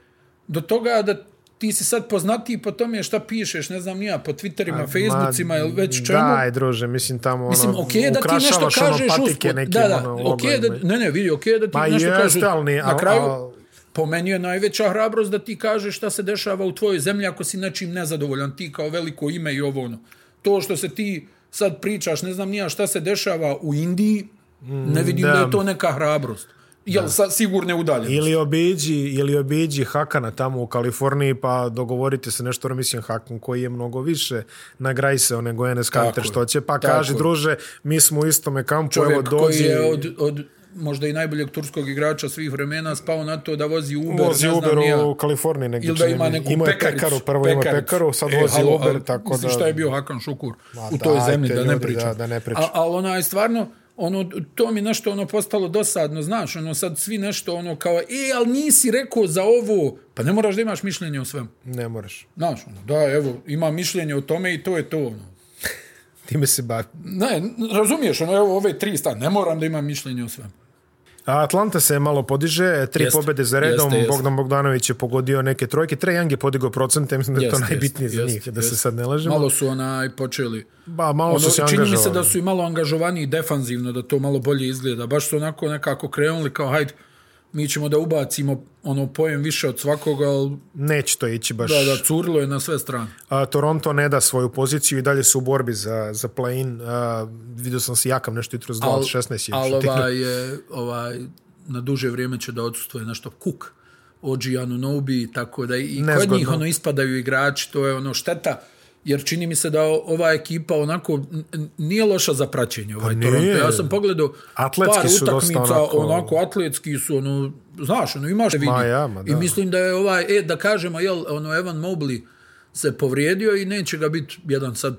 Speaker 2: do toga da ti si sad poznatiji po tome šta pišeš, ne znam nija, po Twitterima, Facebookima ili već čemu.
Speaker 1: Daj, druže, mislim, tamo ono...
Speaker 2: Mislim, okej okay, da ti nešto
Speaker 1: ukrašavaš
Speaker 2: kažeš
Speaker 1: ono patike
Speaker 2: usput.
Speaker 1: nekim,
Speaker 2: Da, da,
Speaker 1: ono,
Speaker 2: okej
Speaker 1: logovima.
Speaker 2: da, ne, ne, vidi, okej da ti
Speaker 1: Ma
Speaker 2: nešto
Speaker 1: jeste,
Speaker 2: kažeš.
Speaker 1: ali ni- al-
Speaker 2: na kraju,
Speaker 1: al-
Speaker 2: po meni je najveća hrabrost da ti kažeš šta se dešava u tvojoj zemlji ako si nečim nezadovoljan, ti kao veliko ime i ovo ono. To što se ti sad pričaš, ne znam nija šta se dešava u Indiji, ne vidim
Speaker 1: da.
Speaker 2: da, je to neka hrabrost. Jel, sa sigurne udaljenosti.
Speaker 1: Ili obiđi, ili obiđi Hakana tamo u Kaliforniji pa dogovorite se nešto, jer mislim Hakan koji je mnogo više na Grajseo nego Enes Kanter
Speaker 2: je.
Speaker 1: što će, pa
Speaker 2: Tako
Speaker 1: kaže
Speaker 2: je.
Speaker 1: druže, mi smo u istome kampu, evo
Speaker 2: čovjek
Speaker 1: dođi.
Speaker 2: koji je od, od možda i najboljeg turskog igrača svih vremena spao na to da vozi Uber,
Speaker 1: Vozi
Speaker 2: ne znam
Speaker 1: Uber
Speaker 2: ni ja.
Speaker 1: u Kaliforniji negdje.
Speaker 2: Ili da
Speaker 1: čini
Speaker 2: ima
Speaker 1: mi.
Speaker 2: neku
Speaker 1: imao je
Speaker 2: pekaricu.
Speaker 1: Znači,
Speaker 2: E,
Speaker 1: pekaru, prvo ima pekaru, sad vozi
Speaker 2: halo,
Speaker 1: Uber,
Speaker 2: ali
Speaker 1: tako
Speaker 2: mislim,
Speaker 1: da...
Speaker 2: Šta je bio Hakan Šukur
Speaker 1: Ma
Speaker 2: u toj
Speaker 1: dajte,
Speaker 2: zemlji, da ne
Speaker 1: ljudi,
Speaker 2: pričam.
Speaker 1: da- da ne pričam.
Speaker 2: A- Ali ona je stvarno, ono, to mi nešto ono postalo dosadno, znaš, ono sad svi nešto ono kao, e, ali nisi rekao za ovo, pa ne moraš da imaš mišljenje o svemu.
Speaker 1: Ne moraš.
Speaker 2: Znaš, ono, da, evo, ima mišljenje o tome i to je to, ono.
Speaker 1: Time se bavi.
Speaker 2: Ne, razumiješ, ono, evo, ove tri stane, ne moram da imam mišljenje o svemu.
Speaker 1: A Atlanta se malo podiže, tri
Speaker 2: Jeste.
Speaker 1: jeste, pobjede za redom,
Speaker 2: Jeste, jeste.
Speaker 1: Bogdan Bogdanović je pogodio neke trojke, Trae Young je podigao procente, mislim da je
Speaker 2: Jeste,
Speaker 1: to
Speaker 2: jeste,
Speaker 1: najbitnije za
Speaker 2: jeste,
Speaker 1: njih, da
Speaker 2: jeste.
Speaker 1: se sad ne lažemo.
Speaker 2: Malo su onaj počeli.
Speaker 1: ba, malo
Speaker 2: Ono,
Speaker 1: su se
Speaker 2: čini mi
Speaker 1: angažovali.
Speaker 2: se da su i malo angažovaniji defanzivno, da to malo bolje izgleda. Baš su onako nekako krenuli kao, hajde, mi ćemo da ubacimo ono pojem više od svakoga, ali
Speaker 1: Neće to ići baš.
Speaker 2: da, da, curilo je na sve strane.
Speaker 1: A, Toronto ne da svoju poziciju i dalje su u borbi za, za play-in. A, vidio sam se jakam nešto jutro s 2016.
Speaker 2: Ali ovaj, je, ovaj, na duže vrijeme će da odsustuje nešto kuk OG Anunobi, tako da i kod
Speaker 1: Nezgodno.
Speaker 2: njih ono ispadaju igrači, to je ono šteta, jer čini mi se da o- ova ekipa onako n- n- nije loša za praćenje ovaj
Speaker 1: Pa nije.
Speaker 2: Toronto. Ja sam pogledao
Speaker 1: Atletski
Speaker 2: par
Speaker 1: su dosta
Speaker 2: utakmica, onako...
Speaker 1: onako-
Speaker 2: onako atletski su, ono, znaš, ono, imaš vidi.
Speaker 1: Ma ja, ma da.
Speaker 2: I mislim da je ovaj, e, da kažemo, jel, ono, Evan Mobley se povrijedio i neće ga biti jedan sad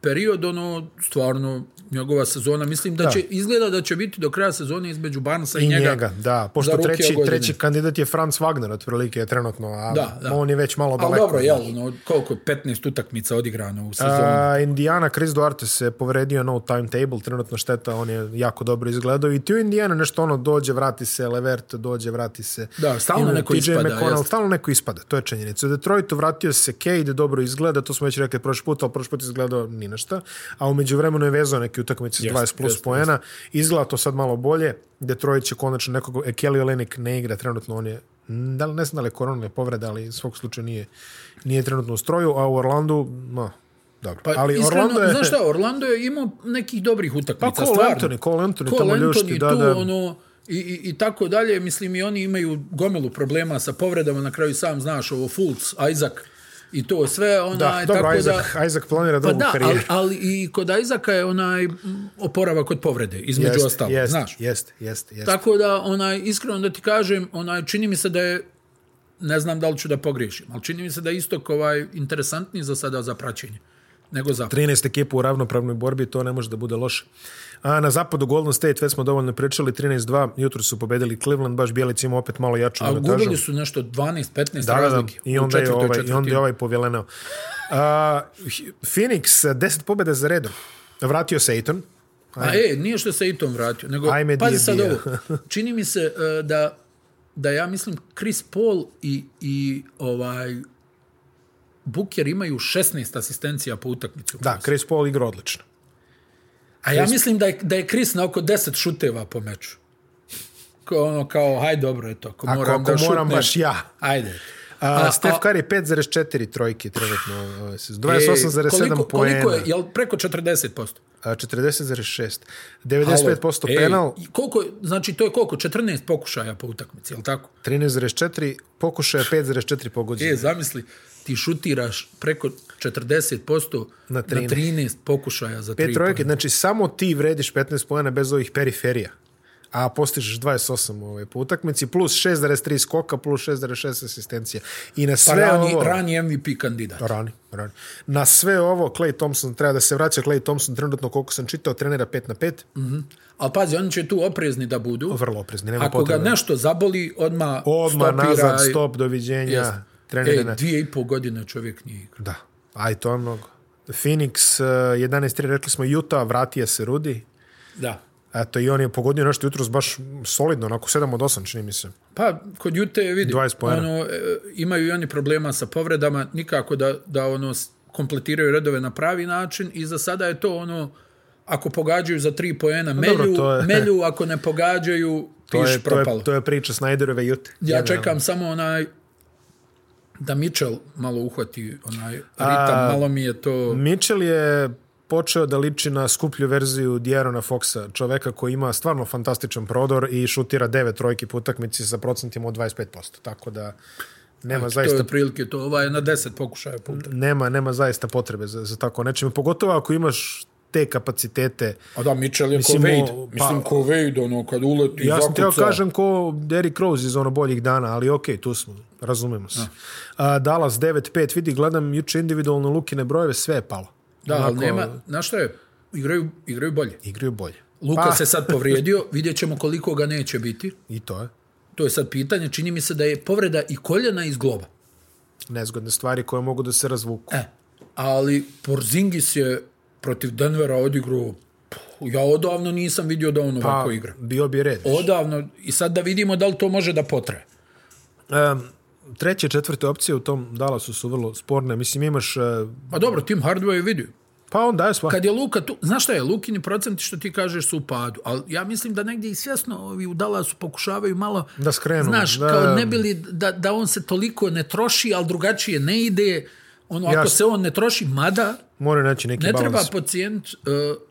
Speaker 2: period, ono, stvarno, njegova sezona, mislim da, da. će, izgleda da će biti do kraja sezone između Barnesa i,
Speaker 1: I njega,
Speaker 2: njega.
Speaker 1: da.
Speaker 2: za
Speaker 1: Pošto
Speaker 2: rookie
Speaker 1: treći,
Speaker 2: godine.
Speaker 1: treći kandidat je Franz Wagner, otprilike, trenutno, a
Speaker 2: Da, da.
Speaker 1: on je već malo daleko.
Speaker 2: Ali dobro, jel, ono, koliko je 15 utakmica odigrano u sezoni.
Speaker 1: A, Indiana, Chris Duarte se povredio no timetable, trenutno šteta, on je jako dobro izgledao i ti u Indiana nešto ono dođe, vrati se, Levert dođe, vrati se.
Speaker 2: Da, stalno
Speaker 1: I
Speaker 2: neko
Speaker 1: TJ
Speaker 2: ispada,
Speaker 1: McConnell,
Speaker 2: jest.
Speaker 1: stalno neko ispada, to je činjenica. U Detroitu vratio se Cade, dobro izgleda, to smo već rekli prošli put, ali prošli put izgledao ni na šta, a umeđu vremenu je vezao neke utakmice s
Speaker 2: Jest,
Speaker 1: 20 plus
Speaker 2: jest,
Speaker 1: poena, izgleda to sad malo bolje, Detroit će konačno nekog, e, Kelly Olenik ne igra, trenutno on je m, da li, ne znam da li je korona ili povreda, ali u svog slučaju nije, nije trenutno u stroju, a u Orlandu, no, dobro.
Speaker 2: Pa,
Speaker 1: ali
Speaker 2: iskreno,
Speaker 1: Orlando je...
Speaker 2: znaš šta, Orlando je imao nekih dobrih utakmica,
Speaker 1: Pa Cole
Speaker 2: stvarno.
Speaker 1: Anthony, Cole Anthony,
Speaker 2: Cole
Speaker 1: tamo ljušti,
Speaker 2: Anthony
Speaker 1: da,
Speaker 2: tu,
Speaker 1: da.
Speaker 2: ono, i, i, i tako dalje, mislim i oni imaju gomilu problema sa povredama, na kraju sam znaš, ovo Fultz, Isaac i to sve, onaj,
Speaker 1: Da, dobro,
Speaker 2: tako
Speaker 1: Isaac,
Speaker 2: da...
Speaker 1: da, Isaac planira
Speaker 2: Pa
Speaker 1: drugu
Speaker 2: da, ali,
Speaker 1: karijeru.
Speaker 2: ali i kod Ajzaka je onaj m, oporavak od povrede, između
Speaker 1: Jeste,
Speaker 2: ostalo,
Speaker 1: jeste,
Speaker 2: znaš.
Speaker 1: Jeste, jeste, jeste.
Speaker 2: Tako da, onaj, iskreno da ti kažem, onaj, čini mi se da je, ne znam da li ću da pogriješim, ali čini mi se da je istok ovaj, interesantniji za sada za praćenje nego zapad.
Speaker 1: 13 ekipa u ravnopravnoj borbi, to ne može da bude loše. A na zapadu Golden State, već smo dovoljno pričali, 13-2, jutro su pobedili Cleveland, baš Bjelic ima opet malo jaču
Speaker 2: A
Speaker 1: minutažu.
Speaker 2: gubili su nešto 12-15
Speaker 1: Da, da, da.
Speaker 2: razlike.
Speaker 1: I
Speaker 2: u
Speaker 1: onda, je
Speaker 2: četvrtoj
Speaker 1: ovaj, I onda
Speaker 2: četvrtini.
Speaker 1: je ovaj povjelenao. A, Phoenix, 10 pobjeda za redom. Vratio se Aiton.
Speaker 2: A e, nije što se i tom vratio, nego
Speaker 1: ovaj, Ajme,
Speaker 2: pazi
Speaker 1: Dija,
Speaker 2: sad
Speaker 1: Dija.
Speaker 2: ovo. Čini mi se e, da da ja mislim Chris Paul i i ovaj Booker imaju 16 asistencija po utakmici.
Speaker 1: Da, Chris Paul igra odlično.
Speaker 2: A ja mislim da je, da je Chris na oko 10 šuteva po meču. Kao ono kao, haj dobro je to, ako,
Speaker 1: Ako,
Speaker 2: moram
Speaker 1: ako
Speaker 2: da
Speaker 1: moram
Speaker 2: šutnem,
Speaker 1: baš ja.
Speaker 2: Ajde.
Speaker 1: A, Steph Curry 5,4 trojke trenutno. ovaj, s-
Speaker 2: Ej,
Speaker 1: 28,7
Speaker 2: E, koliko- Koliko je,
Speaker 1: poena.
Speaker 2: jel preko 40%?
Speaker 1: A, 40,6.
Speaker 2: Halo,
Speaker 1: 95% penal,
Speaker 2: Ej, koliko, znači to je koliko? 14 pokušaja po utakmici, jel tako?
Speaker 1: 13,4 pokušaja, 5,4
Speaker 2: E,
Speaker 1: pogođenja.
Speaker 2: zamisli, ti šutiraš preko 40% na
Speaker 1: Na
Speaker 2: 13, na
Speaker 1: 13.
Speaker 2: 13 pokušaja za 3
Speaker 1: Pet trojke,
Speaker 2: pojena.
Speaker 1: znači samo ti vrediš 15 poena bez ovih periferija. A postižeš 28 ovaj, po utakmici, plus 6,3 skoka, plus 6,6 asistencija. I na
Speaker 2: Pa
Speaker 1: sve ono-
Speaker 2: rani,
Speaker 1: ovo...
Speaker 2: rani MVP kandidat.
Speaker 1: Rani, rani. Na sve ovo, Clay Thompson, treba da se vraća Clay Thompson, trenutno koliko sam čitao, trenira 5 na 5,
Speaker 2: Mhm. Ali pazi, oni će tu oprezni da budu.
Speaker 1: vrlo oprezni, nema
Speaker 2: Ako ga
Speaker 1: potrebe.
Speaker 2: nešto zaboli, odma
Speaker 1: Odmah
Speaker 2: stopiraj.
Speaker 1: nazad, stop, doviđenja,
Speaker 2: Jest.
Speaker 1: yes.
Speaker 2: Ej,
Speaker 1: trenira na...
Speaker 2: dvije i pol godine čovjek nije igra.
Speaker 1: Da, aj to je mnogo. Phoenix, eh, 11-3, rekli smo Utah, vratio se Rudi.
Speaker 2: Da.
Speaker 1: Eto, i on je pogodio nešto jutros baš solidno, onako 7 od 8, čini mi se.
Speaker 2: Pa, kod Jute vidi,
Speaker 1: 20 poena.
Speaker 2: ono, e, imaju i oni problema sa povredama, nikako da, da ono s- kompletiraju redove na pravi način i za sada je to ono, ako pogađaju za tri poena, melju,
Speaker 1: to je-
Speaker 2: melju, ako ne pogađaju,
Speaker 1: To
Speaker 2: piš
Speaker 1: je, to,
Speaker 2: propalo.
Speaker 1: je, to je priča Snyderove jute.
Speaker 2: Ja čekam samo onaj da Mitchell malo uhvati onaj ritam, malo mi je to...
Speaker 1: Mitchell je počeo da liči na skuplju verziju Dijerona Foxa, čoveka koji ima stvarno fantastičan prodor i šutira 9 trojki po utakmici sa procentima od 25%. Tako da nema
Speaker 2: Znači, To je
Speaker 1: zaista
Speaker 2: otprilike to, ovaj je na 10 pokušaja puta.
Speaker 1: nema nema zaista potrebe za, za tako nečim. Pogotovo ako imaš te kapacitete.
Speaker 2: A da, Mitchell je
Speaker 1: Mislim,
Speaker 2: ko Wade.
Speaker 1: o, pa-
Speaker 2: Mislim, ko Wade, ono, kad uleti,
Speaker 1: Ja sam
Speaker 2: zakuca.
Speaker 1: teo kažem ko Derrick Rose iz ono boljih dana, ali okej, tu smo, razumemo se. A, Dallas 9-5, vidi, gledam juče individualno Lukine brojeve, sve je palo.
Speaker 2: Da, ali
Speaker 1: Onako,
Speaker 2: nema, znaš šta je, igraju, igraju bolje.
Speaker 1: Igraju bolje.
Speaker 2: Luka
Speaker 1: Pa.
Speaker 2: se sad povrijedio, *laughs* vidjet ćemo koliko ga neće biti.
Speaker 1: I to je.
Speaker 2: To je sad pitanje. Čini mi se da je povreda i koljena iz globa.
Speaker 1: Nezgodne stvari koje mogu da se razvuku.
Speaker 2: E, ali Porzingis je protiv Denvera odigrao... Puh, Ja odavno nisam vidio da on ovako igra.
Speaker 1: Pa, bio bi red.
Speaker 2: Odavno. I sad da vidimo da li to može da potre.
Speaker 1: Um, treće, četvrte opcije u tom Dallasu su vrlo sporne. Mislim, imaš... e,
Speaker 2: Pa dobro, Tim Hardaway je vidio.
Speaker 1: Pa on daje sva.
Speaker 2: Kad je Luka tu... Znaš šta je? Lukini procenti što ti kažeš su u padu. Ali ja mislim da negdje i svjesno ovi u Dallasu pokušavaju malo...
Speaker 1: Da skrenu,
Speaker 2: Znaš,
Speaker 1: da.
Speaker 2: kao ne bili da, da on se toliko ne troši, ali drugačije ne ide. Ono, ako
Speaker 1: Jasno.
Speaker 2: se on ne troši, mada...
Speaker 1: Mora naći neki
Speaker 2: Ne
Speaker 1: balans.
Speaker 2: treba pocijent uh,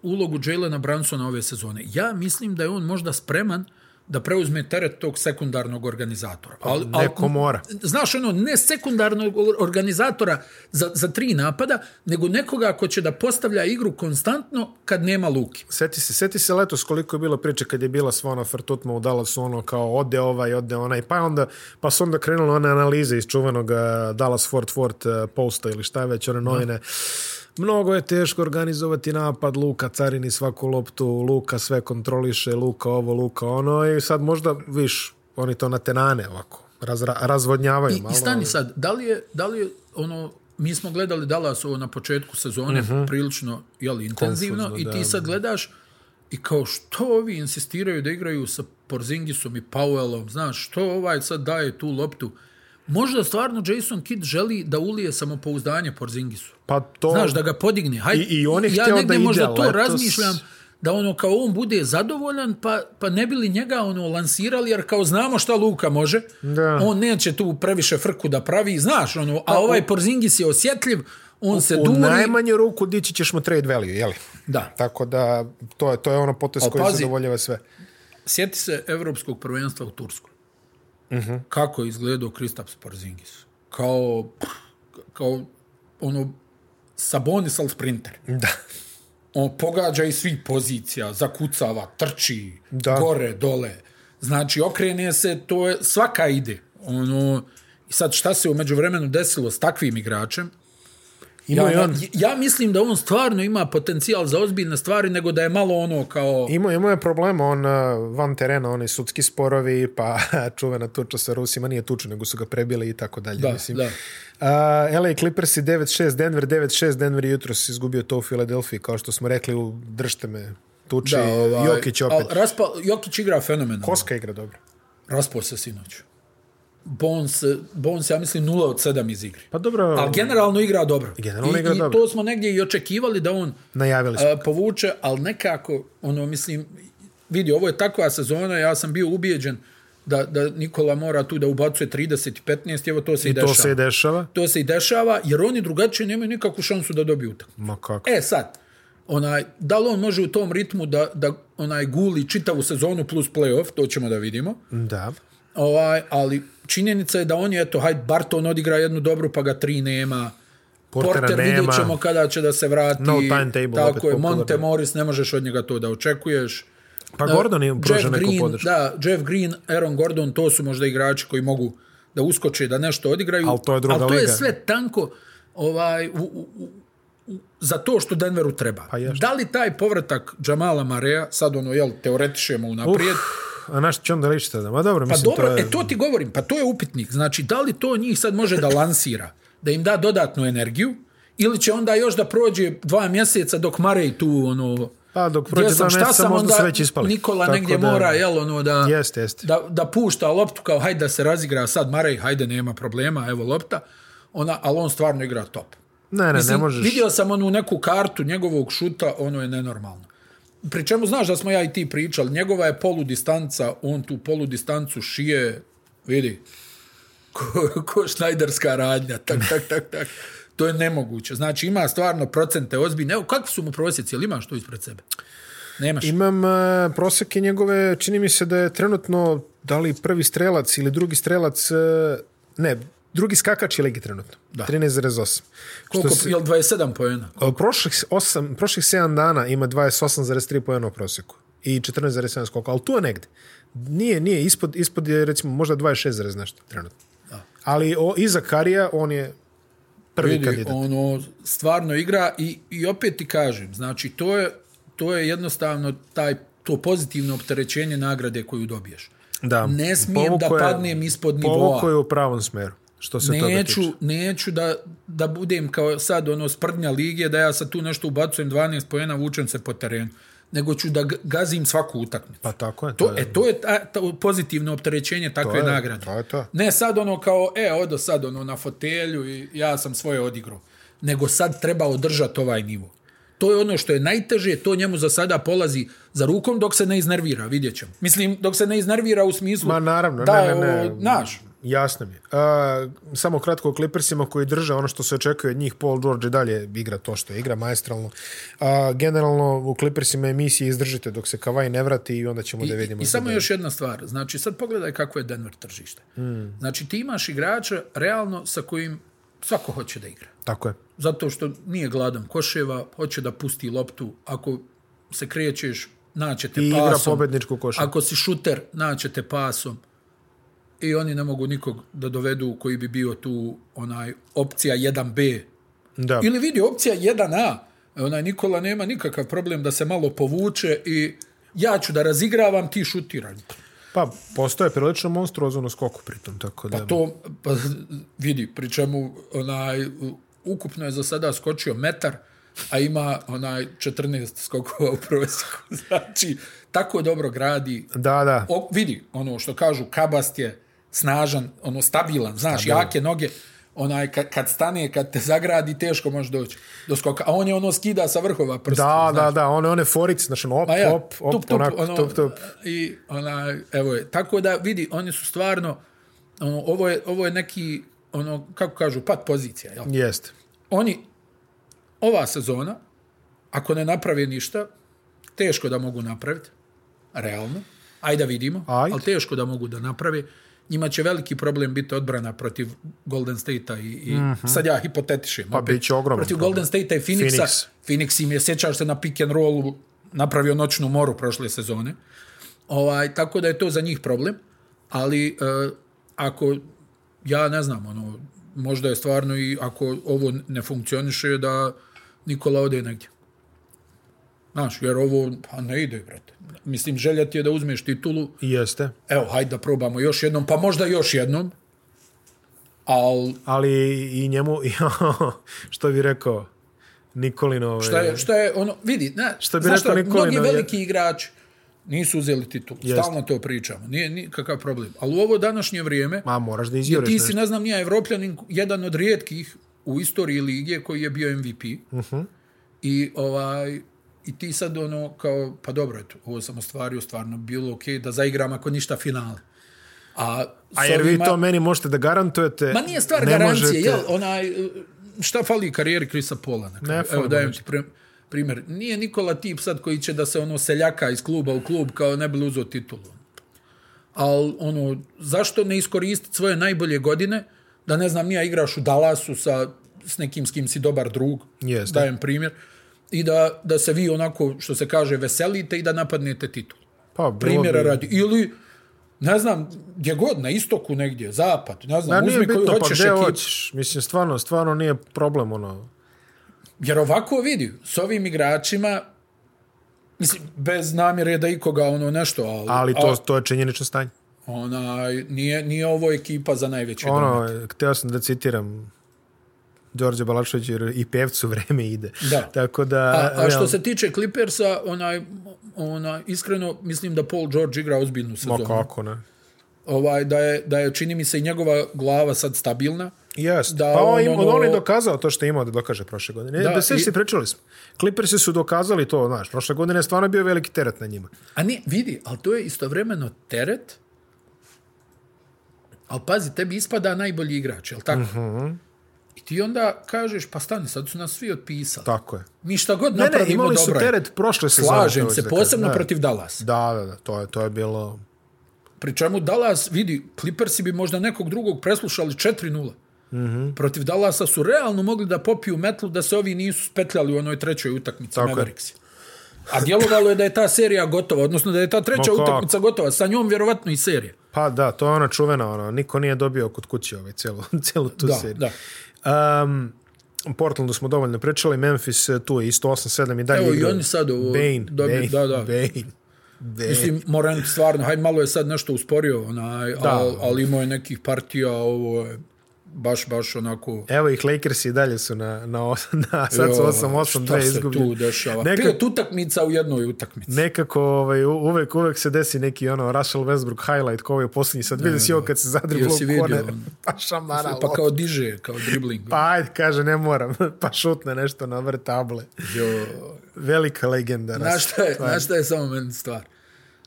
Speaker 2: ulogu Jalena Bransona ove sezone. Ja mislim da je on možda spreman da preuzme teret tog sekundarnog organizatora. Al, al-
Speaker 1: Pa neko mora.
Speaker 2: Znaš, ono, ne sekundarnog organizatora za, za tri napada, nego nekoga ko će da postavlja igru konstantno kad nema Luki.
Speaker 1: Seti se, seti se letos koliko je bilo priče kad je bila sva ona frtutma u Dallasu, ono kao ode ovaj, ode onaj, pa onda, pa su onda krenule one analize iz čuvenog eh, Dallas Fort Fort eh, posta ili šta je već, one novine. Mnogo je teško organizovati napad, Luka carini svaku loptu, Luka sve kontroliše, Luka ovo, Luka ono i sad možda, viš, oni to natenane ovako, razra, razvodnjavaju
Speaker 2: I,
Speaker 1: malo.
Speaker 2: Znači, I stani sad, da li je, da li je ono, mi smo gledali Dallas ovo na početku sezone, prilično jeli, intenzivno,
Speaker 1: Konfuzno,
Speaker 2: i ti
Speaker 1: Mhm. da,
Speaker 2: sad gledaš i kao što ovi insistiraju da igraju sa Porzingisom i Powellom, znaš, što ovaj sad daje tu loptu. Možda stvarno Jason Kidd želi da ulije samopouzdanje Porzingisu.
Speaker 1: Pa to,
Speaker 2: Znaš, da ga podigne. Hajde,
Speaker 1: I- i on je
Speaker 2: ja
Speaker 1: hteo
Speaker 2: negdje
Speaker 1: da ide
Speaker 2: možda to
Speaker 1: letos.
Speaker 2: razmišljam, da ono kao on bude zadovoljan, pa, pa ne bi li njega ono lansirali, jer kao znamo šta Luka može,
Speaker 1: Da. Pa
Speaker 2: on neće tu previše frku da pravi, znaš, ono, a ovaj Porzingis je osjetljiv, on se
Speaker 1: u
Speaker 2: duri,
Speaker 1: najmanju ruku dići ćeš mu trade value, jeli?
Speaker 2: Da.
Speaker 1: Tako da, to je, to je ono potez
Speaker 2: Al
Speaker 1: koji
Speaker 2: pazi.
Speaker 1: zadovoljava sve.
Speaker 2: sjeti se evropskog prvenstva u Tursku.
Speaker 1: Mhm.
Speaker 2: Kako je izgledao Kristaps Porzingis? Kao, kao ono, Sabonis al sprinter.
Speaker 1: Da.
Speaker 2: on pogađa iz svih pozicija, zakucava, trči,
Speaker 1: Da.
Speaker 2: gore, dole. Znači, okrene se, to je, svaka ide. Ono, I sad, šta se umeđu vremenu desilo s takvim igračem?
Speaker 1: Imao je
Speaker 2: ja,
Speaker 1: on-
Speaker 2: ja mislim da on stvarno ima potencijal za ozbiljne stvari, nego da je malo ono kao...
Speaker 1: Imao, imao je problema, on uh, van terena, oni sudski sporovi, pa *laughs* čuvena tuča sa Rusima, nije tuča, nego su ga prebili i tako dalje.
Speaker 2: Da,
Speaker 1: mislim.
Speaker 2: da.
Speaker 1: Uh, LA Clippersi 9-6, Denver 9-6, Denver je jutros izgubio to u Filadelfiji, kao što smo rekli, u držte me tuči, da, ovaj, Jokić opet.
Speaker 2: Al, raspa, Jokić igra fenomenalno.
Speaker 1: Koska igra dobro.
Speaker 2: Raspao se sinoć. Bones, Bones, ja mislim, 0 od 7 iz igre.
Speaker 1: Pa dobro,
Speaker 2: Ali generalno igra dobro.
Speaker 1: Generalno
Speaker 2: I,
Speaker 1: igra
Speaker 2: i
Speaker 1: dobro.
Speaker 2: to smo negdje i očekivali da on
Speaker 1: najavili smo.
Speaker 2: e, povuče, ali nekako, ono, mislim, vidi, ovo je takva sezona, ja sam bio ubijeđen da, da Nikola mora tu da ubacuje 30 i 15, evo to se i,
Speaker 1: I
Speaker 2: dešava.
Speaker 1: to se i dešava.
Speaker 2: to se i dešava, jer oni drugačije nemaju nikakvu šansu da dobiju utakmicu.
Speaker 1: Ma kako.
Speaker 2: E sad, onaj, da li on može u tom ritmu da, da onaj guli čitavu sezonu plus playoff, to ćemo da vidimo.
Speaker 1: Da.
Speaker 2: Ovaj, ali činjenica je da on je, eto, hajde, Barton odigra jednu dobru, pa ga tri nema.
Speaker 1: Portera
Speaker 2: Porter vidjet
Speaker 1: nema.
Speaker 2: ćemo kada će da se vrati.
Speaker 1: No timetable, opet
Speaker 2: Tako je,
Speaker 1: popularno.
Speaker 2: Monte Morris, ne možeš od njega to da očekuješ.
Speaker 1: Pa Gordon je
Speaker 2: Jeff
Speaker 1: pruža neku
Speaker 2: Green,
Speaker 1: podršku.
Speaker 2: Da, Jeff Green, Aaron Gordon, to su možda igrači koji mogu da uskoče, da nešto odigraju.
Speaker 1: Al to je druga
Speaker 2: Al to je
Speaker 1: liga.
Speaker 2: sve tanko ovaj, u, u, u, za to što Denveru treba.
Speaker 1: Pa jeste.
Speaker 2: da li taj povratak Jamala Marea, sad ono, jel, teoretišemo unaprijed,
Speaker 1: Uf, a naš će onda ličiti da, ma dobro,
Speaker 2: Pa
Speaker 1: mislim,
Speaker 2: dobro,
Speaker 1: to je...
Speaker 2: e to ti govorim, pa to je upitnik. Znači, da li to njih sad može da lansira, da im da dodatnu energiju, ili će onda još da prođe dva mjeseca dok Marej tu, ono...
Speaker 1: Pa, dok prođe
Speaker 2: gdje sam,
Speaker 1: dva
Speaker 2: šta
Speaker 1: mjeseca,
Speaker 2: sam,
Speaker 1: možda
Speaker 2: onda
Speaker 1: su već ispali.
Speaker 2: Nikola
Speaker 1: Tako
Speaker 2: negdje
Speaker 1: da-
Speaker 2: mora, jel, ono, da,
Speaker 1: Jeste, jeste.
Speaker 2: da, da pušta loptu kao, hajde da se razigra sad Marej, hajde, nema problema, evo lopta. Ona, ali on stvarno igra top.
Speaker 1: Ne, ne, ne možeš.
Speaker 2: Vidio sam onu neku kartu njegovog šuta, ono je nenormalno. Pri čemu znaš da smo ja i ti pričali, njegova je poludistanca, on tu poludistancu šije, vidi, ko, ko šnajderska radnja, tak, tak, tak, tak. To je nemoguće. Znači ima stvarno procente ozbiljne. Evo, kakvi su mu prosjeci? Jel imaš to ispred sebe? Nemaš.
Speaker 1: Imam uh, proseke njegove, čini mi se da je trenutno, da li prvi strelac ili drugi strelac, uh, ne, drugi skakač je legi trenutno. Da. 13,8.
Speaker 2: Koliko,
Speaker 1: se-
Speaker 2: jel 27 pojena?
Speaker 1: Od Prošlih, osam, prošlih 7 dana ima 28,3 pojena u proseku i 14,7 skoka, ali tu je negde. Nije, nije, ispod, ispod je recimo možda 26, nešto trenutno. Da. Ali o, iza Karija on je prvi
Speaker 2: vidi,
Speaker 1: kandidat.
Speaker 2: ono, stvarno igra i, i opet ti kažem, znači to je, to je jednostavno taj to pozitivno opterećenje nagrade koju dobiješ.
Speaker 1: Da.
Speaker 2: Ne smijem
Speaker 1: Povukao
Speaker 2: da
Speaker 1: je-
Speaker 2: padnem ispod
Speaker 1: Povukao
Speaker 2: nivoa.
Speaker 1: je u pravom smjeru, što se toga
Speaker 2: Neću,
Speaker 1: tiče.
Speaker 2: neću da, da budem kao sad ono sprdnja lige, da ja sad tu nešto ubacujem 12 pojena, vučem se po terenu. Nego ću da g- gazim svaku utakmicu.
Speaker 1: Pa tako je.
Speaker 2: To, e, to je ta, ta, pozitivno opterećenje takve
Speaker 1: je,
Speaker 2: nagrade.
Speaker 1: to je to.
Speaker 2: Ne sad ono kao, e, odo sad ono na fotelju i ja sam svoje odigrao. Nego sad treba održati ovaj nivo. To je ono što je najteže, to njemu za sada polazi za rukom dok se ne iznervira, vidjet ćemo. Mislim, dok se ne iznervira u smislu...
Speaker 1: Ma naravno,
Speaker 2: da,
Speaker 1: ne, ne, ne.
Speaker 2: o, Znaš,
Speaker 1: Jasno mi je. A, samo kratko o Clippersima koji drže ono što se očekuje od njih. Paul George i dalje igra to što igra, maestralno. A, generalno u Clippersima emisije izdržite dok se Kavaj ne vrati i onda ćemo da vidimo.
Speaker 2: I, i
Speaker 1: što
Speaker 2: samo
Speaker 1: da-
Speaker 2: još jedna stvar. Znači, sad pogledaj kako je Denver tržište.
Speaker 1: Hmm.
Speaker 2: Mm. Znači, ti imaš igrača realno sa kojim svako hoće da igra.
Speaker 1: Tako je.
Speaker 2: Zato što nije gladan koševa, hoće da pusti loptu. Ako se krećeš, naće te
Speaker 1: I igra
Speaker 2: pasom.
Speaker 1: pobedničku košarku.
Speaker 2: Ako si šuter, naće te pasom. I oni ne mogu nikog da dovedu koji bi bio tu onaj opcija 1B.
Speaker 1: Da.
Speaker 2: Ili vidi opcija 1A. Onaj Nikola nema nikakav problem da se malo povuče i ja ću da razigravam, ti šutiraj.
Speaker 1: Pa, postoje prilično monstruozno na skoku pritom, tako da...
Speaker 2: Pa to, pa, vidi, pri čemu onaj, ukupno je za sada skočio metar, a ima onaj 14 skokova u prosjeku. *laughs* Znači, tako dobro gradi.
Speaker 1: Da, da.
Speaker 2: O, vidi, ono što kažu, kabast je snažan, ono stabilan, znaš, stabilan. jake noge, onaj kad, kad stane, kad te zagradi, teško može doći do skoka. A on je ono skida sa vrhova prsta.
Speaker 1: Da,
Speaker 2: znaš.
Speaker 1: da, da, one, one forice, znači ono op,
Speaker 2: Pa ja,
Speaker 1: op, op, tup, tup, onako, ono... tup, tup.
Speaker 2: I ona, evo je. Tako da, vidi, oni su stvarno, ono, ovo, je, ovo je neki, ono, kako kažu, pat pozicija. Jel?
Speaker 1: Jeste.
Speaker 2: Oni, ova sezona, ako ne naprave ništa, teško da mogu napraviti, realno. Ajde da vidimo,
Speaker 1: Ajde.
Speaker 2: ali teško da mogu da naprave. Njima će veliki problem biti odbrana protiv Golden State-a i, i
Speaker 1: Mhm.
Speaker 2: sad ja hipotetišem. Pa
Speaker 1: bit će ogroman
Speaker 2: Protiv
Speaker 1: problem.
Speaker 2: Golden State-a i Phoenixa.
Speaker 1: Phoenix.
Speaker 2: Phoenix. Phoenix im je, sjećaš se na pick and rollu, napravio noćnu moru prošle sezone. Ovaj, tako da je to za njih problem. Ali e, ako, ja ne znam, ono, možda je stvarno i ako ovo ne funkcioniše da Nikola ode negdje. Znaš, jer ovo pa ne ide, brate. Mislim, želja ti je da uzmeš titulu,
Speaker 1: Jeste.
Speaker 2: evo, hajde da probamo još jednom, pa možda još jednom, ali
Speaker 1: Ali i njemu, *laughs* što bi rekao, Nikolino... Ovaj,
Speaker 2: Šta je, šta je ono, vidi, ne,
Speaker 1: Šta bi
Speaker 2: znaš
Speaker 1: rekao Nikolina,
Speaker 2: mnogi
Speaker 1: je-
Speaker 2: veliki igrači nisu uzeli titulu. Stalno to pričamo. Nije nikakav problem. Ali u ovo današnje vrijeme,
Speaker 1: Ma, moraš da
Speaker 2: jer
Speaker 1: izjuriš
Speaker 2: ti
Speaker 1: nešto.
Speaker 2: si, ne znam, nija evropljanin, jedan od rijetkih u istoriji lige koji je bio MVP. Uh
Speaker 1: Mhm.
Speaker 2: -huh. I ovaj I ti sad ono kao, pa dobro, eto, ovo sam ostvario, stvarno bi bilo okej okay da zaigram ako ništa finale. A, s
Speaker 1: A jer vi
Speaker 2: ovima-
Speaker 1: to meni možete da garantujete...
Speaker 2: Ma nije stvar
Speaker 1: ne
Speaker 2: garancije,
Speaker 1: možete-
Speaker 2: jel, onaj, uh, šta fali karijeri Krisa Pola? Na kraju?
Speaker 1: Ne
Speaker 2: Evo
Speaker 1: fali
Speaker 2: dajem ti prim, primjer. Nije Nikola tip sad koji će da se ono seljaka iz kluba u klub kao ne bi li uzeo titulu. Ali ono, zašto ne iskoristiti svoje najbolje godine da ne znam, nija igraš u Dallasu sa, s nekim s kim si dobar drug,
Speaker 1: Jeste.
Speaker 2: dajem primjer, i da, da se vi onako, što se kaže, veselite i da napadnete titulu
Speaker 1: Pa, bilo
Speaker 2: primjera
Speaker 1: bi-
Speaker 2: radi. Ili, ne znam, gdje god, na istoku negdje, zapad, ne
Speaker 1: Ma
Speaker 2: znam,
Speaker 1: nije
Speaker 2: uzmi koju
Speaker 1: bitno, pa
Speaker 2: hoćeš
Speaker 1: gde
Speaker 2: ekipu.
Speaker 1: hoćeš. Mislim, stvarno, stvarno nije problem, ono...
Speaker 2: Jer ovako vidi, s ovim igračima, mislim, bez namjere da ikoga ono nešto, ali,
Speaker 1: Ali to,
Speaker 2: a,
Speaker 1: to je činjenično stanje.
Speaker 2: onaj, nije, nije ovo ekipa za najveće ono,
Speaker 1: Ono, hteo sam da citiram Đorđe Balašović, jer i pevcu *laughs* vreme ide.
Speaker 2: Da.
Speaker 1: Tako da...
Speaker 2: A, a što
Speaker 1: e, realno-
Speaker 2: se tiče Clippersa, onaj, onaj, iskreno mislim da Paul George igra ozbiljnu
Speaker 1: Ma
Speaker 2: sezonu.
Speaker 1: kako, ne?
Speaker 2: Ovaj, da, je, da je, čini mi se, i njegova glava sad stabilna.
Speaker 1: Jest, da
Speaker 2: Da
Speaker 1: pa on,
Speaker 2: on,
Speaker 1: im,
Speaker 2: ono-
Speaker 1: on je dokazao to što je imao da dokaže prošle godine. Da,
Speaker 2: Da,
Speaker 1: da se
Speaker 2: i-
Speaker 1: i... pričali smo. Clippersi su dokazali to, znaš, prošle godine je stvarno bio veliki teret na njima.
Speaker 2: A ne, vidi, ali to je istovremeno teret, ali pazi, tebi ispada najbolji igrač, jel tako?
Speaker 1: Mhm.
Speaker 2: I ti onda kažeš, pa stani, sad su nas svi otpisali.
Speaker 1: Tako je.
Speaker 2: Mi šta god
Speaker 1: Ne, ne,
Speaker 2: napravimo,
Speaker 1: imali su
Speaker 2: dobro je.
Speaker 1: teret prošle sezone.
Speaker 2: Slažem
Speaker 1: hoću
Speaker 2: se,
Speaker 1: da kažem.
Speaker 2: posebno
Speaker 1: Da.
Speaker 2: protiv Dallas.
Speaker 1: Da, da, da, to je, to je bilo...
Speaker 2: Pri čemu Dallas, vidi, Clippersi bi možda nekog drugog preslušali 4-0. Mm
Speaker 1: Mhm.
Speaker 2: -hmm. Protiv Dallasa su realno mogli da popiju metlu da se ovi nisu spetljali u onoj trećoj utakmici
Speaker 1: Tako je.
Speaker 2: Mavericksi. A djelovalo je da je ta serija gotova, odnosno da je ta treća
Speaker 1: Ma kako?
Speaker 2: utakmica gotova. Sa njom vjerovatno i serija.
Speaker 1: Pa da, to je ona čuvena, ono, niko nije dobio kod kuće ovaj *laughs* celu, celu tu
Speaker 2: Da,
Speaker 1: seriju.
Speaker 2: da.
Speaker 1: Um, o Portlandu smo dovoljno pričali, Memphis eh, tu je isto 8-7 i dalje
Speaker 2: Evo i
Speaker 1: igraju.
Speaker 2: oni sad ovo
Speaker 1: Bane,
Speaker 2: dobi-
Speaker 1: Bane,
Speaker 2: da, da.
Speaker 1: Bane. De,
Speaker 2: Mislim, Morant stvarno, haj malo je sad nešto usporio, onaj,
Speaker 1: E. Da.
Speaker 2: al, ali imao je nekih partija, ovo je baš, baš onako...
Speaker 1: Evo ih Lakers i dalje su na, na, os- *laughs* na sad su
Speaker 2: Jo,
Speaker 1: 8-8,
Speaker 2: Šta
Speaker 1: dve
Speaker 2: se tu
Speaker 1: izgubljene.
Speaker 2: dešava?
Speaker 1: Neka-
Speaker 2: Neka... Pet utakmica u jednoj utakmici.
Speaker 1: Nekako ovaj, u- uvek, uvek se desi neki ono Russell Westbrook highlight ko je posljednji. Sad vidio si ovo kad se zadriblo
Speaker 2: Jesi
Speaker 1: u kone, *laughs*
Speaker 2: vidio ono?
Speaker 1: pa šamara
Speaker 2: Pa kao diže, kao dribling.
Speaker 1: Pa ajde, kaže, ne moram. *laughs* Pa šutne nešto na vrh table.
Speaker 2: Jo.
Speaker 1: Velika legenda.
Speaker 2: Znaš šta je, znaš šta je samo meni stvar?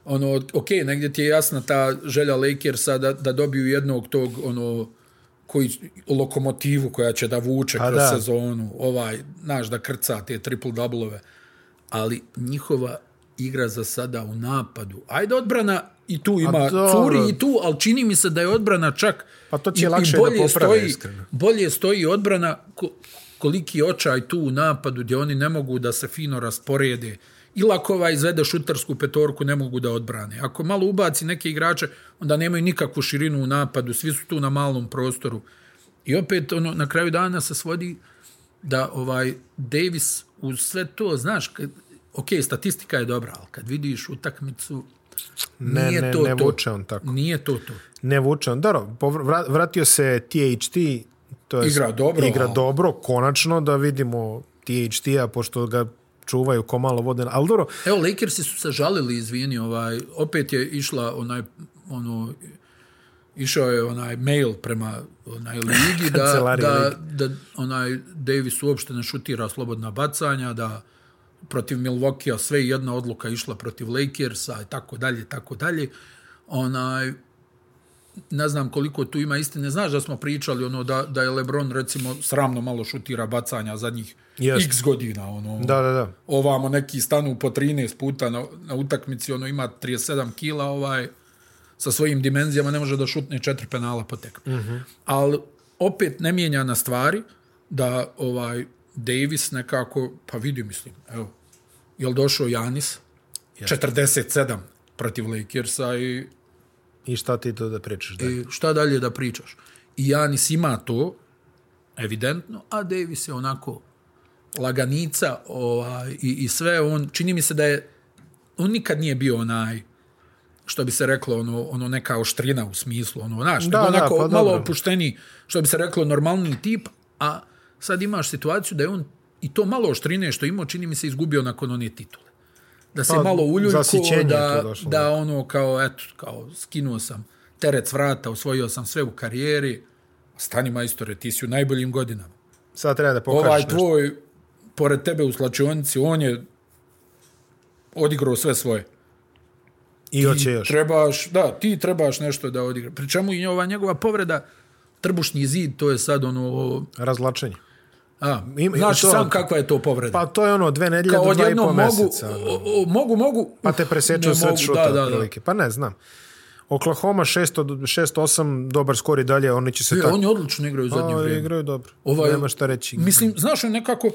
Speaker 2: Ono, ok, negdje ti je jasna ta želja Lakersa da, da dobiju jednog tog, ono, koji, lokomotivu koja će da vuče
Speaker 1: Pa
Speaker 2: kroz
Speaker 1: da.
Speaker 2: sezonu, ovaj, znaš, da krca te triple-doublove. Ali njihova igra za sada u napadu. Ajde, odbrana i tu ima,
Speaker 1: dobro.
Speaker 2: curi i tu, ali čini mi se da je odbrana čak...
Speaker 1: Pa to će
Speaker 2: i- i
Speaker 1: lakše da
Speaker 2: bolje
Speaker 1: poprave,
Speaker 2: stoji-
Speaker 1: iskreno.
Speaker 2: bolje stoji odbrana ko- koliki očaj tu u napadu gdje oni ne mogu da se fino rasporede. Ili ako ovaj izvede šutarsku petorku, ne mogu da odbrane. Ako malo ubaci neke igrače, onda nemaju nikakvu širinu u napadu, svi su tu na malom prostoru. I opet ono na kraju dana se svodi da ovaj Davis uz sve to, znaš, kad, ok, statistika je dobra, ali kad vidiš utakmicu,
Speaker 1: Ne,
Speaker 2: nije
Speaker 1: ne,
Speaker 2: to
Speaker 1: ne
Speaker 2: to.
Speaker 1: vuče on tako.
Speaker 2: Nije to to.
Speaker 1: Ne vuče on. Dobro, povr- vra- vratio se THT. To je
Speaker 2: Igra dobro,
Speaker 1: Igra
Speaker 2: ali-
Speaker 1: dobro, konačno da vidimo THT-a, pošto ga čuvaju ko malo vode. Ali dobro,
Speaker 2: Evo, Lakersi su se žalili, izvini, ovaj, opet je išla onaj, ono, išao je onaj mail prema onaj
Speaker 1: *laughs*
Speaker 2: ligi da,
Speaker 1: Kancelariji
Speaker 2: da, da onaj Davis uopšte ne šutira slobodna bacanja, da protiv Milwaukee-a sve jedna odluka išla protiv Lakersa i tako dalje, tako dalje. Onaj, ne znam koliko tu ima istine. Znaš da smo pričali ono da, da je LeBron recimo sramno malo šutira bacanja zadnjih
Speaker 1: Jest.
Speaker 2: x godina. Ono,
Speaker 1: da, da, da.
Speaker 2: ovamo neki stanu po 13 puta na, na utakmici, ono ima 37 kila, ovaj, sa svojim dimenzijama ne može da šutne četiri penala po tekmi. Mm -hmm. Ali opet ne mijenja na stvari da ovaj Davis nekako, pa vidi mislim, evo, jel došao Janis? 47 protiv Lakersa i
Speaker 1: I šta ti to da pričaš? Da?
Speaker 2: i E, šta dalje da pričaš. I Janis ima to, evidentno, a Davis je onako laganica ovaj, i, i sve. On, čini mi se da je, on nikad nije bio onaj, što bi se reklo, ono, ono neka oštrina u smislu, ono, znaš,
Speaker 1: Da,
Speaker 2: da,
Speaker 1: da,
Speaker 2: onako
Speaker 1: pa
Speaker 2: da, pa, malo
Speaker 1: dobro.
Speaker 2: opušteni, što bi se reklo, normalni tip, a sad imaš situaciju da je on i to malo oštrine što je imao, čini mi se, izgubio nakon one titule. Da se
Speaker 1: Pa,
Speaker 2: pa, malo uljuljko,
Speaker 1: zasićenje je to
Speaker 2: da,
Speaker 1: došlo,
Speaker 2: da da ono kao eto kao skinuo sam teret s vrata, osvojio sam sve u karijeri. Stani majstore, ti si u najboljim godinama.
Speaker 1: Sad treba da pokažeš
Speaker 2: Ovaj
Speaker 1: nešto.
Speaker 2: tvoj pored tebe u slačionici, on je odigrao sve svoje.
Speaker 1: I hoće još.
Speaker 2: Trebaš, da, ti trebaš nešto da odigra. Pri čemu i ova njegova povreda trbušni zid, to je sad ono
Speaker 1: Razlačenje.
Speaker 2: a,
Speaker 1: Ima-
Speaker 2: Ima, znaš
Speaker 1: to-
Speaker 2: to, sam kakva je to povreda.
Speaker 1: Pa to je ono, dve nedelje
Speaker 2: kao
Speaker 1: do dva i
Speaker 2: odjednom
Speaker 1: pol
Speaker 2: mogu,
Speaker 1: meseca. ono.
Speaker 2: o, o, mogu, mogu.
Speaker 1: Pa te preseču
Speaker 2: ne
Speaker 1: sred
Speaker 2: mogu,
Speaker 1: šuta,
Speaker 2: da, da, da.
Speaker 1: otprilike. Pa ne znam. Oklahoma 600 do- 6-8, dobar skor i dalje, oni će se
Speaker 2: E,
Speaker 1: tako...
Speaker 2: Oni odlično igraju u zadnje
Speaker 1: Oni
Speaker 2: vrijeme.
Speaker 1: igraju dobro.
Speaker 2: Ovaj-
Speaker 1: Nema šta reći.
Speaker 2: Mislim, znaš, on nekako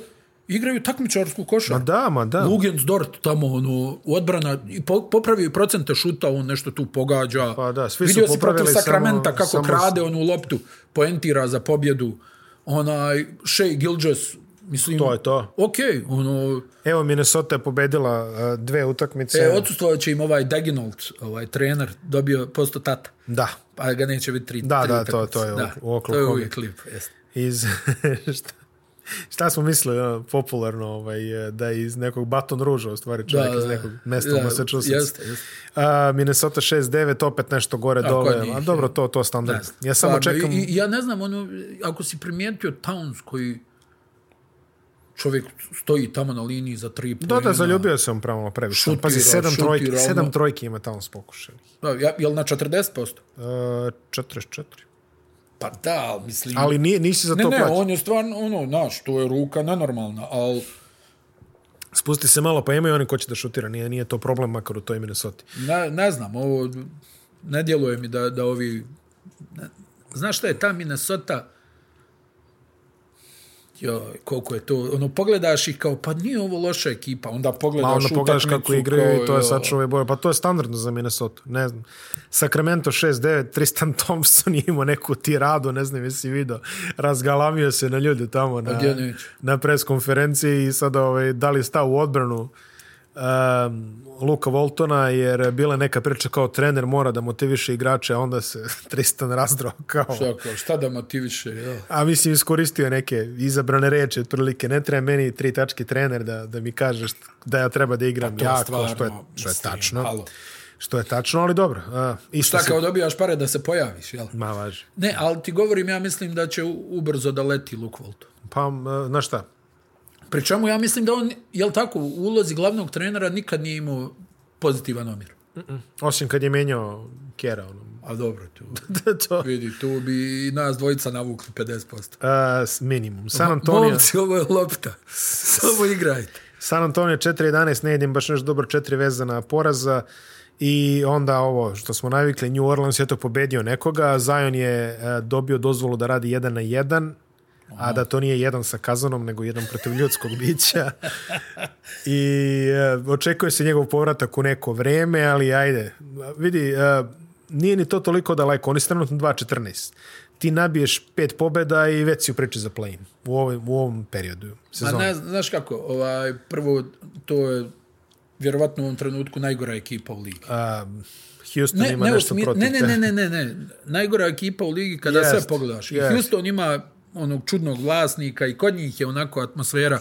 Speaker 2: igraju takmičarsku
Speaker 1: Ma
Speaker 2: košarku.
Speaker 1: da, ma da.
Speaker 2: Lugens Dort tamo ono u odbrana i po, popravio i procente šuta, on nešto tu pogađa.
Speaker 1: Pa da, svi su
Speaker 2: Vidio si protiv
Speaker 1: popravili
Speaker 2: Sakramenta
Speaker 1: samo-
Speaker 2: kako
Speaker 1: samo-
Speaker 2: krade onu loptu, poentira za pobjedu. Onaj Shea Gilgeous, mislim
Speaker 1: To je to.
Speaker 2: Okej, ono
Speaker 1: Evo, Minnesota je pobedila a, dve utakmice.
Speaker 2: e, odsustvovao će im ovaj Daginolt, ovaj trener dobio posto tata.
Speaker 1: Da,
Speaker 2: Pa ga neće biti tri.
Speaker 1: Da,
Speaker 2: tri
Speaker 1: da, to-
Speaker 2: utakmice.
Speaker 1: to je u-
Speaker 2: da,
Speaker 1: u
Speaker 2: To je
Speaker 1: Oklahoma.
Speaker 2: uvijek klip, jeste.
Speaker 1: iz... *laughs* šta, šta smo mislili ono, popularno, ovaj, e, da je iz nekog Baton Ruža, u stvari čovjek
Speaker 2: Da,
Speaker 1: iz
Speaker 2: da.
Speaker 1: nekog mesta u
Speaker 2: Da,
Speaker 1: Massachusetts.
Speaker 2: jeste, jeste.
Speaker 1: A, Minnesota 6-9, opet nešto gore dole.
Speaker 2: njih,
Speaker 1: A dobro, to, to
Speaker 2: Ne
Speaker 1: standard.
Speaker 2: znam,
Speaker 1: Ja samo
Speaker 2: stvarno.
Speaker 1: čekam...
Speaker 2: I, i, ja ne znam, ono, ako si primijetio Towns koji čovjek stoji tamo na liniji za tri
Speaker 1: Da,
Speaker 2: pojena.
Speaker 1: da, zaljubio sam pravo previše.
Speaker 2: Šutira,
Speaker 1: Pazi, sedam
Speaker 2: šutira,
Speaker 1: trojki,
Speaker 2: ono.
Speaker 1: sedam trojki ima Towns pokušenih.
Speaker 2: Da, ja- Jel na 40%?
Speaker 1: Uh, 44.
Speaker 2: Pa da, ali mislim...
Speaker 1: Ali nije, nisi za
Speaker 2: ne,
Speaker 1: to
Speaker 2: ne,
Speaker 1: plaća.
Speaker 2: on je stvarno, ono, znaš, to je ruka nenormalna, ali
Speaker 1: Spusti se malo, pa imaju oni ko će da šutira. Nije, nije to problem, makar u toj Minnesota.
Speaker 2: ne, ne znam, ovo ne djeluje mi da, da ovi... Ne, znaš šta je ta Minnesota... Joj, koliko je to... Ono, pogledaš ih kao, pa nije ovo loša ekipa, onda pogledaš
Speaker 1: Pa onda pogledaš
Speaker 2: utakmicu
Speaker 1: kako igraju i
Speaker 2: kao,
Speaker 1: to je
Speaker 2: joj.
Speaker 1: sad čuve boje. Pa to je standardno za Minnesota. Ne znam. Sacramento 6-9, Tristan Thompson je imao neku tiradu, ne znam jesi vidio. Razgalamio se na ljude tamo na,
Speaker 2: gdje neće?
Speaker 1: na preskonferenciji i sada ovaj, da li sta u odbranu um, Luka Voltona, jer bila je neka priča kao trener mora da motiviše igrače, a onda se *laughs* Tristan razdrao kao...
Speaker 2: Šta, kao, šta da motiviše, jel?
Speaker 1: A mislim, iskoristio je neke izabrane reči, otprilike, ne treba meni tri tačke trener da, da mi kažeš da ja treba da
Speaker 2: Pa
Speaker 1: igram jako, što je, što je
Speaker 2: mislim,
Speaker 1: tačno.
Speaker 2: halo.
Speaker 1: Što je tačno, ali dobro. A, isto
Speaker 2: Šta
Speaker 1: se-
Speaker 2: kao dobijaš pare da se pojaviš, jel?
Speaker 1: Ma važi.
Speaker 2: Ne, ali ti govorim, ja mislim da će u- ubrzo da leti Luke Walton.
Speaker 1: Pa, m, znaš šta,
Speaker 2: Pri čemu ja mislim da on, jel tako, u ulozi glavnog trenera nikad nije imao pozitivan omjer.
Speaker 1: osim kad je menjao Kjera, ono, *laughs*
Speaker 2: A dobro, *laughs* tu,
Speaker 1: to
Speaker 2: vidi, tu bi i nas dvojica navukli *laughs* 50%.
Speaker 1: Uh, s minimum. San Antonio,
Speaker 2: Momci, ovo je *laughs* lopta. Samo igrajte.
Speaker 1: San Antonio 4-11, ne idem baš nešto dobro, četiri vezana poraza i onda ovo što smo navikli, New Orleans je to pobedio nekoga, Zion je uh, dobio dozvolu da radi jedan na jedan, a da to nije jedan sa kazanom, nego jedan protiv ljudskog *laughs* bića. I uh, očekuje se njegov povratak u neko vreme, ali ajde, vidi, uh, nije ni to toliko daleko, oni su trenutno 2-14. Ti nabiješ pet pobjeda i već si u priči za play-in u, ovoj, u ovom periodu
Speaker 2: Ma
Speaker 1: sezone.
Speaker 2: ne, znaš kako, ovaj, prvo, to je vjerovatno u ovom trenutku najgora ekipa u ligi.
Speaker 1: Um, Houston
Speaker 2: Ne,
Speaker 1: ima
Speaker 2: ne,
Speaker 1: nešto
Speaker 2: osmi-
Speaker 1: protiv
Speaker 2: ne, ne, ne,
Speaker 1: te-
Speaker 2: ne, ne, ne. Najgora ekipa u ligi kada
Speaker 1: Jest,
Speaker 2: sve pogledaš. I
Speaker 1: jest.
Speaker 2: Houston ima onog čudnog vlasnika i kod njih je onako atmosfera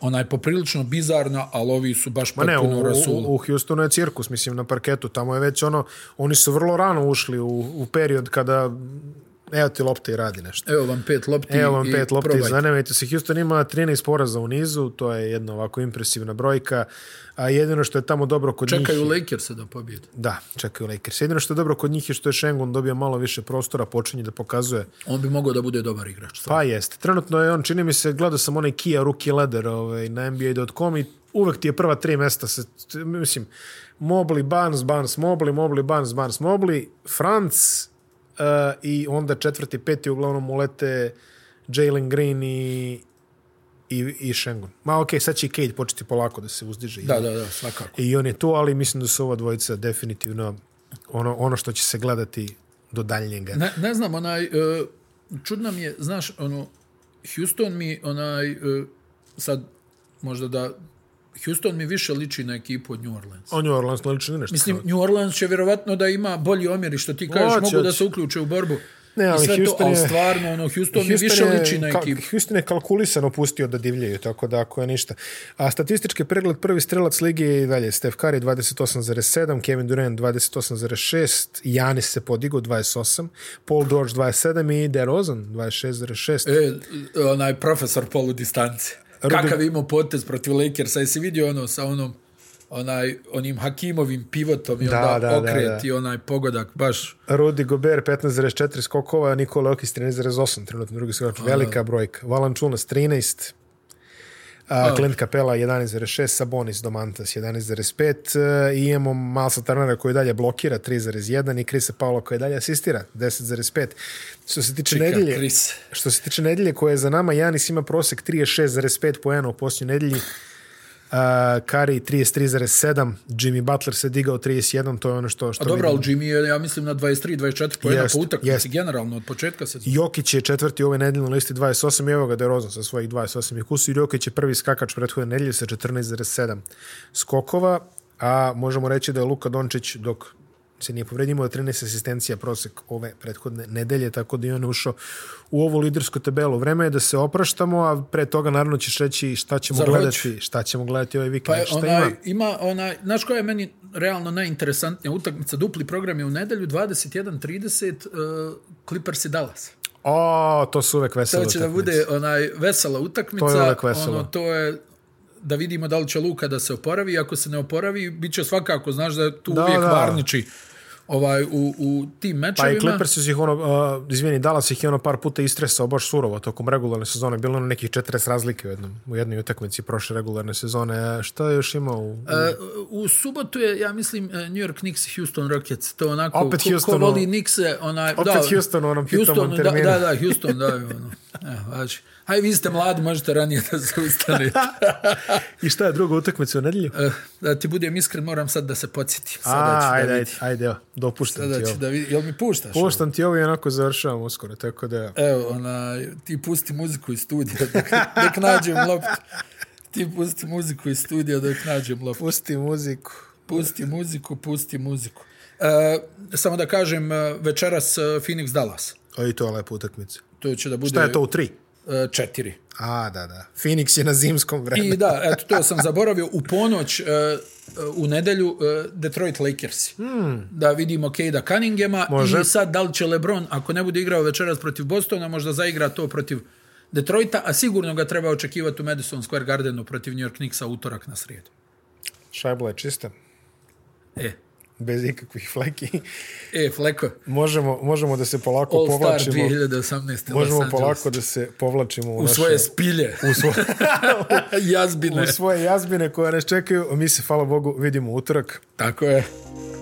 Speaker 2: onaj poprilično bizarna, ali ovi su baš
Speaker 1: Ma ne, u,
Speaker 2: potpuno rasulu.
Speaker 1: u, u Houstonu je cirkus, mislim, na parketu. Tamo je već ono, oni su vrlo rano ušli u, u period kada evo ti lopte i radi nešto.
Speaker 2: Evo vam pet lopti
Speaker 1: Evo vam
Speaker 2: i
Speaker 1: pet lopti,
Speaker 2: probajte.
Speaker 1: zanemajte se. Houston ima 13 poraza u nizu, to je jedna ovako impresivna brojka, a jedino što je tamo dobro kod njih...
Speaker 2: Čekaju Lakers da pobjede.
Speaker 1: Da, čekaju Lakers. Jedino što je dobro kod njih je što je Šengon dobio malo više prostora, počinje da pokazuje
Speaker 2: On bi mogao da bude dobar igrač.
Speaker 1: Pa jeste. Trenutno je on, čini mi se, gledao sam onaj Kia Rookie Ladder ovaj, na NBA.com i uvek ti je prva tri mesta. Se, t- mislim, Mobli, Barnes, Barnes, Mobli, Mobli, Barnes, Barnes, Mobli, Franc uh, i onda četvrti, peti uglavnom ulete Jalen Green i, i, i Shengun. Ma okej, okay, sad će i Cade početi polako da se uzdiže.
Speaker 2: Da, da, da, svakako.
Speaker 1: I on je tu, ali mislim da su ova dvojica definitivno ono, ono što će se gledati do daljnjega.
Speaker 2: Ne, ne znam, onaj, e, čudno mi je, znaš, ono, Houston mi, onaj, e, sad, možda da, Houston mi više liči na ekipu od New Orleans.
Speaker 1: On je Orleans, ne liči ni nešto.
Speaker 2: Mislim, New Orleans će vjerovatno da ima bolji omjer i što ti kažeš,
Speaker 1: Hoće,
Speaker 2: mogu da
Speaker 1: hoće.
Speaker 2: se uključe u borbu.
Speaker 1: Ne, ali
Speaker 2: I sve
Speaker 1: Houston
Speaker 2: to, ali
Speaker 1: je-
Speaker 2: stvarno, ono, Houston, mi
Speaker 1: Houston
Speaker 2: više
Speaker 1: je
Speaker 2: liči na
Speaker 1: kal-
Speaker 2: ekipu.
Speaker 1: Houston je kalkulisano pustio da divljaju, tako da ako je ništa. A statistički pregled prvi strelac ligi je i dalje Steph Curry 28,7, Kevin Durant 28,6, Janis se podigao 28, Paul George 27 i DeRozan 26,6.
Speaker 2: E, onaj profesor polu distance. Kakav je imao potez protiv Lakersa, jesi vidio ono sa onom onaj, onim Hakimovim pivotom i onda
Speaker 1: da, da,
Speaker 2: okret
Speaker 1: da.
Speaker 2: i onaj pogodak, baš
Speaker 1: Rudy Gobert 15,4 skokova, Nikola Jokic 13,8 trenutno drugi skok. Velika brojka. Valančunas 13, a, Clint Capela 11,6, Sabonis Domantas 11,5 e, i imamo Malsa Turnera koji dalje blokira 3,1 i Krisa Paula koji dalje asistira 10,5. Što se tiče
Speaker 2: čika
Speaker 1: nedelje,
Speaker 2: Kris.
Speaker 1: Što se tiče nedelje koja je za nama, Janis ima prosek 36,5 poena u posljednjoj nedelji. Uh, Kari 33,7, Jimmy Butler se digao 31, to je ono što, što
Speaker 2: A dobro, ali
Speaker 1: vidimo.
Speaker 2: Jimmy je, ja mislim, na 23-24 pojena
Speaker 1: Jest,
Speaker 2: po utakmici,
Speaker 1: jest.
Speaker 2: generalno, od početka sezona.
Speaker 1: Jokić je četvrti ove nedelje na listi 28 i evo ga DeRozan sa svojih 28 i kusu. Jokić je prvi skakač prethodne nedelje sa 14,7 skokova, a možemo reći da je Luka Dončić dok se nije povredio imao je 13 asistencija prosek ove prethodne nedelje, tako da je on ušao u ovu lidersku tabelu. Vreme je da se opraštamo, a pre toga naravno ćeš reći šta ćemo
Speaker 2: Zar hoću?
Speaker 1: gledati, šta ćemo gledati ovaj
Speaker 2: Pa
Speaker 1: vikend,
Speaker 2: je
Speaker 1: šta
Speaker 2: onaj,
Speaker 1: ima.
Speaker 2: ima? ima onaj, znaš koja je meni realno najinteresantnija utakmica? Dupli program je u nedelju, 21.30, uh, Clippers i Dallas.
Speaker 1: O, to su uvek vesele
Speaker 2: To će da
Speaker 1: utakmice.
Speaker 2: bude onaj vesela utakmica.
Speaker 1: To je uvek veselo.
Speaker 2: Ono, to je da vidimo da li će Luka da se oporavi. Ako se ne oporavi, bit će svakako, znaš da je tu
Speaker 1: Da,
Speaker 2: da, uvijek
Speaker 1: da.
Speaker 2: da. varniči ovaj, u, u tim
Speaker 1: Pa
Speaker 2: mečevima.
Speaker 1: i Clippers ih ono, uh, izvini, Dallas ih je ono par puta istresao baš surovo tokom regularne sezone. Bilo je ono nekih 40 razlike u, jednom, u jednoj utakmici prošle regularne sezone. E, Šta je još imao? U...
Speaker 2: E, u subotu je, ja mislim, e, New York Knicks i Houston Rockets. To je onako,
Speaker 1: Opet
Speaker 2: ko,
Speaker 1: Houston,
Speaker 2: ko voli
Speaker 1: ono.
Speaker 2: Knickse, onaj...
Speaker 1: Opet Houston u onom pitomom
Speaker 2: Houston, da,
Speaker 1: terminu.
Speaker 2: da, da, Houston, da. je Ono. *laughs* Evo, znači. Aj, vi ste mladi, možete ranije da se
Speaker 1: *laughs*
Speaker 2: ustanete.
Speaker 1: I šta je druga utakmica u nedelju?
Speaker 2: E, da ti budem iskren, moram sad da se podsjetim. Sada
Speaker 1: A,
Speaker 2: ću
Speaker 1: ajde,
Speaker 2: da
Speaker 1: ajde,
Speaker 2: vidim.
Speaker 1: ajde, evo, dopuštam
Speaker 2: Sada
Speaker 1: ti
Speaker 2: ću
Speaker 1: ovo.
Speaker 2: da vidim. Jel mi puštaš? ovo?
Speaker 1: Puštam ti ovo i onako završavam uskoro,
Speaker 2: E,
Speaker 1: tako da...
Speaker 2: Evo, ona, ti pusti muziku iz studija, dok, dok nađem loptu. Ti pusti muziku iz studija dok nađem loptu.
Speaker 1: Pusti muziku.
Speaker 2: Pusti muziku, pusti muziku. E, samo da kažem, e, večeras e, Phoenix Dallas.
Speaker 1: O, i to je lepa utakmica.
Speaker 2: To će da bude
Speaker 1: Šta je to u tri?
Speaker 2: E, četiri.
Speaker 1: A, da, da. Phoenix je na zimskom vremenu.
Speaker 2: I da, eto, to sam zaboravio. U ponoć, e, e, u nedelju, e, Detroit Lakersi. Hmm. Da vidimo Kejda Cunninghama.
Speaker 1: Može.
Speaker 2: I sad, da li će LeBron, ako ne bude igrao večeras protiv Bostona, možda zaigra to protiv Detroita, a sigurno ga treba očekivati u Madison Square Gardenu protiv New York Knicksa utorak na srijedu.
Speaker 1: Šajbla je čista.
Speaker 2: E,
Speaker 1: Bez ikakvih fleki. *laughs*
Speaker 2: e Fleko,
Speaker 1: Možemo, možemo da se polako
Speaker 2: All Star
Speaker 1: povlačimo.
Speaker 2: 2018.
Speaker 1: Možemo
Speaker 2: Los Angeles.
Speaker 1: polako da se povlačimo *laughs* u,
Speaker 2: U svoje *laughs*
Speaker 1: naše,
Speaker 2: spilje,
Speaker 1: u, svoje,
Speaker 2: jazbine.
Speaker 1: u svoje jazbine koje nas čekaju. Mi se, hvala Bogu, vidimo utorak.
Speaker 2: Tako je.